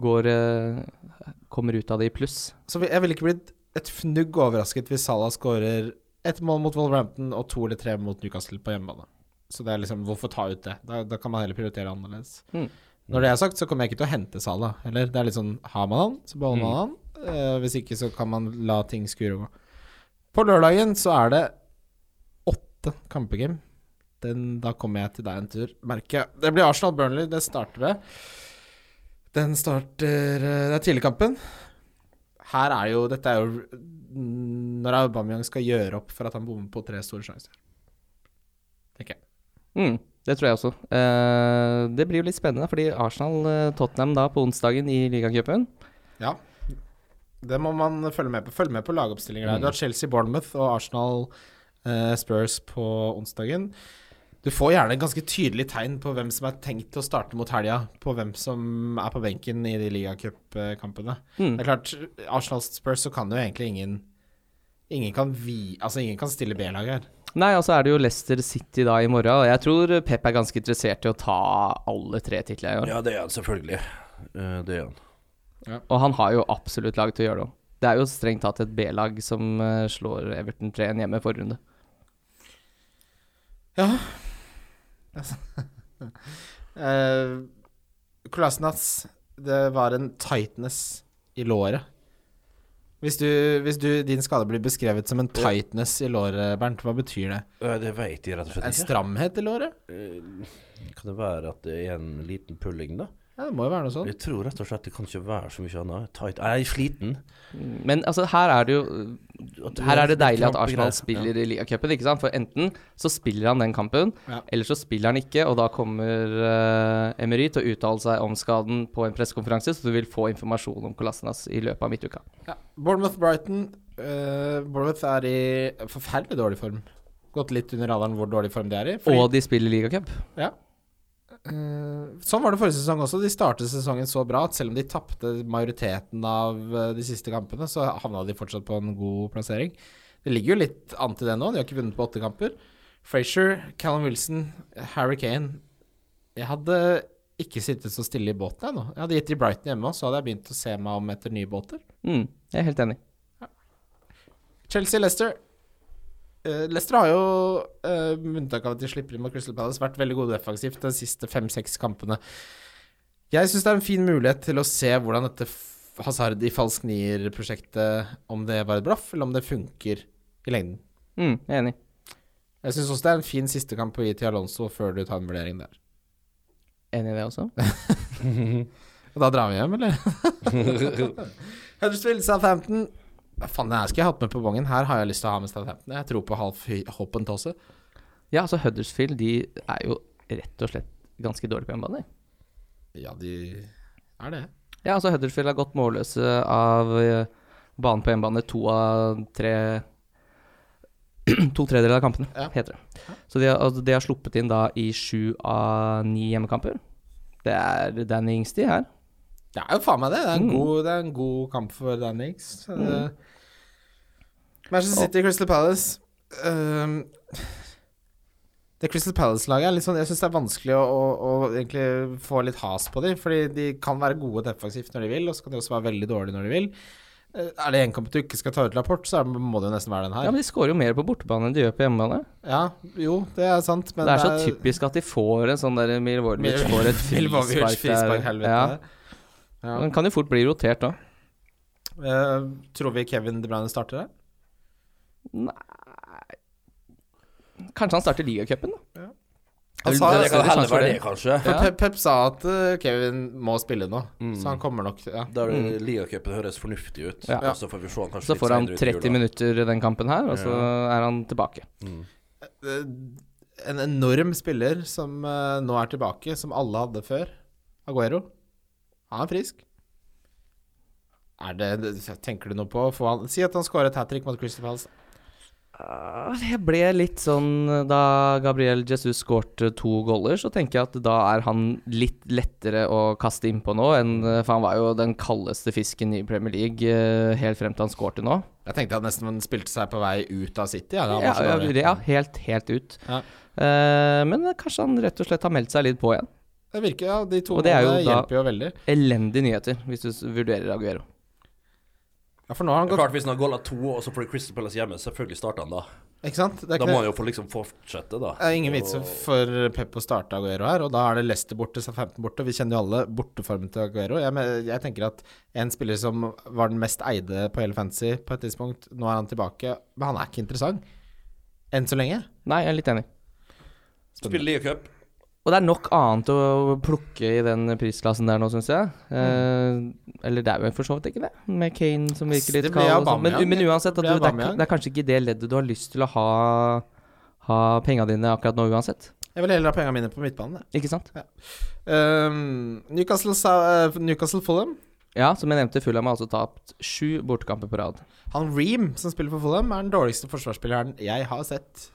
Speaker 2: går eh, Kommer ut av det i pluss.
Speaker 3: Så vi- jeg ville ikke blitt et fnugg overrasket hvis Salah skårer ett mål mot Wolverhampton og to eller tre mot Newcastle på hjemmebane. Så det er liksom, hvorfor ta ut det? Da, da kan man heller prioritere annerledes.
Speaker 2: Mm.
Speaker 3: Når det er sagt, så kommer jeg ikke til å hente Salah heller. Det er litt sånn, har man han, så beholder man han. Eh, hvis ikke, så kan man la ting skure og gå. På lørdagen så er det åtte kamper, Kim. Den, da kommer jeg til deg en tur, merker jeg. Det blir Arsenal-Burnley, det starter det. Den starter eh, Det er tidligkampen her er jo Dette er jo når Aubameyang skal gjøre opp for at han bommer på tre store sjanser. Tenker jeg.
Speaker 2: Mm, det tror jeg også. Eh, det blir jo litt spennende, fordi Arsenal-Tottenham da på onsdagen i ligacupen
Speaker 3: Ja. Det må man følge med på. Følg med på lagoppstillinger der. Du har Chelsea, Bournemouth og Arsenal eh, Spurs på onsdagen. Du får gjerne ganske tydelig tegn på hvem som er tenkt til å starte mot helga, på hvem som er på benken i de ligacupkampene.
Speaker 2: Mm.
Speaker 3: Det er klart, Arsenal Spurs så kan jo egentlig ingen Ingen kan, vi, altså ingen kan stille B-lag her.
Speaker 2: Nei, og så er det jo Leicester City da i morgen, og jeg tror Pep er ganske interessert i å ta alle tre titlene i år.
Speaker 4: Ja, det er han selvfølgelig. Eh, Det er han.
Speaker 2: Og han har jo absolutt lag til å gjøre det òg. Det er jo strengt tatt et B-lag som eh, slår Everton 3-1 hjemme i forrige runde.
Speaker 3: Ja Altså, eh, Kolasinac, det var en tightness i låret. Hvis du, hvis du, din skade blir beskrevet som en tightness i låret, Bernt, hva betyr det?
Speaker 4: Eh, Det veit jeg rett og
Speaker 3: En stramhet i låret?
Speaker 4: Kan det være at det er en liten pulling, da?
Speaker 3: Ja, det må jo
Speaker 2: Sånn.
Speaker 3: være noe sånt.
Speaker 4: Jeg tror rett og slett det kan ikke være så mye annet. Tight. Jeg er sliten.
Speaker 2: Men altså, her er det jo Her er det deilig at Arsenal spiller
Speaker 3: Ja.
Speaker 2: i ligacupen, ikke sant? For enten så spiller han den kampen,
Speaker 3: Ja.
Speaker 2: eller så spiller han ikke, og da kommer eh, Emery til å uttale seg om skaden på en pressekonferanse, så du vil få informasjon om Kolassenas i løpet av midtuka.
Speaker 3: Ja. Bournemouth-Brighton. eh, Bournemouth er i forferdelig dårlig form. Gått litt under radaren hvor dårlig form de er i. fordi-
Speaker 2: Og de spiller ligacup.
Speaker 3: Ja. Eh, sånn var det forrige sesong også. De startet sesongen så bra at selv om de tapte majoriteten av eh, de siste kampene, så havna de fortsatt på en god plassering. Det ligger jo litt an til det nå. De har ikke vunnet på åtte kamper. Frazier, Callum Wilson, Harry Kane Jeg hadde ikke sittet så stille i båten jeg nå. Jeg hadde gitt de Brighton hjemme, og så hadde jeg begynt å se meg om etter nye båter.
Speaker 2: Mm, jeg er helt enig.
Speaker 3: Chelsea-Lester. Leicester har jo, eh, med unntak av at de slipper inn mot Crystal Palace, vært veldig gode defensivt de siste fem-seks kampene. Jeg syns det er en fin mulighet til å se hvordan dette f- Hazard i falsk nier-prosjektet Om det var et blaff, eller om det funker i lengden.
Speaker 2: Mm, jeg er enig.
Speaker 3: Jeg syns også det er en fin siste kamp å gi til Alonso før du tar en vurdering der.
Speaker 2: Enig i det også.
Speaker 3: Og da drar vi hjem, eller? Huddersfield, Southampton. Hva faen, det her skulle jeg hatt med på bongen. Her har jeg lyst til å ha med Southampton. Jeg tror på Half Hoppentose.
Speaker 2: Ja, altså Huddersfield de er jo rett og slett ganske dårlige på hjemmebane.
Speaker 3: Ja, de er det.
Speaker 2: Ja, altså Huddersfield har gått målløse av eh, banen på hjemmebane to av tre *clears throat* To tredjedeler av kampene,
Speaker 3: Ja.
Speaker 2: heter det. Så de har, altså, de har sluppet inn da i sju av ni hjemmekamper. Det er Danny Ingstid her.
Speaker 3: Det er jo faen meg det. Det er en,
Speaker 2: Mm.
Speaker 3: god, det er en god kamp for Dan Ings. Manchester City, Crystal Palace Ehm, Det Crystal Palace-laget er litt sånn Jeg syns det er vanskelig å, å, å egentlig få litt has på dem. Fordi de kan være gode defensivt når de vil, og så kan de også være veldig dårlige når de vil. Eh, Er det en kamp du ikke skal ta ut rapport, så er- må det jo nesten være den
Speaker 2: Ja,
Speaker 3: her.
Speaker 2: men De skårer jo mer på bortebane enn de gjør på hjemmebane.
Speaker 3: Ja, jo, det er sant, men
Speaker 2: det er så typisk at de får en sånn der Milvojevic
Speaker 3: Mil-
Speaker 2: får
Speaker 3: *laughs*
Speaker 2: et
Speaker 3: Milvojevic
Speaker 2: frispark
Speaker 3: frispark,
Speaker 2: der.
Speaker 3: helvete.
Speaker 2: Ja.
Speaker 3: Ja.
Speaker 2: Den kan jo fort bli rotert da.
Speaker 3: Eh, tror vi Kevin De Bruyne starter der?
Speaker 2: Kanskje han starter ligacupen, da. Jeg
Speaker 3: Han
Speaker 2: vil-
Speaker 3: sa-
Speaker 2: det kan heller være
Speaker 4: det, kanskje.
Speaker 3: For
Speaker 2: Ja. Mm.
Speaker 3: Pep, Pep sa at eh, Kevin må spille nå, så han kommer nok ja.
Speaker 4: Da er det- Liacupen høres fornuftig ut.
Speaker 2: Ja.
Speaker 4: Og så får vi se han kanskje
Speaker 2: Så
Speaker 4: litt
Speaker 2: får han
Speaker 4: senere ut i
Speaker 2: 30
Speaker 4: jula.
Speaker 2: minutter i den kampen her, og så er han tilbake.
Speaker 3: Eh, En enorm spiller som eh, nå er tilbake, som alle hadde før. Aguero. Han er frisk. Er det, det- tenker du noe på å få han Si at han scorer et hat trick mot Crystal Palace.
Speaker 2: Ah, Jeg ble litt sånn Da Gabriel Jesus skårte to goller, så tenker jeg at da er han litt lettere å kaste innpå nå enn For han var jo den kaldeste fisken i Premier League eh, helt frem til han skårte nå.
Speaker 3: Jeg tenkte at nesten han spilte seg på vei ut av City. Ja, han var
Speaker 2: Ja,
Speaker 3: så
Speaker 2: ja,
Speaker 3: dårlig.
Speaker 2: ja helt, helt ut.
Speaker 3: Ja.
Speaker 2: Eh, men kanskje han rett og slett har meldt seg litt på igjen.
Speaker 3: Det virker, ja. De to
Speaker 2: Og det er jo
Speaker 3: målene
Speaker 2: da-
Speaker 3: hjelper jo veldig.
Speaker 2: Elendige nyheter, hvis du s- vurderer Aguero.
Speaker 3: Ja, for nå har han
Speaker 4: Det er
Speaker 3: gått
Speaker 4: Klart Hvis han har golla to, og så får Crystal Palace hjemme, selvfølgelig starter han da.
Speaker 3: Ikke sant? Det er
Speaker 4: Da
Speaker 3: ikke det.
Speaker 4: må han jo få liksom fortsette, da.
Speaker 2: Eh,
Speaker 3: Det er ingen vits
Speaker 4: Og-
Speaker 3: for Pep å starte Aguero her, og da er det Leicester borte, Southampton borte. Vi kjenner jo alle borteformen til Aguero. Jeg, men- jeg tenker at en spiller som var den mest eide på hele fantasy på et tidspunkt, nå er han tilbake, men han er ikke interessant. Enn så lenge.
Speaker 2: Nei, jeg er litt enig.
Speaker 4: Spille ligacup.
Speaker 2: Og det er nok annet å plukke i den prisklassen der nå, syns jeg.
Speaker 3: Mm.
Speaker 2: Eh, eller det er jo for så vidt ikke det, med Kane som virker litt
Speaker 3: Det blir
Speaker 2: kald. og sånn. Men,
Speaker 3: Aubameyang.
Speaker 2: men uansett, at
Speaker 3: Det
Speaker 2: du,
Speaker 3: blir
Speaker 2: det, er,
Speaker 3: Aubameyang.
Speaker 2: det er kanskje ikke det leddet du har lyst til å ha, ha penga dine akkurat nå uansett.
Speaker 3: Jeg vil heller ha pengene mine på midtbanen. jeg.
Speaker 2: Ikke sant?
Speaker 3: Ehm, Newcastle, sa- eh, Newcastle Fulham.
Speaker 2: Ja, som jeg nevnte, Fulham har altså tapt sju bortekamper på rad.
Speaker 3: Han Ream, som spiller for Fulham, er den dårligste forsvarsspilleren jeg har sett.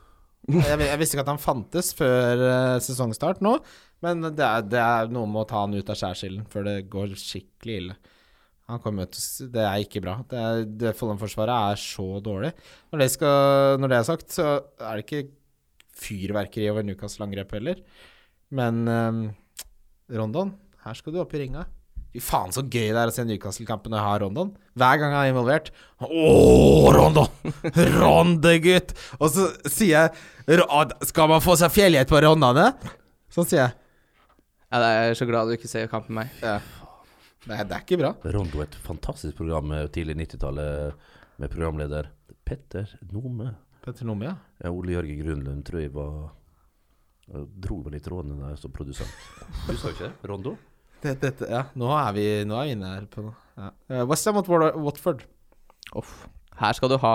Speaker 3: Jeg, jeg visste ikke at han fantes før eh, sesongstart nå, men det er, det er noe med å ta han ut av skjærsilden før det går skikkelig ille. Han kommer jo til å s- Det er ikke bra. Det, er- det Fulham-forsvaret er så dårlig. Når det, skal, når det er sagt, så er det ikke fyrverkeri over ehm, Newcastle-angrepet heller. Men eh, Rondon, her skal du opp i ringa. Fy faen, så gøy det er å se Newcastle-kampen når jeg har Rondon. Hver gang han er involvert. Ååå, Rondon! *laughs* Ronde, gutt! Og så sier jeg "Ra- Skal man få seg fjellhet på Rondane? Sånn sier jeg.
Speaker 2: Ja, jeg er så glad du ikke ser kampen med meg.
Speaker 3: Nei, det er ikke bra.
Speaker 4: Rondo, et fantastisk program eh, tidlig 90-tallet med programleder Petter Nome.
Speaker 3: Petter Nome, ja.
Speaker 4: Ja, Ole Jørgen Grunlund tror jeg var jeg Dro meg litt rådende der som produsent. Du sa jo ikke det? Rondo?
Speaker 3: Dette, dette, ja. Nå er vi, nå er vi inne her på noe. Ja. Eh, West Ham mot Wat- Watford.
Speaker 2: Uff. Her skal du ha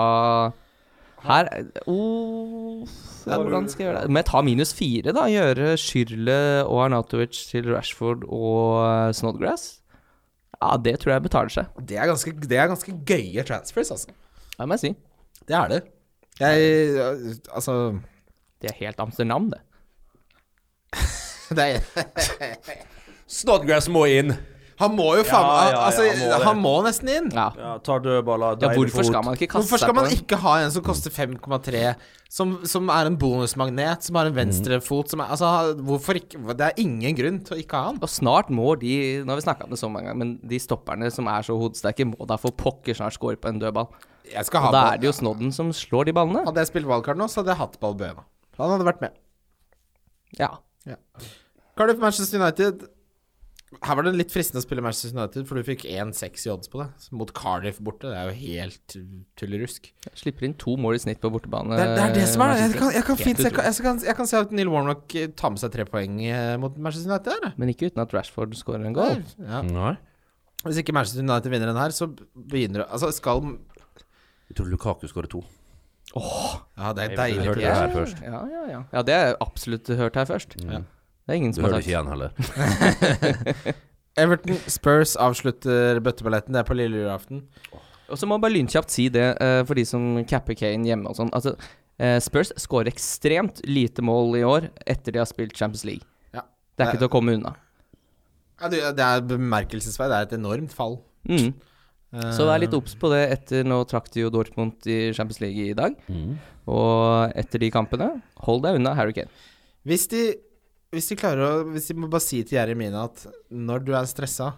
Speaker 2: Her oh, Hvordan skal jeg gjøre det? Men ta minus fire, da. Gjøre Schürrle og Arnatovic til Rashford og eh, Snodgrass. Ja, det tror jeg betaler seg.
Speaker 3: Det er ganske, det er ganske gøye transfers, altså.
Speaker 2: Det må jeg si.
Speaker 3: Det er det. Jeg Altså
Speaker 2: Det er helt Amsterdam, det.
Speaker 3: det er,
Speaker 4: Snodgrass må inn!
Speaker 3: Han må jo faen
Speaker 4: Ja, ja, ja,
Speaker 3: altså,
Speaker 4: han må det.
Speaker 3: han må nesten inn.
Speaker 2: Ja,
Speaker 4: Ja, tar dødballer,
Speaker 2: ja hvorfor skal man ikke kaste
Speaker 3: Hvorfor
Speaker 2: seg
Speaker 3: skal
Speaker 2: på
Speaker 3: man
Speaker 2: den?
Speaker 3: ikke ha en som koster 5,3, som, som er en bonusmagnet, som har en
Speaker 2: Mhm.
Speaker 3: venstrefot som er Altså, hvorfor ikke Det er ingen grunn til å ikke ha han.
Speaker 2: Og snart må de, nå har vi snakket om det så mange ganger, men de stopperne som er så hodesterke, må da for pokker snart score på en dødball.
Speaker 3: Jeg skal
Speaker 2: Og da
Speaker 3: ha ball.
Speaker 2: er det jo Snodden som slår de ballene.
Speaker 3: Hadde jeg spilt valgkart nå, så hadde jeg hatt Balbuena. Han hadde vært med.
Speaker 2: Ja.
Speaker 3: Cardiff Manchester United. Her var det litt fristende å spille Manchester United, for du fikk 1,6 i odds på det. Mot Cardiff borte, det er jo helt tullerusk.
Speaker 2: Slipper inn to mål i snitt på bortebane.
Speaker 3: Det, er- det er det som er Jeg kan, jeg kan
Speaker 2: Helt
Speaker 3: fint se jeg
Speaker 2: utrolig.
Speaker 3: kan, jeg kan, jeg kan se at Neil Warnock eh, tar med seg tre poeng eh, mot Manchester United. Der.
Speaker 2: Men ikke uten at Rashford scorer en
Speaker 3: Der,
Speaker 2: goal.
Speaker 3: Ja.
Speaker 4: Nei.
Speaker 3: Hvis ikke Manchester United vinner den her, så begynner det Altså, skal
Speaker 4: Jeg tror Lukaku skårer to.
Speaker 3: Ja, det er
Speaker 4: Jeg
Speaker 3: deilig.
Speaker 4: hørte det her først.
Speaker 2: Ja, ja, ja. Ja, det er absolutt hørt her først. Det er ingen
Speaker 4: Du
Speaker 2: som har
Speaker 4: hører det ikke
Speaker 2: sagt
Speaker 4: igjen heller.
Speaker 3: Everton Spurs avslutter bøtteballetten. Det er på lille julaften.
Speaker 2: Og så må jeg bare lynkjapt si det eh, for de som capper Kane hjemme og sånn. Altså, eh, Spurs skårer ekstremt lite mål i år etter de har spilt Champions League.
Speaker 3: Ja.
Speaker 2: Det er ikke til å komme unna.
Speaker 3: Ja, du, det er bemerkelsesverdig. Det er et enormt fall.
Speaker 2: Mm. Så vær litt obs på det etter Nå trakk de jo Dortmund i Champions League i dag. Og etter de kampene, hold deg unna Harry Kane.
Speaker 3: Hvis de, hvis de klarer å Hvis de må bare si til Jeremina at når du er stressa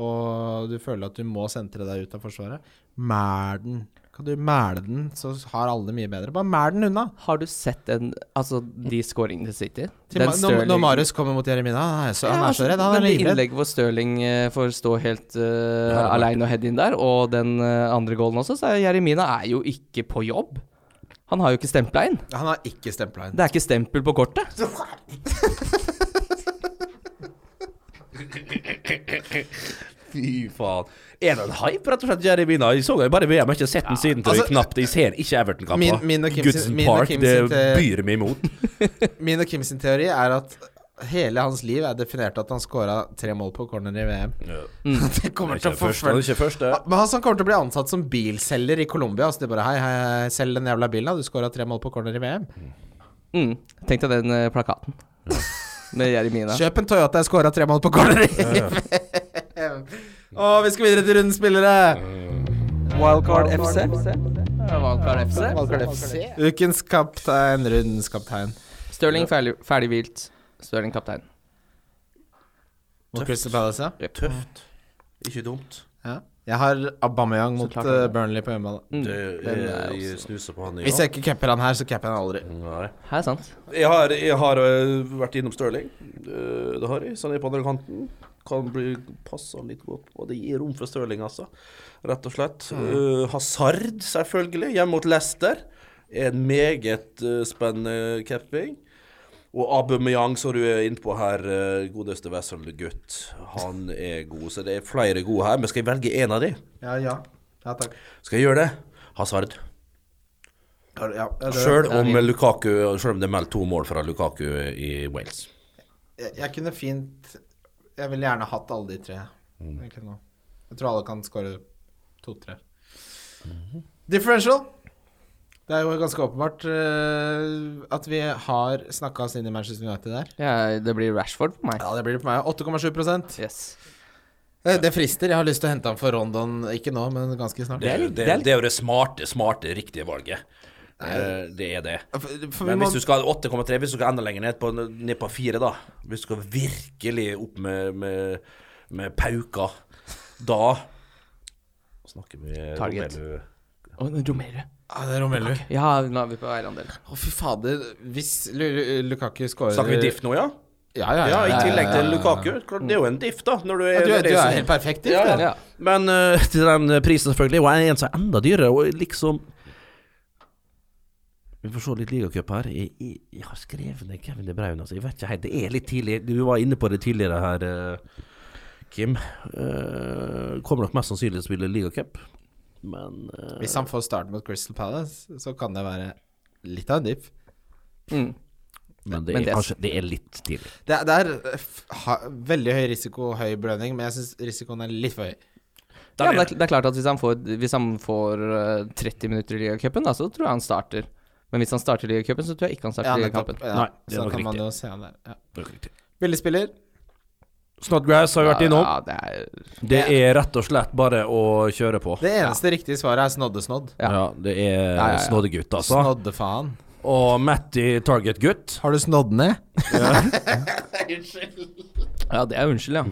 Speaker 3: og du føler at du må sentre deg ut av Forsvaret, mæl den. Kan du mæle den, så har alle det mye bedre. Bare mæl den unna.
Speaker 2: Har du sett den Altså, de scoringene til City?
Speaker 3: Til, Ma- når, når Marius kommer mot Jeremina, han er så, han er så redd. Han er livredd.
Speaker 2: innlegget hvor Stirling eh, får stå helt uh,
Speaker 4: Ja, det er
Speaker 2: aleine og heade inn der, og den eh, andre goalen også, så er Jeremina er jo ikke på jobb. Han har jo ikke stempla inn.
Speaker 3: Han har ikke stempla inn.
Speaker 2: Det er ikke stempel på kortet.
Speaker 4: Fy faen. Er det en hype, rett og slett, Jeremina? Jeg så jo bare VM, jeg har ikke sett den siden. tror jeg
Speaker 3: altså-
Speaker 4: knapt. Jeg ser ikke Everton-kamper.
Speaker 3: Min- min og Kim sin-
Speaker 4: Goodson
Speaker 3: min og
Speaker 4: Park,
Speaker 3: Kim
Speaker 4: det
Speaker 3: sitt, eh,
Speaker 4: byr
Speaker 3: *laughs*
Speaker 4: meg imot.
Speaker 3: Min og Kim sin teori er at hele hans liv er definert at han scora tre mål på corner i VM. *laughs* Det
Speaker 4: Han er
Speaker 3: kommer til
Speaker 4: ikke
Speaker 3: å
Speaker 4: først, han er
Speaker 3: forfølge
Speaker 4: ikke først, det.
Speaker 3: Men han kommer til å bli ansatt som bilselger i Colombia. Altså det er bare hei, hei, hei, selg den jævla bilen, da. Du scora tre mål på corner i VM.
Speaker 2: Mm. Tenk deg den eh,
Speaker 3: *laughs*
Speaker 2: plakaten med Jeremina.
Speaker 3: Kjøp en Toyota, jeg scora tre mål på corner i VM. *laughs* Å, vi skal videre til rundens spillere.
Speaker 2: Wildcard FC. Wildcard FC.
Speaker 3: Ukens kaptein, rundens kaptein.
Speaker 2: Stirling ferdig, ferdig hvilt. Stirling kaptein.
Speaker 3: Mot Crystal Palace, ja.
Speaker 4: Tøft. Ikke dumt.
Speaker 3: ja. Jeg har Aubameyang mot
Speaker 2: klart
Speaker 3: eh,
Speaker 2: det. Mm.
Speaker 3: Burnley på hjemmebane.
Speaker 4: Det,
Speaker 2: den er
Speaker 4: jeg,
Speaker 2: også-
Speaker 4: snuser på han i
Speaker 3: Hvis jeg ikke capper han her, så capper jeg han aldri.
Speaker 4: Nei.
Speaker 2: Her, sant.
Speaker 4: Jeg har, jeg har øh, vært innom Stirling. Øh, Det har jeg. Så han er på andre kanten. Kan bli passa litt godt. Og det gir rom for Stirling, altså. Rett og slett.
Speaker 3: Mm.
Speaker 4: Øh, Hazard, selvfølgelig. Hjemme mot Leicester. En meget øh, spennende capping. Og Aubameyang, som du er inne på her, øh, godeste Wessel-gutt. Han er god, så det er flere gode her. Men skal jeg velge én av de?
Speaker 3: Ja, ja. Ja, takk.
Speaker 4: Skal jeg gjøre det? Hazard.
Speaker 3: Ja, ja, det-
Speaker 4: Sjøl om Lukaku Selv om det er meldt to mål fra Lukaku i Wales.
Speaker 3: jeg, jeg kunne fint Jeg ville gjerne hatt alle de tre. Jeg, kunne, jeg tror alle kan score to-tre. Mhm. Differential. Det er jo ganske åpenbart eh, at vi har snakka oss inn i Manchester United der.
Speaker 2: Ja, det blir Rashford for meg.
Speaker 3: Ja, det blir det på meg. 8,7
Speaker 2: Yes.
Speaker 3: Eh, Det frister. Jeg har lyst til å hente han for Rondon, ikke nå, men ganske snart.
Speaker 4: Det er, jo-
Speaker 2: litt-
Speaker 4: det,
Speaker 2: det
Speaker 4: er,
Speaker 2: er litt-
Speaker 4: det er jo det smarte, smarte, riktige valget. Eh, Det er det.
Speaker 3: For, for vi
Speaker 4: Men
Speaker 3: må,
Speaker 4: hvis du skal 8,3, hvis du skal enda lenger ned på, ned på 4, da Hvis du skal virkelig opp med, med, med pauka, Da snakker vi
Speaker 2: Target.
Speaker 4: Romelu.
Speaker 2: Og Romero.
Speaker 3: Ja, Ah, det er Romelu. Å,
Speaker 2: Ja, nå er vi på eierandel.
Speaker 3: fy fader. Hvis Lu Lu- Lukaku scorer
Speaker 4: Snakker vi diff nå, ja?
Speaker 3: Ja, ja,
Speaker 4: Ja, I tillegg til
Speaker 3: ja, ja.
Speaker 4: Lukaku. Klart, Det er jo en diff, da. Når du er,
Speaker 3: Ja, du, er- du er
Speaker 4: racing.
Speaker 3: helt perfekt. diff,
Speaker 4: Ja, ja.
Speaker 3: det.
Speaker 2: Ja.
Speaker 4: Men eh, *laughs* til den eh, prisen, selvfølgelig. Og en som er enda dyrere, og liksom Vi får se litt ligacup her. Jeg, jeg, jeg har skrevet ned Kevin De Bruyne, altså. Jeg vet ikke helt. Det er litt tidlig. Du var inne på det tidligere her, eh, Kim. Eh, kommer nok mest sannsynlig til å spille ligacup, men eh,
Speaker 3: Hvis han får start mot Crystal Palace, så kan det være litt av en diff.
Speaker 2: Mm.
Speaker 4: Men det
Speaker 2: Men
Speaker 4: er
Speaker 2: det-
Speaker 4: kanskje Det er litt tidlig.
Speaker 3: Det, er- det er eh, f- ha, veldig høy risiko, høy belønning, men jeg syns risikoen er litt for høy.
Speaker 2: Ja, men det, er, det er klart at hvis han får, hvis han får eh, 30 minutter i ligacupen, da, så tror jeg han starter. Men hvis han starter ligacupen, så tror jeg ikke han starter
Speaker 3: nettopp.
Speaker 2: ligakampen.
Speaker 3: Ja,
Speaker 4: Nei, det er
Speaker 3: så
Speaker 4: nok
Speaker 3: kan man
Speaker 4: riktig.
Speaker 3: jo se han der. Ja.
Speaker 4: Det er riktig.
Speaker 3: Billigspiller.
Speaker 4: Snodgrass har vi vært innom.
Speaker 2: Ja, det er
Speaker 4: Det er rett og slett bare å kjøre på.
Speaker 3: Det eneste riktige svaret er snoddesnodd.
Speaker 4: Ja,
Speaker 2: Ja.
Speaker 4: det er
Speaker 2: ja, ja.
Speaker 4: snoddegutt, altså.
Speaker 3: Snoddefaen.
Speaker 4: Og Matty Target-gutt.
Speaker 3: Har du snodd ned?
Speaker 2: Ja, det er unnskyld, ja.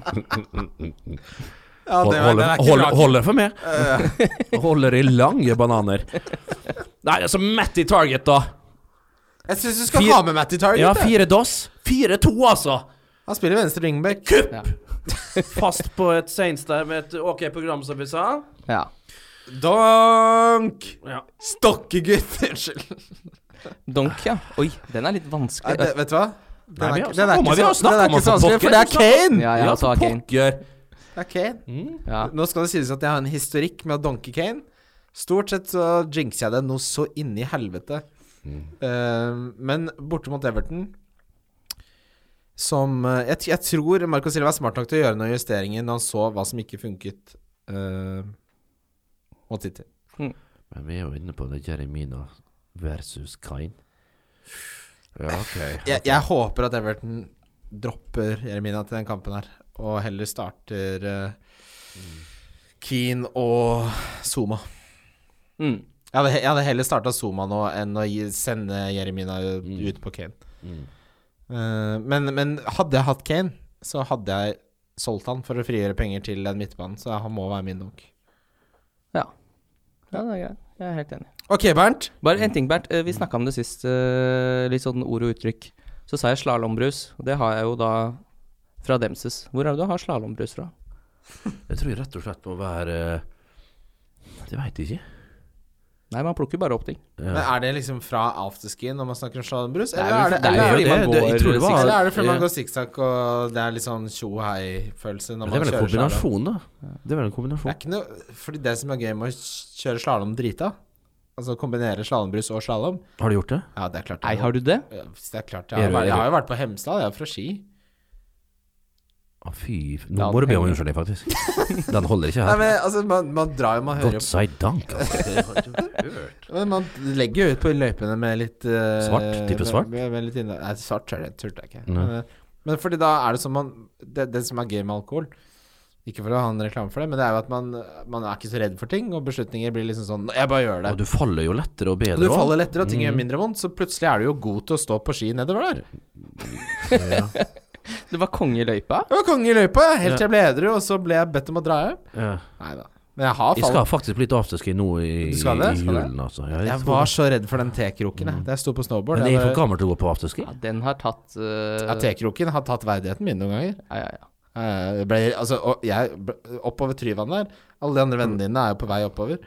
Speaker 3: Ja, det, var-
Speaker 4: holder,
Speaker 3: den er ikke
Speaker 4: holder,
Speaker 3: bra.
Speaker 4: holder for meg. *laughs* holder i lange bananer. Nei, altså Matty Target, da.
Speaker 3: Jeg syns du skal
Speaker 4: Fire-
Speaker 3: ha med Matty Target.
Speaker 4: Ja,
Speaker 3: jeg.
Speaker 4: fire dass. Fire-to, altså.
Speaker 3: Han spiller venstre wingback.
Speaker 4: Fast på et Saints der med et OK program, som vi sa.
Speaker 2: *laughs* ja.
Speaker 3: Donk!
Speaker 4: Ja. *laughs*
Speaker 3: Stokkegutt. Unnskyld.
Speaker 2: Donk, ja. Oi, den er litt vanskelig.
Speaker 3: Nei, det, vet du hva? Den
Speaker 4: Nei,
Speaker 3: er
Speaker 4: vi
Speaker 3: ikke-
Speaker 4: har
Speaker 3: den er
Speaker 4: snakket om-
Speaker 3: ikke
Speaker 4: vi
Speaker 3: så- den
Speaker 4: har snakket
Speaker 3: er
Speaker 4: om
Speaker 3: ikke så
Speaker 4: han for
Speaker 3: vanskelig, for det er
Speaker 4: pokker.
Speaker 3: Kane!
Speaker 2: ja, ja,
Speaker 4: Ja,
Speaker 2: så
Speaker 4: for
Speaker 2: har Kane.
Speaker 4: pokker.
Speaker 3: Det er Kane.
Speaker 2: Ja.
Speaker 3: Nå skal det sies at jeg har en historikk med å donke Kane. Stort sett så jinxer jeg det noe så inni helvete. Eh, men borte mot Everton som eh, jeg, t- jeg tror Marco Silva er smart nok til å gjøre noen justeringer når han så hva som ikke funket eh, mot City.
Speaker 4: Men vi er jo inne på det Jeremina versus Kain. Ja, OK.
Speaker 3: Jeg, jeg håper at Everton dropper Jeremina til den kampen her, og heller starter eh, Keane og Zuma.
Speaker 2: Mm.
Speaker 3: Jeg hadde, he- jeg hadde heller starta Zuma nå enn å gi, sende Jeremina ut
Speaker 4: Mm.
Speaker 3: på Kane. Eh, men, men hadde jeg hatt Kane, så hadde jeg solgt han for å frigjøre penger til en midtbane, så han må være min donk.
Speaker 2: ja. Ja, det er greit. Jeg er helt enig.
Speaker 3: Ok, Bernt.
Speaker 2: Bare en ting, Bernt. Eh, Vi snakka om det sist, eh, litt sånn ord og uttrykk. Så sa jeg slalåmbrus, og det har jeg jo da fra Demses. Hvor er det du har slalåmbrus fra?
Speaker 4: Jeg tror rett og slett må være eh, Det veit jeg ikke.
Speaker 2: Nei, man plukker bare opp ting.
Speaker 3: Men Er det liksom fra afterski når man snakker om slalåmbrus,
Speaker 2: Det er
Speaker 3: eller,
Speaker 2: jo-
Speaker 3: er det-
Speaker 2: det er jo
Speaker 3: eller, er det-
Speaker 2: fordi man
Speaker 4: det- jeg
Speaker 2: går
Speaker 4: tror det var-
Speaker 2: seks-
Speaker 3: eller er det fordi man
Speaker 4: Ja.
Speaker 3: går sikksakk og det er litt sånn tjo-hei-følelse når
Speaker 4: Men det
Speaker 3: man
Speaker 4: er
Speaker 3: kjører
Speaker 4: vel en
Speaker 3: slalåm?
Speaker 4: kombinasjon, da. Det er vel en
Speaker 3: Det
Speaker 4: kombinasjon.
Speaker 3: er ikke noe Fordi det som er gøy med å kjøre slalåm drita, altså kombinere slalåmbrus og slalåm
Speaker 4: Har du gjort det?
Speaker 3: Ja, det er klart.
Speaker 2: Nei, har du det?
Speaker 3: Ja, hvis det er klart, jeg har,
Speaker 4: Er du-
Speaker 3: vært, jeg
Speaker 4: er du-
Speaker 3: har jo vært på Hemsedal, jeg er fra Ski.
Speaker 4: Å, fy f- Nå
Speaker 2: Ja,
Speaker 4: må du be om
Speaker 2: penger.
Speaker 4: unnskyldning,
Speaker 3: *laughs*
Speaker 4: faktisk. Den holder ikke
Speaker 3: Nei,
Speaker 4: her.
Speaker 3: men altså, man, man drar jo, man hører
Speaker 4: God
Speaker 3: jo
Speaker 4: sei dank.
Speaker 3: *laughs*
Speaker 4: altså.
Speaker 3: men Man legger jo ut på løypene med litt eh,
Speaker 4: Svart? Tipper svart?
Speaker 3: Med, med, med litt innhold. Nei, svart tør jeg, turte jeg ikke.
Speaker 4: Nei.
Speaker 3: Men, eh, men fordi da er det som man det, det som er gøy med alkohol Ikke for å ha en reklame for det, men det er jo at man, man er ikke så redd for ting, og beslutninger blir liksom sånn Jeg bare gjør det.
Speaker 4: Og du faller jo lettere og bedre
Speaker 3: Og du
Speaker 4: også.
Speaker 3: faller lettere, og ting gjør
Speaker 4: Mm.
Speaker 3: mindre vondt, så plutselig er du jo god til å stå på ski nedover der.
Speaker 2: Det var konge i løypa?
Speaker 3: Jeg var konge i løypa, jeg, helt til jeg ble edru, og så ble jeg bedt om å dra hjem.
Speaker 4: Ja.
Speaker 3: Nei da. Men jeg har
Speaker 4: Jeg
Speaker 3: falt.
Speaker 4: skal faktisk bli litt afterski nå i,
Speaker 3: Du skal det?
Speaker 4: i
Speaker 3: Skal det?
Speaker 4: julen, altså. Ja, jeg
Speaker 3: Jeg
Speaker 4: skal
Speaker 3: var
Speaker 4: det. Mm.
Speaker 3: så redd for den tekroken, jeg. Da jeg sto på snowboard.
Speaker 4: Men jeg er for
Speaker 3: Jeg var,
Speaker 4: gammel til å gå på afterski.
Speaker 2: Ja, den har tatt eh,
Speaker 3: ja, tekroken har tatt verdigheten min noen ganger.
Speaker 2: ja, ja, ja.
Speaker 3: Eh, det Ble, altså, og jeg, ble- oppover Tryvann der, alle de andre vennene
Speaker 4: Mm.
Speaker 3: dine er jo på vei oppover.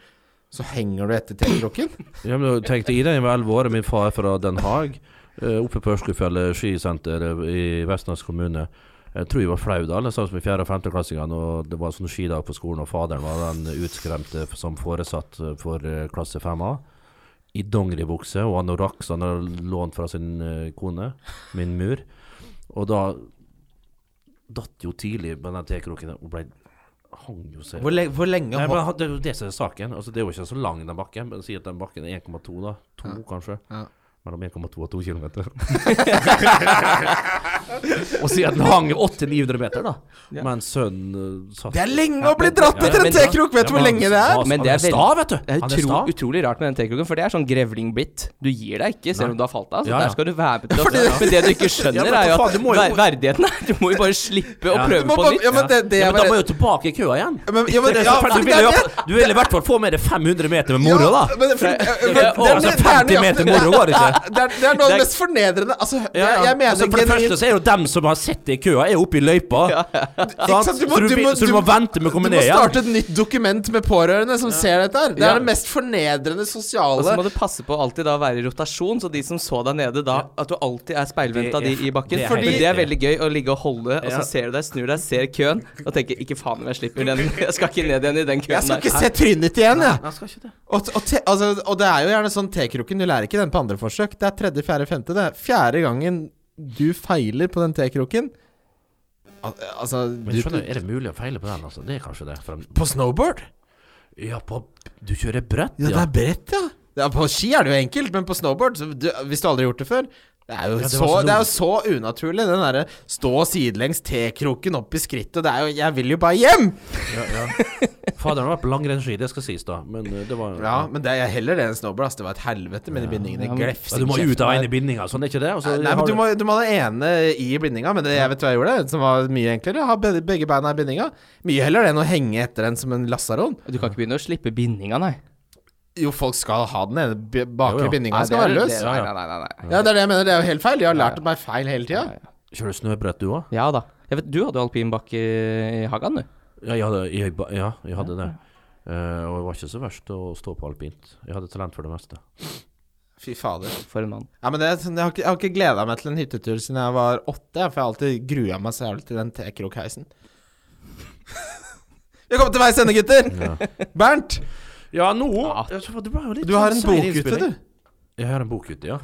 Speaker 3: Så henger du etter
Speaker 4: *laughs*
Speaker 3: tekroken.
Speaker 4: Ja, men jeg tenkte Ida jeg var 11 år, og min far er fra Den Haag. eh, Oppe på Ørskogfjellet skisenter i Vestlands kommune. Jeg tror jeg var flau da, alle sammen med fjerde- og femteklassingene. Og det var sånn skidag på skolen, og faderen var den utskremte f- som foresatt eh, for eh, klasse 5A. I dongeribukse og anorakk som han hadde lånt fra sin eh, kone, min mur. Og da datt jo tidlig med den tekroken og ble hang jo seg
Speaker 3: Hvor, le hvor lenge
Speaker 4: Nei,
Speaker 3: hol-
Speaker 4: men Det er jo det som er saken. Altså, det er jo ikke så lang den bakken. Men si at den bakken er 1,2, da. 2, kanskje.
Speaker 3: Ja.
Speaker 4: Mellom 1,2 og 2 km. *laughs* Og si at den hang 800-900 meter, da. Men sønnen uh, satt
Speaker 3: Det er lenge å bli dratt
Speaker 4: Ja,
Speaker 3: etter
Speaker 2: men
Speaker 3: en
Speaker 2: da-
Speaker 3: tekrok! Vet du hvor lenge det er?
Speaker 2: Men det er
Speaker 4: sta,
Speaker 2: veldig-
Speaker 4: vet du.
Speaker 2: Det er
Speaker 4: Han er sta.
Speaker 2: utro, utrolig rart med den tekroken, for det er sånn grevlingbitt. Du gir deg ikke selv om du har falt av. Så
Speaker 4: Ja, ja.
Speaker 2: der skal du være med til
Speaker 3: Ja,
Speaker 2: å
Speaker 3: fordi-
Speaker 2: Men det du ikke skjønner,
Speaker 4: Ja, men
Speaker 2: er jo
Speaker 4: for
Speaker 2: at
Speaker 4: faen, du må jo-
Speaker 2: ver verdigheten er Du må jo bare slippe å
Speaker 4: Ja.
Speaker 2: prøve
Speaker 3: Du må
Speaker 2: på
Speaker 3: bare-
Speaker 2: nytt.
Speaker 3: ja, men det, det
Speaker 4: Ja,
Speaker 3: er
Speaker 4: men da må
Speaker 3: bare
Speaker 4: jo tilbake i køa igjen.
Speaker 3: men,
Speaker 4: *laughs*
Speaker 3: ja, men,
Speaker 4: Det er
Speaker 3: ja,
Speaker 4: så fælt.
Speaker 3: men
Speaker 4: du,
Speaker 3: det er
Speaker 4: vil, i
Speaker 3: det.
Speaker 4: hvert fall- du vil i hvert fall få med deg 500 meter med *laughs* moro, da.
Speaker 3: Ja, men det-
Speaker 4: *laughs*
Speaker 3: for- ja, men
Speaker 4: Ja, og
Speaker 3: det er- det
Speaker 4: altså,
Speaker 3: er
Speaker 4: 50
Speaker 3: nøyaktig-
Speaker 4: meter moro var det
Speaker 3: *laughs*
Speaker 4: ikke.
Speaker 3: Det er, det er noe
Speaker 2: Det
Speaker 3: av det
Speaker 2: er-
Speaker 3: mest fornedrende Altså,
Speaker 4: Ja, ja.
Speaker 3: jeg, jeg mener
Speaker 4: altså, for det
Speaker 3: genuint-
Speaker 4: første så er jo dem som har sett det i køa, er jo oppe i *laughs* løypa. Sant?
Speaker 3: sant? Du må-
Speaker 4: så, du,
Speaker 3: du
Speaker 4: bi-
Speaker 3: må-
Speaker 4: så du
Speaker 3: du-
Speaker 4: må vente med å komme
Speaker 3: Du må
Speaker 4: ned igjen.
Speaker 3: starte et nytt dokument med pårørende som ser dette her. Det
Speaker 4: Ja. Altså,
Speaker 3: er det mest fornedrende
Speaker 2: Og så må
Speaker 3: sosiale
Speaker 2: du passe på å alltid da være i rotasjon, så de som så deg nede da At du alltid er speilvendt av de
Speaker 4: Det er-
Speaker 2: i bakken.
Speaker 4: det er
Speaker 2: Fordi
Speaker 4: helt
Speaker 2: det er
Speaker 4: riktig.
Speaker 2: veldig gøy å ligge og holde, og
Speaker 4: Ja.
Speaker 2: så ser du deg, snur deg, ser køen, og tenker 'ikke faen om jeg slipper den', *laughs* jeg skal ikke ned igjen i den
Speaker 3: Jeg
Speaker 2: køen
Speaker 3: skal
Speaker 2: der.
Speaker 3: ikke se trynet ditt igjen, jeg.
Speaker 4: Nei, skal ikke det.
Speaker 3: Og, og, te, altså, og det er jo gjerne sånn tekroken, du lærer ikke den på andre forsøk. Det er tredje, fjerde, femte. Det er fjerde gangen du feiler på den tekroken. Al altså
Speaker 4: Men
Speaker 3: du-
Speaker 4: skjønner, du, er det mulig å feile på den, altså? Det er kanskje det. For den-
Speaker 3: På snowboard?
Speaker 4: ja, på Du kjører brett,
Speaker 3: Ja,
Speaker 4: ja.
Speaker 3: det er bredt, ja. ja. På ski er det jo enkelt, men på snowboard, så du, hvis du aldri har gjort det før det er, jo
Speaker 4: det var sånn
Speaker 3: så,
Speaker 4: så
Speaker 3: det er jo så unaturlig, den derre stå sidelengs, tekroken opp i skrittet. Det er jo Jeg vil jo bare hjem!
Speaker 4: Ja, ja. Faderen har vært på langrennsski, det skal sies, da. Men eh, det var
Speaker 3: Ja, men det er heller det enn snowboard. ass. Det var et helvete med de bindingene.
Speaker 2: Ja,
Speaker 3: Ja,
Speaker 2: men-
Speaker 4: Ja, du må ut av ene bindinga, sånn er ikke det? Og så
Speaker 3: Nei,
Speaker 4: har
Speaker 3: men du
Speaker 4: du-
Speaker 3: må, du må ha det ene i bindinga, men det, jeg vet hva jeg gjorde, som var mye enklere. Ha be- begge beina i bindinga. Mye heller det enn å henge etter en som en lasaron.
Speaker 2: Du kan ikke begynne å slippe bindinga, nei.
Speaker 3: Jo, folk skal ha den ene b- bakre
Speaker 4: Jo, jo.
Speaker 3: bindinga,
Speaker 2: Nei,
Speaker 3: skal være
Speaker 2: det er-
Speaker 3: løs.
Speaker 2: det- Nei, nei, nei. nei.
Speaker 3: Ja, det er det jeg mener. Det er jo helt feil. De har lært meg feil hele tida.
Speaker 4: Kjører du snøbrett, du òg?
Speaker 2: Ja da. Jeg vet, du hadde jo alpinbakke i hagen, du.
Speaker 4: Ja, jeg hadde, jeg, ba- ja, jeg hadde det. Eh, og det var ikke så verst å stå på alpint. Jeg hadde talent for det meste.
Speaker 3: Fy fader.
Speaker 2: For en mann.
Speaker 3: Ja, men det, er sånn- jeg har ikke, jeg har ikke gleda meg til en hyttetur siden jeg var åtte, for jeg har alltid grua meg så jævlig til den tekrokheisen. *laughs* Vi har kommet til veis ende, gutter! Bernt,
Speaker 4: Ja, nå
Speaker 2: Ja.
Speaker 4: Du, var jo litt
Speaker 3: du har
Speaker 4: sånn
Speaker 3: en
Speaker 4: sein
Speaker 3: bok ute,
Speaker 4: innspilling.
Speaker 3: du.
Speaker 4: Jeg har en bok ute, ja.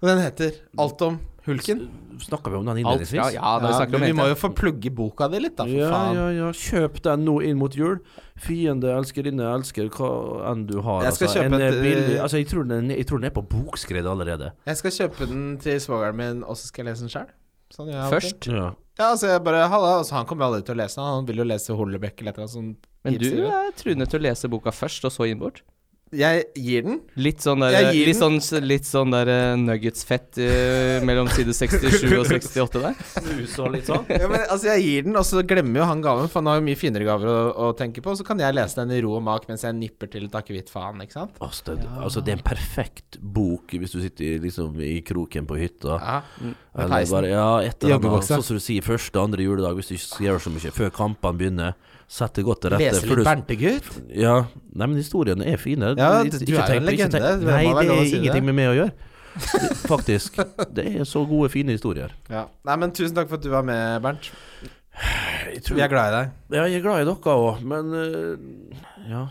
Speaker 3: Og den heter Alt om hulken.
Speaker 4: Snakka vi om den
Speaker 2: Alt
Speaker 4: innledningsvis?
Speaker 2: fra Ja, da vi
Speaker 3: Ja,
Speaker 2: snakker om
Speaker 3: vi
Speaker 2: jenter.
Speaker 3: må jo få plugge boka di litt, da, for
Speaker 4: ja,
Speaker 3: faen.
Speaker 4: ja, ja. Kjøp den nå inn mot jul. Fiende, elskerinne, elsker hva enn du har.
Speaker 3: Jeg skal
Speaker 4: altså.
Speaker 3: kjøpe
Speaker 4: En, eh,
Speaker 3: et, eh,
Speaker 4: billig, altså, jeg, tror den, jeg tror den er på bokskred allerede.
Speaker 3: Jeg skal kjøpe den til svogeren min, og så skal jeg lese den sjøl. Sånn gjør jeg alltid.
Speaker 2: Først.
Speaker 4: Ja.
Speaker 3: Ja, altså jeg bare Halla. Altså, han kommer jo aldri til å lese den. Han vil jo lese Hollebekk eller et eller annet sånt.
Speaker 2: Men du
Speaker 3: pipseriøst.
Speaker 2: er truende til å lese boka først, og så innbort.
Speaker 3: Jeg gir den.
Speaker 4: *laughs*
Speaker 2: Litt sånn der,
Speaker 3: Jeg gir
Speaker 2: litt sånn, litt sånn der eh, nuggets-fett
Speaker 3: *laughs*
Speaker 2: eh, mellom side 67 og 68 der.
Speaker 4: Snus og litt sånn.
Speaker 3: Ja, men altså Jeg gir den, og så glemmer jo han gaven, for han har jo mye finere gaver å, å tenke på. Så kan jeg lese den i ro og mak mens jeg nipper til et akevittfaen, ikke sant?
Speaker 4: Altså, det, altså, det er en perfekt bok hvis du sitter i- liksom, i kroken på hytta.
Speaker 3: Ja. Med
Speaker 4: Eller
Speaker 3: peisen.
Speaker 4: bare, ja, et eller annet,
Speaker 3: Joggebuksa.
Speaker 4: sånn som du sier, første andre juledag, hvis du ikke gjør så mye, før kampene begynner. Sett det godt til rette.
Speaker 3: Lese litt
Speaker 4: før du-
Speaker 3: Berntegutt.
Speaker 4: Ja, nei, men historiene er fine.
Speaker 3: Ja,
Speaker 4: Ikke-
Speaker 3: du- du er
Speaker 4: ikke
Speaker 3: jo en
Speaker 4: tenk på- ikke
Speaker 3: legende. Det
Speaker 4: tenk-
Speaker 3: må
Speaker 4: Nei,
Speaker 3: være
Speaker 4: det
Speaker 3: lov å
Speaker 4: er
Speaker 3: si det.
Speaker 4: ingenting med meg å gjøre. Det- Faktisk. Det er så gode, fine historier.
Speaker 3: Ja. Nei, men tusen takk for at du var med, Bernt.
Speaker 4: Jeg,
Speaker 3: Vi er glad i deg.
Speaker 4: ja, jeg er glad i dere òg, men eh, ja.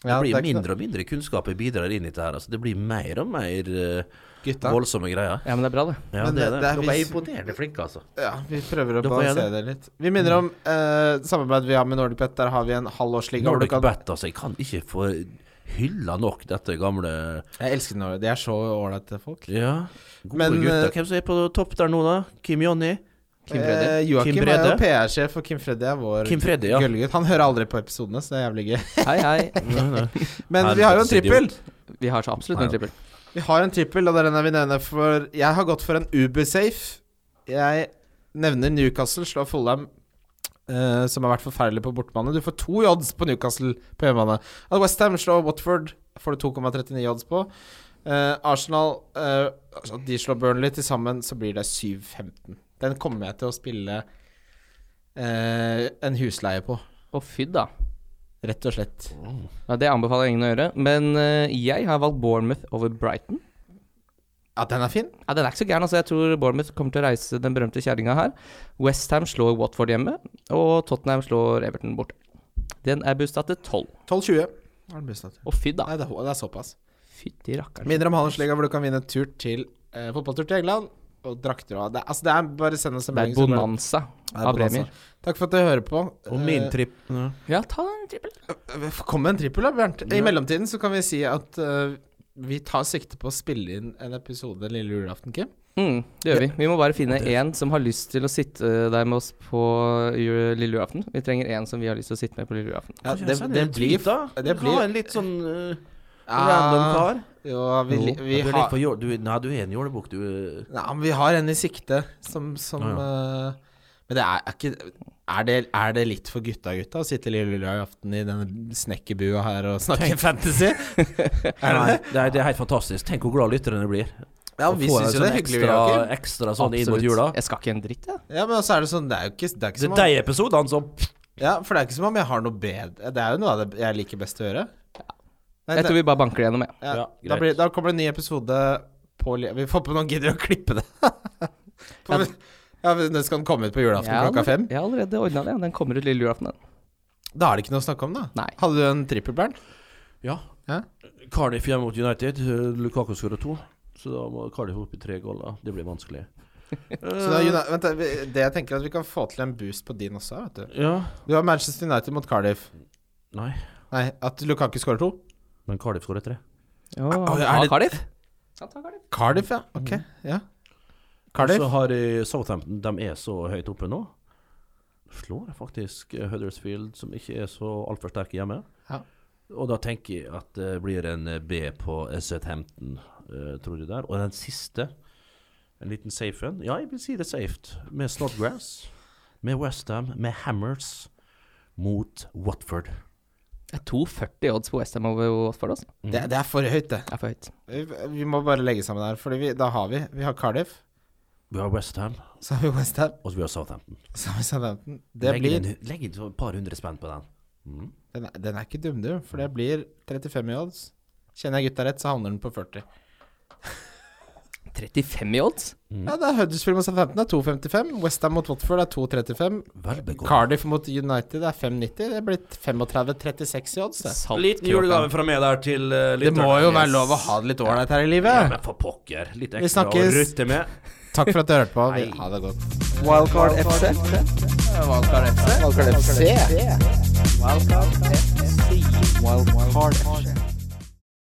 Speaker 4: Det
Speaker 3: Ja,
Speaker 4: blir
Speaker 3: det er ikke
Speaker 4: mindre og mindre kunnskap jeg bidrar inn i dette her. Altså, det blir mer og mer eh,
Speaker 3: Gutta.
Speaker 4: voldsomme greier.
Speaker 2: Ja, men det er bra, det.
Speaker 4: Ja,
Speaker 3: Men
Speaker 4: det,
Speaker 3: det-
Speaker 4: er det.
Speaker 3: det er
Speaker 4: Dere er
Speaker 3: vis-
Speaker 4: imponerende flinke, altså.
Speaker 3: Ja, vi prøver å
Speaker 4: Da får jeg
Speaker 3: balansere det litt. Vi minner om eh, samarbeid vi har med Nordic Bet. Der har vi en halvårsliga. hvor du
Speaker 4: Nordic
Speaker 3: kan-
Speaker 4: Bet, altså. Jeg kan ikke få hylla nok dette gamle
Speaker 3: Jeg elsker Nordic. De er så ålreite folk.
Speaker 4: Ja, gode
Speaker 3: Men,
Speaker 4: gutter.
Speaker 3: eh,
Speaker 4: Hvem som er på topp der nå, da? Kim Jonny?
Speaker 2: Kim Brede.
Speaker 3: Eh, Joakim
Speaker 4: Kim
Speaker 3: er jo
Speaker 4: Brede.
Speaker 3: PR-sjef, og Kim Freddy er vår
Speaker 4: Kim Freddy, ja.
Speaker 3: gullgutt. Han hører aldri på episodene, så det er jævlig gøy.
Speaker 2: Hei, hei.
Speaker 3: Men vi har jo en
Speaker 4: Helvetes
Speaker 3: trippel.
Speaker 4: idiot.
Speaker 2: Vi har så absolutt en trippel.
Speaker 3: Vi har en trippel, og det er den jeg vil nevne for Jeg har gått for en Ubersafe. Jeg nevner Newcastle, slår Fulham, eh, som har vært forferdelig på bortebane. Du får to i odds på Newcastle på hjemmebane. At West Ham slår Watford, får du 2,39 i odds på. Eh, Arsenal eh, altså, De slår Burnley til sammen, så blir det 7,15. Den kommer jeg til å spille eh, en husleie på,
Speaker 2: Å, fy da.
Speaker 3: rett og slett.
Speaker 2: Ja, det anbefaler jeg ingen å gjøre. Men eh, jeg har valgt Bournemouth over Brighton.
Speaker 3: Ja, den er fin.
Speaker 2: Ja, Den er ikke så gæren. altså Jeg tror Bournemouth kommer til å reise den berømte kjerringa her. Westham slår Watford hjemme, og Tottenham slår Everton borte. Den er busta til 12.
Speaker 3: 12,20. Har den busset til.
Speaker 2: Å, fy da.
Speaker 3: Nei, det er- det er såpass.
Speaker 2: Fytti rakkeren.
Speaker 3: Minner om handelsliga hvor du kan vinne tur til eh, fotballtur til England. Og drakter og det, Altså, det er bare send oss en
Speaker 2: Det er
Speaker 3: melding. så går
Speaker 2: bonanza
Speaker 3: det- Det er
Speaker 2: av
Speaker 3: bonanza.
Speaker 2: premier.
Speaker 3: Takk for at du hører på.
Speaker 4: Og min tripp ja.
Speaker 2: Ja, ta den trippelen.
Speaker 3: Eh, Kom med en trippel, da, Bernt. I mellomtiden så kan vi si at eh, vi tar sikte på å spille inn en episode lille julaften, Kim.
Speaker 2: Mm, det gjør vi. Vi må bare finne én som har lyst til å sitte eh, der med oss på ju- lille julaften. Vi trenger én som vi har lyst til å sitte med på lille julaften.
Speaker 3: Ja, det, det blir
Speaker 4: da.
Speaker 3: det blir-
Speaker 4: Ha en litt sånn eh, random
Speaker 3: Ja,
Speaker 4: kar.
Speaker 3: jo, vi,
Speaker 4: Jo,
Speaker 3: vi,
Speaker 4: du, er litt
Speaker 3: har,
Speaker 4: for jål- du, nei, du er en jålebukk, du. eh.
Speaker 3: ja, men vi har en i sikte som, som eh, Men det er, er ikke er det, er det litt for gutta-gutta å sitte lille julaften i denne snekkerbua her og snakke fantasy?
Speaker 4: Nei, det, er, det er helt fantastisk. Tenk hvor glad lytterne blir.
Speaker 3: Ja,
Speaker 4: Å
Speaker 3: vi
Speaker 4: få
Speaker 3: syns
Speaker 4: en
Speaker 3: jo det
Speaker 4: sånn
Speaker 3: er hyggelig. vi,
Speaker 4: ekstra,
Speaker 3: Joakim.
Speaker 4: ekstra sånn inn mot jula.
Speaker 2: Jeg skal ikke en dritt, jeg.
Speaker 3: Ja, men også er det sånn Det er jo ikke, det er ikke
Speaker 4: Det
Speaker 3: som
Speaker 4: er
Speaker 3: om
Speaker 4: de episodene som
Speaker 3: Ja, for det er ikke som om jeg har noe bedre Det er jo noe av det jeg liker best å gjøre. Nei,
Speaker 2: Jeg
Speaker 3: det-
Speaker 2: tror vi bare banker det gjennom, jeg.
Speaker 3: ja,
Speaker 4: Ja,
Speaker 3: da,
Speaker 4: greit.
Speaker 3: blir, da kommer det en ny episode på li- Vi får på noen gidder å klippe det. *laughs* på,
Speaker 2: Ja.
Speaker 3: ja, men Den skal den komme ut på julaften
Speaker 2: Jeg har
Speaker 3: klokka
Speaker 2: allerede-
Speaker 3: fem?
Speaker 2: Jeg har allerede ordna det. Den kommer ut lille julaften, den.
Speaker 3: Da er det ikke noe å snakke om, da.
Speaker 2: Nei.
Speaker 3: Hadde du en trippelbern?
Speaker 4: Ja.
Speaker 3: Ja.
Speaker 4: Cardiff hjemme mot United. eh, Lukaku skårer to. Så da må Cardiff opp i tre goal. da. Det blir vanskelig.
Speaker 3: *laughs*
Speaker 4: Eh,
Speaker 3: Så da,
Speaker 4: Øh.
Speaker 3: Juna- vent, da, vi- det jeg tenker er at vi kan få til en boost på din også, vet du.
Speaker 4: Ja.
Speaker 3: Du har Manchester United mot Cardiff.
Speaker 4: Nei,
Speaker 3: Nei, at Lukaku skårer to?
Speaker 4: men Cardiff skårer tre.
Speaker 3: er
Speaker 2: Oh,
Speaker 3: det-
Speaker 2: Cardiff? Ja, ta Cardiff.
Speaker 3: Cardiff, ja. Mhm. Ok, ja. Cardiff?
Speaker 4: Så har de Southampton. De er så høyt oppe nå. Slår faktisk eh, Huddersfield, som ikke er så altfor sterke hjemme.
Speaker 3: Ja.
Speaker 4: Og da tenker jeg at det blir en eh, B på eh, Southampton, eh, tror jeg der. Og den siste, en liten safe en. Ja, jeg vil si det er safe. Med Snodgrass, med Westham, med Hammers mot Watford.
Speaker 2: Det er 2,40 odds på Westham over Watford. Altså.
Speaker 4: Mm.
Speaker 2: Det
Speaker 3: Det, det er for høyt, det.
Speaker 2: er for høyt.
Speaker 3: Vi, vi må bare legge sammen her, for da har vi Vi har Cardiff,
Speaker 4: Vi har Westham,
Speaker 3: så har vi Westham,
Speaker 4: og så vi har Southampton.
Speaker 3: så har vi Southampton. Det
Speaker 4: legg,
Speaker 3: blir
Speaker 4: inn, legg inn et par hundre spenn på den. Mm.
Speaker 3: Den er, den er ikke dum, du. For det blir 35 i odds. Kjenner jeg gutta rett, så havner den på 40.
Speaker 2: 35 i odds?
Speaker 3: Ja, det er Huddersfield mot Southampton er 2,55. Westham mot Watford er 2,35.
Speaker 4: Vel begått.
Speaker 3: Cardiff mot United er 5,90. Det blir 35-36 i odds. Det.
Speaker 2: Salt
Speaker 4: Liten
Speaker 2: kroken.
Speaker 4: julegave fra meg der til uh,
Speaker 3: det må jo være lov å ha det litt ålreit her i livet.
Speaker 4: Men for pokker. Litt
Speaker 3: Vi
Speaker 4: ekstra å
Speaker 3: snakkes.
Speaker 4: rutte med.
Speaker 3: Takk for at du hørte på. Vi- Ha det godt.
Speaker 1: Wildcard FC. Wildcard FC. Wildcard FC. Wildcard FC.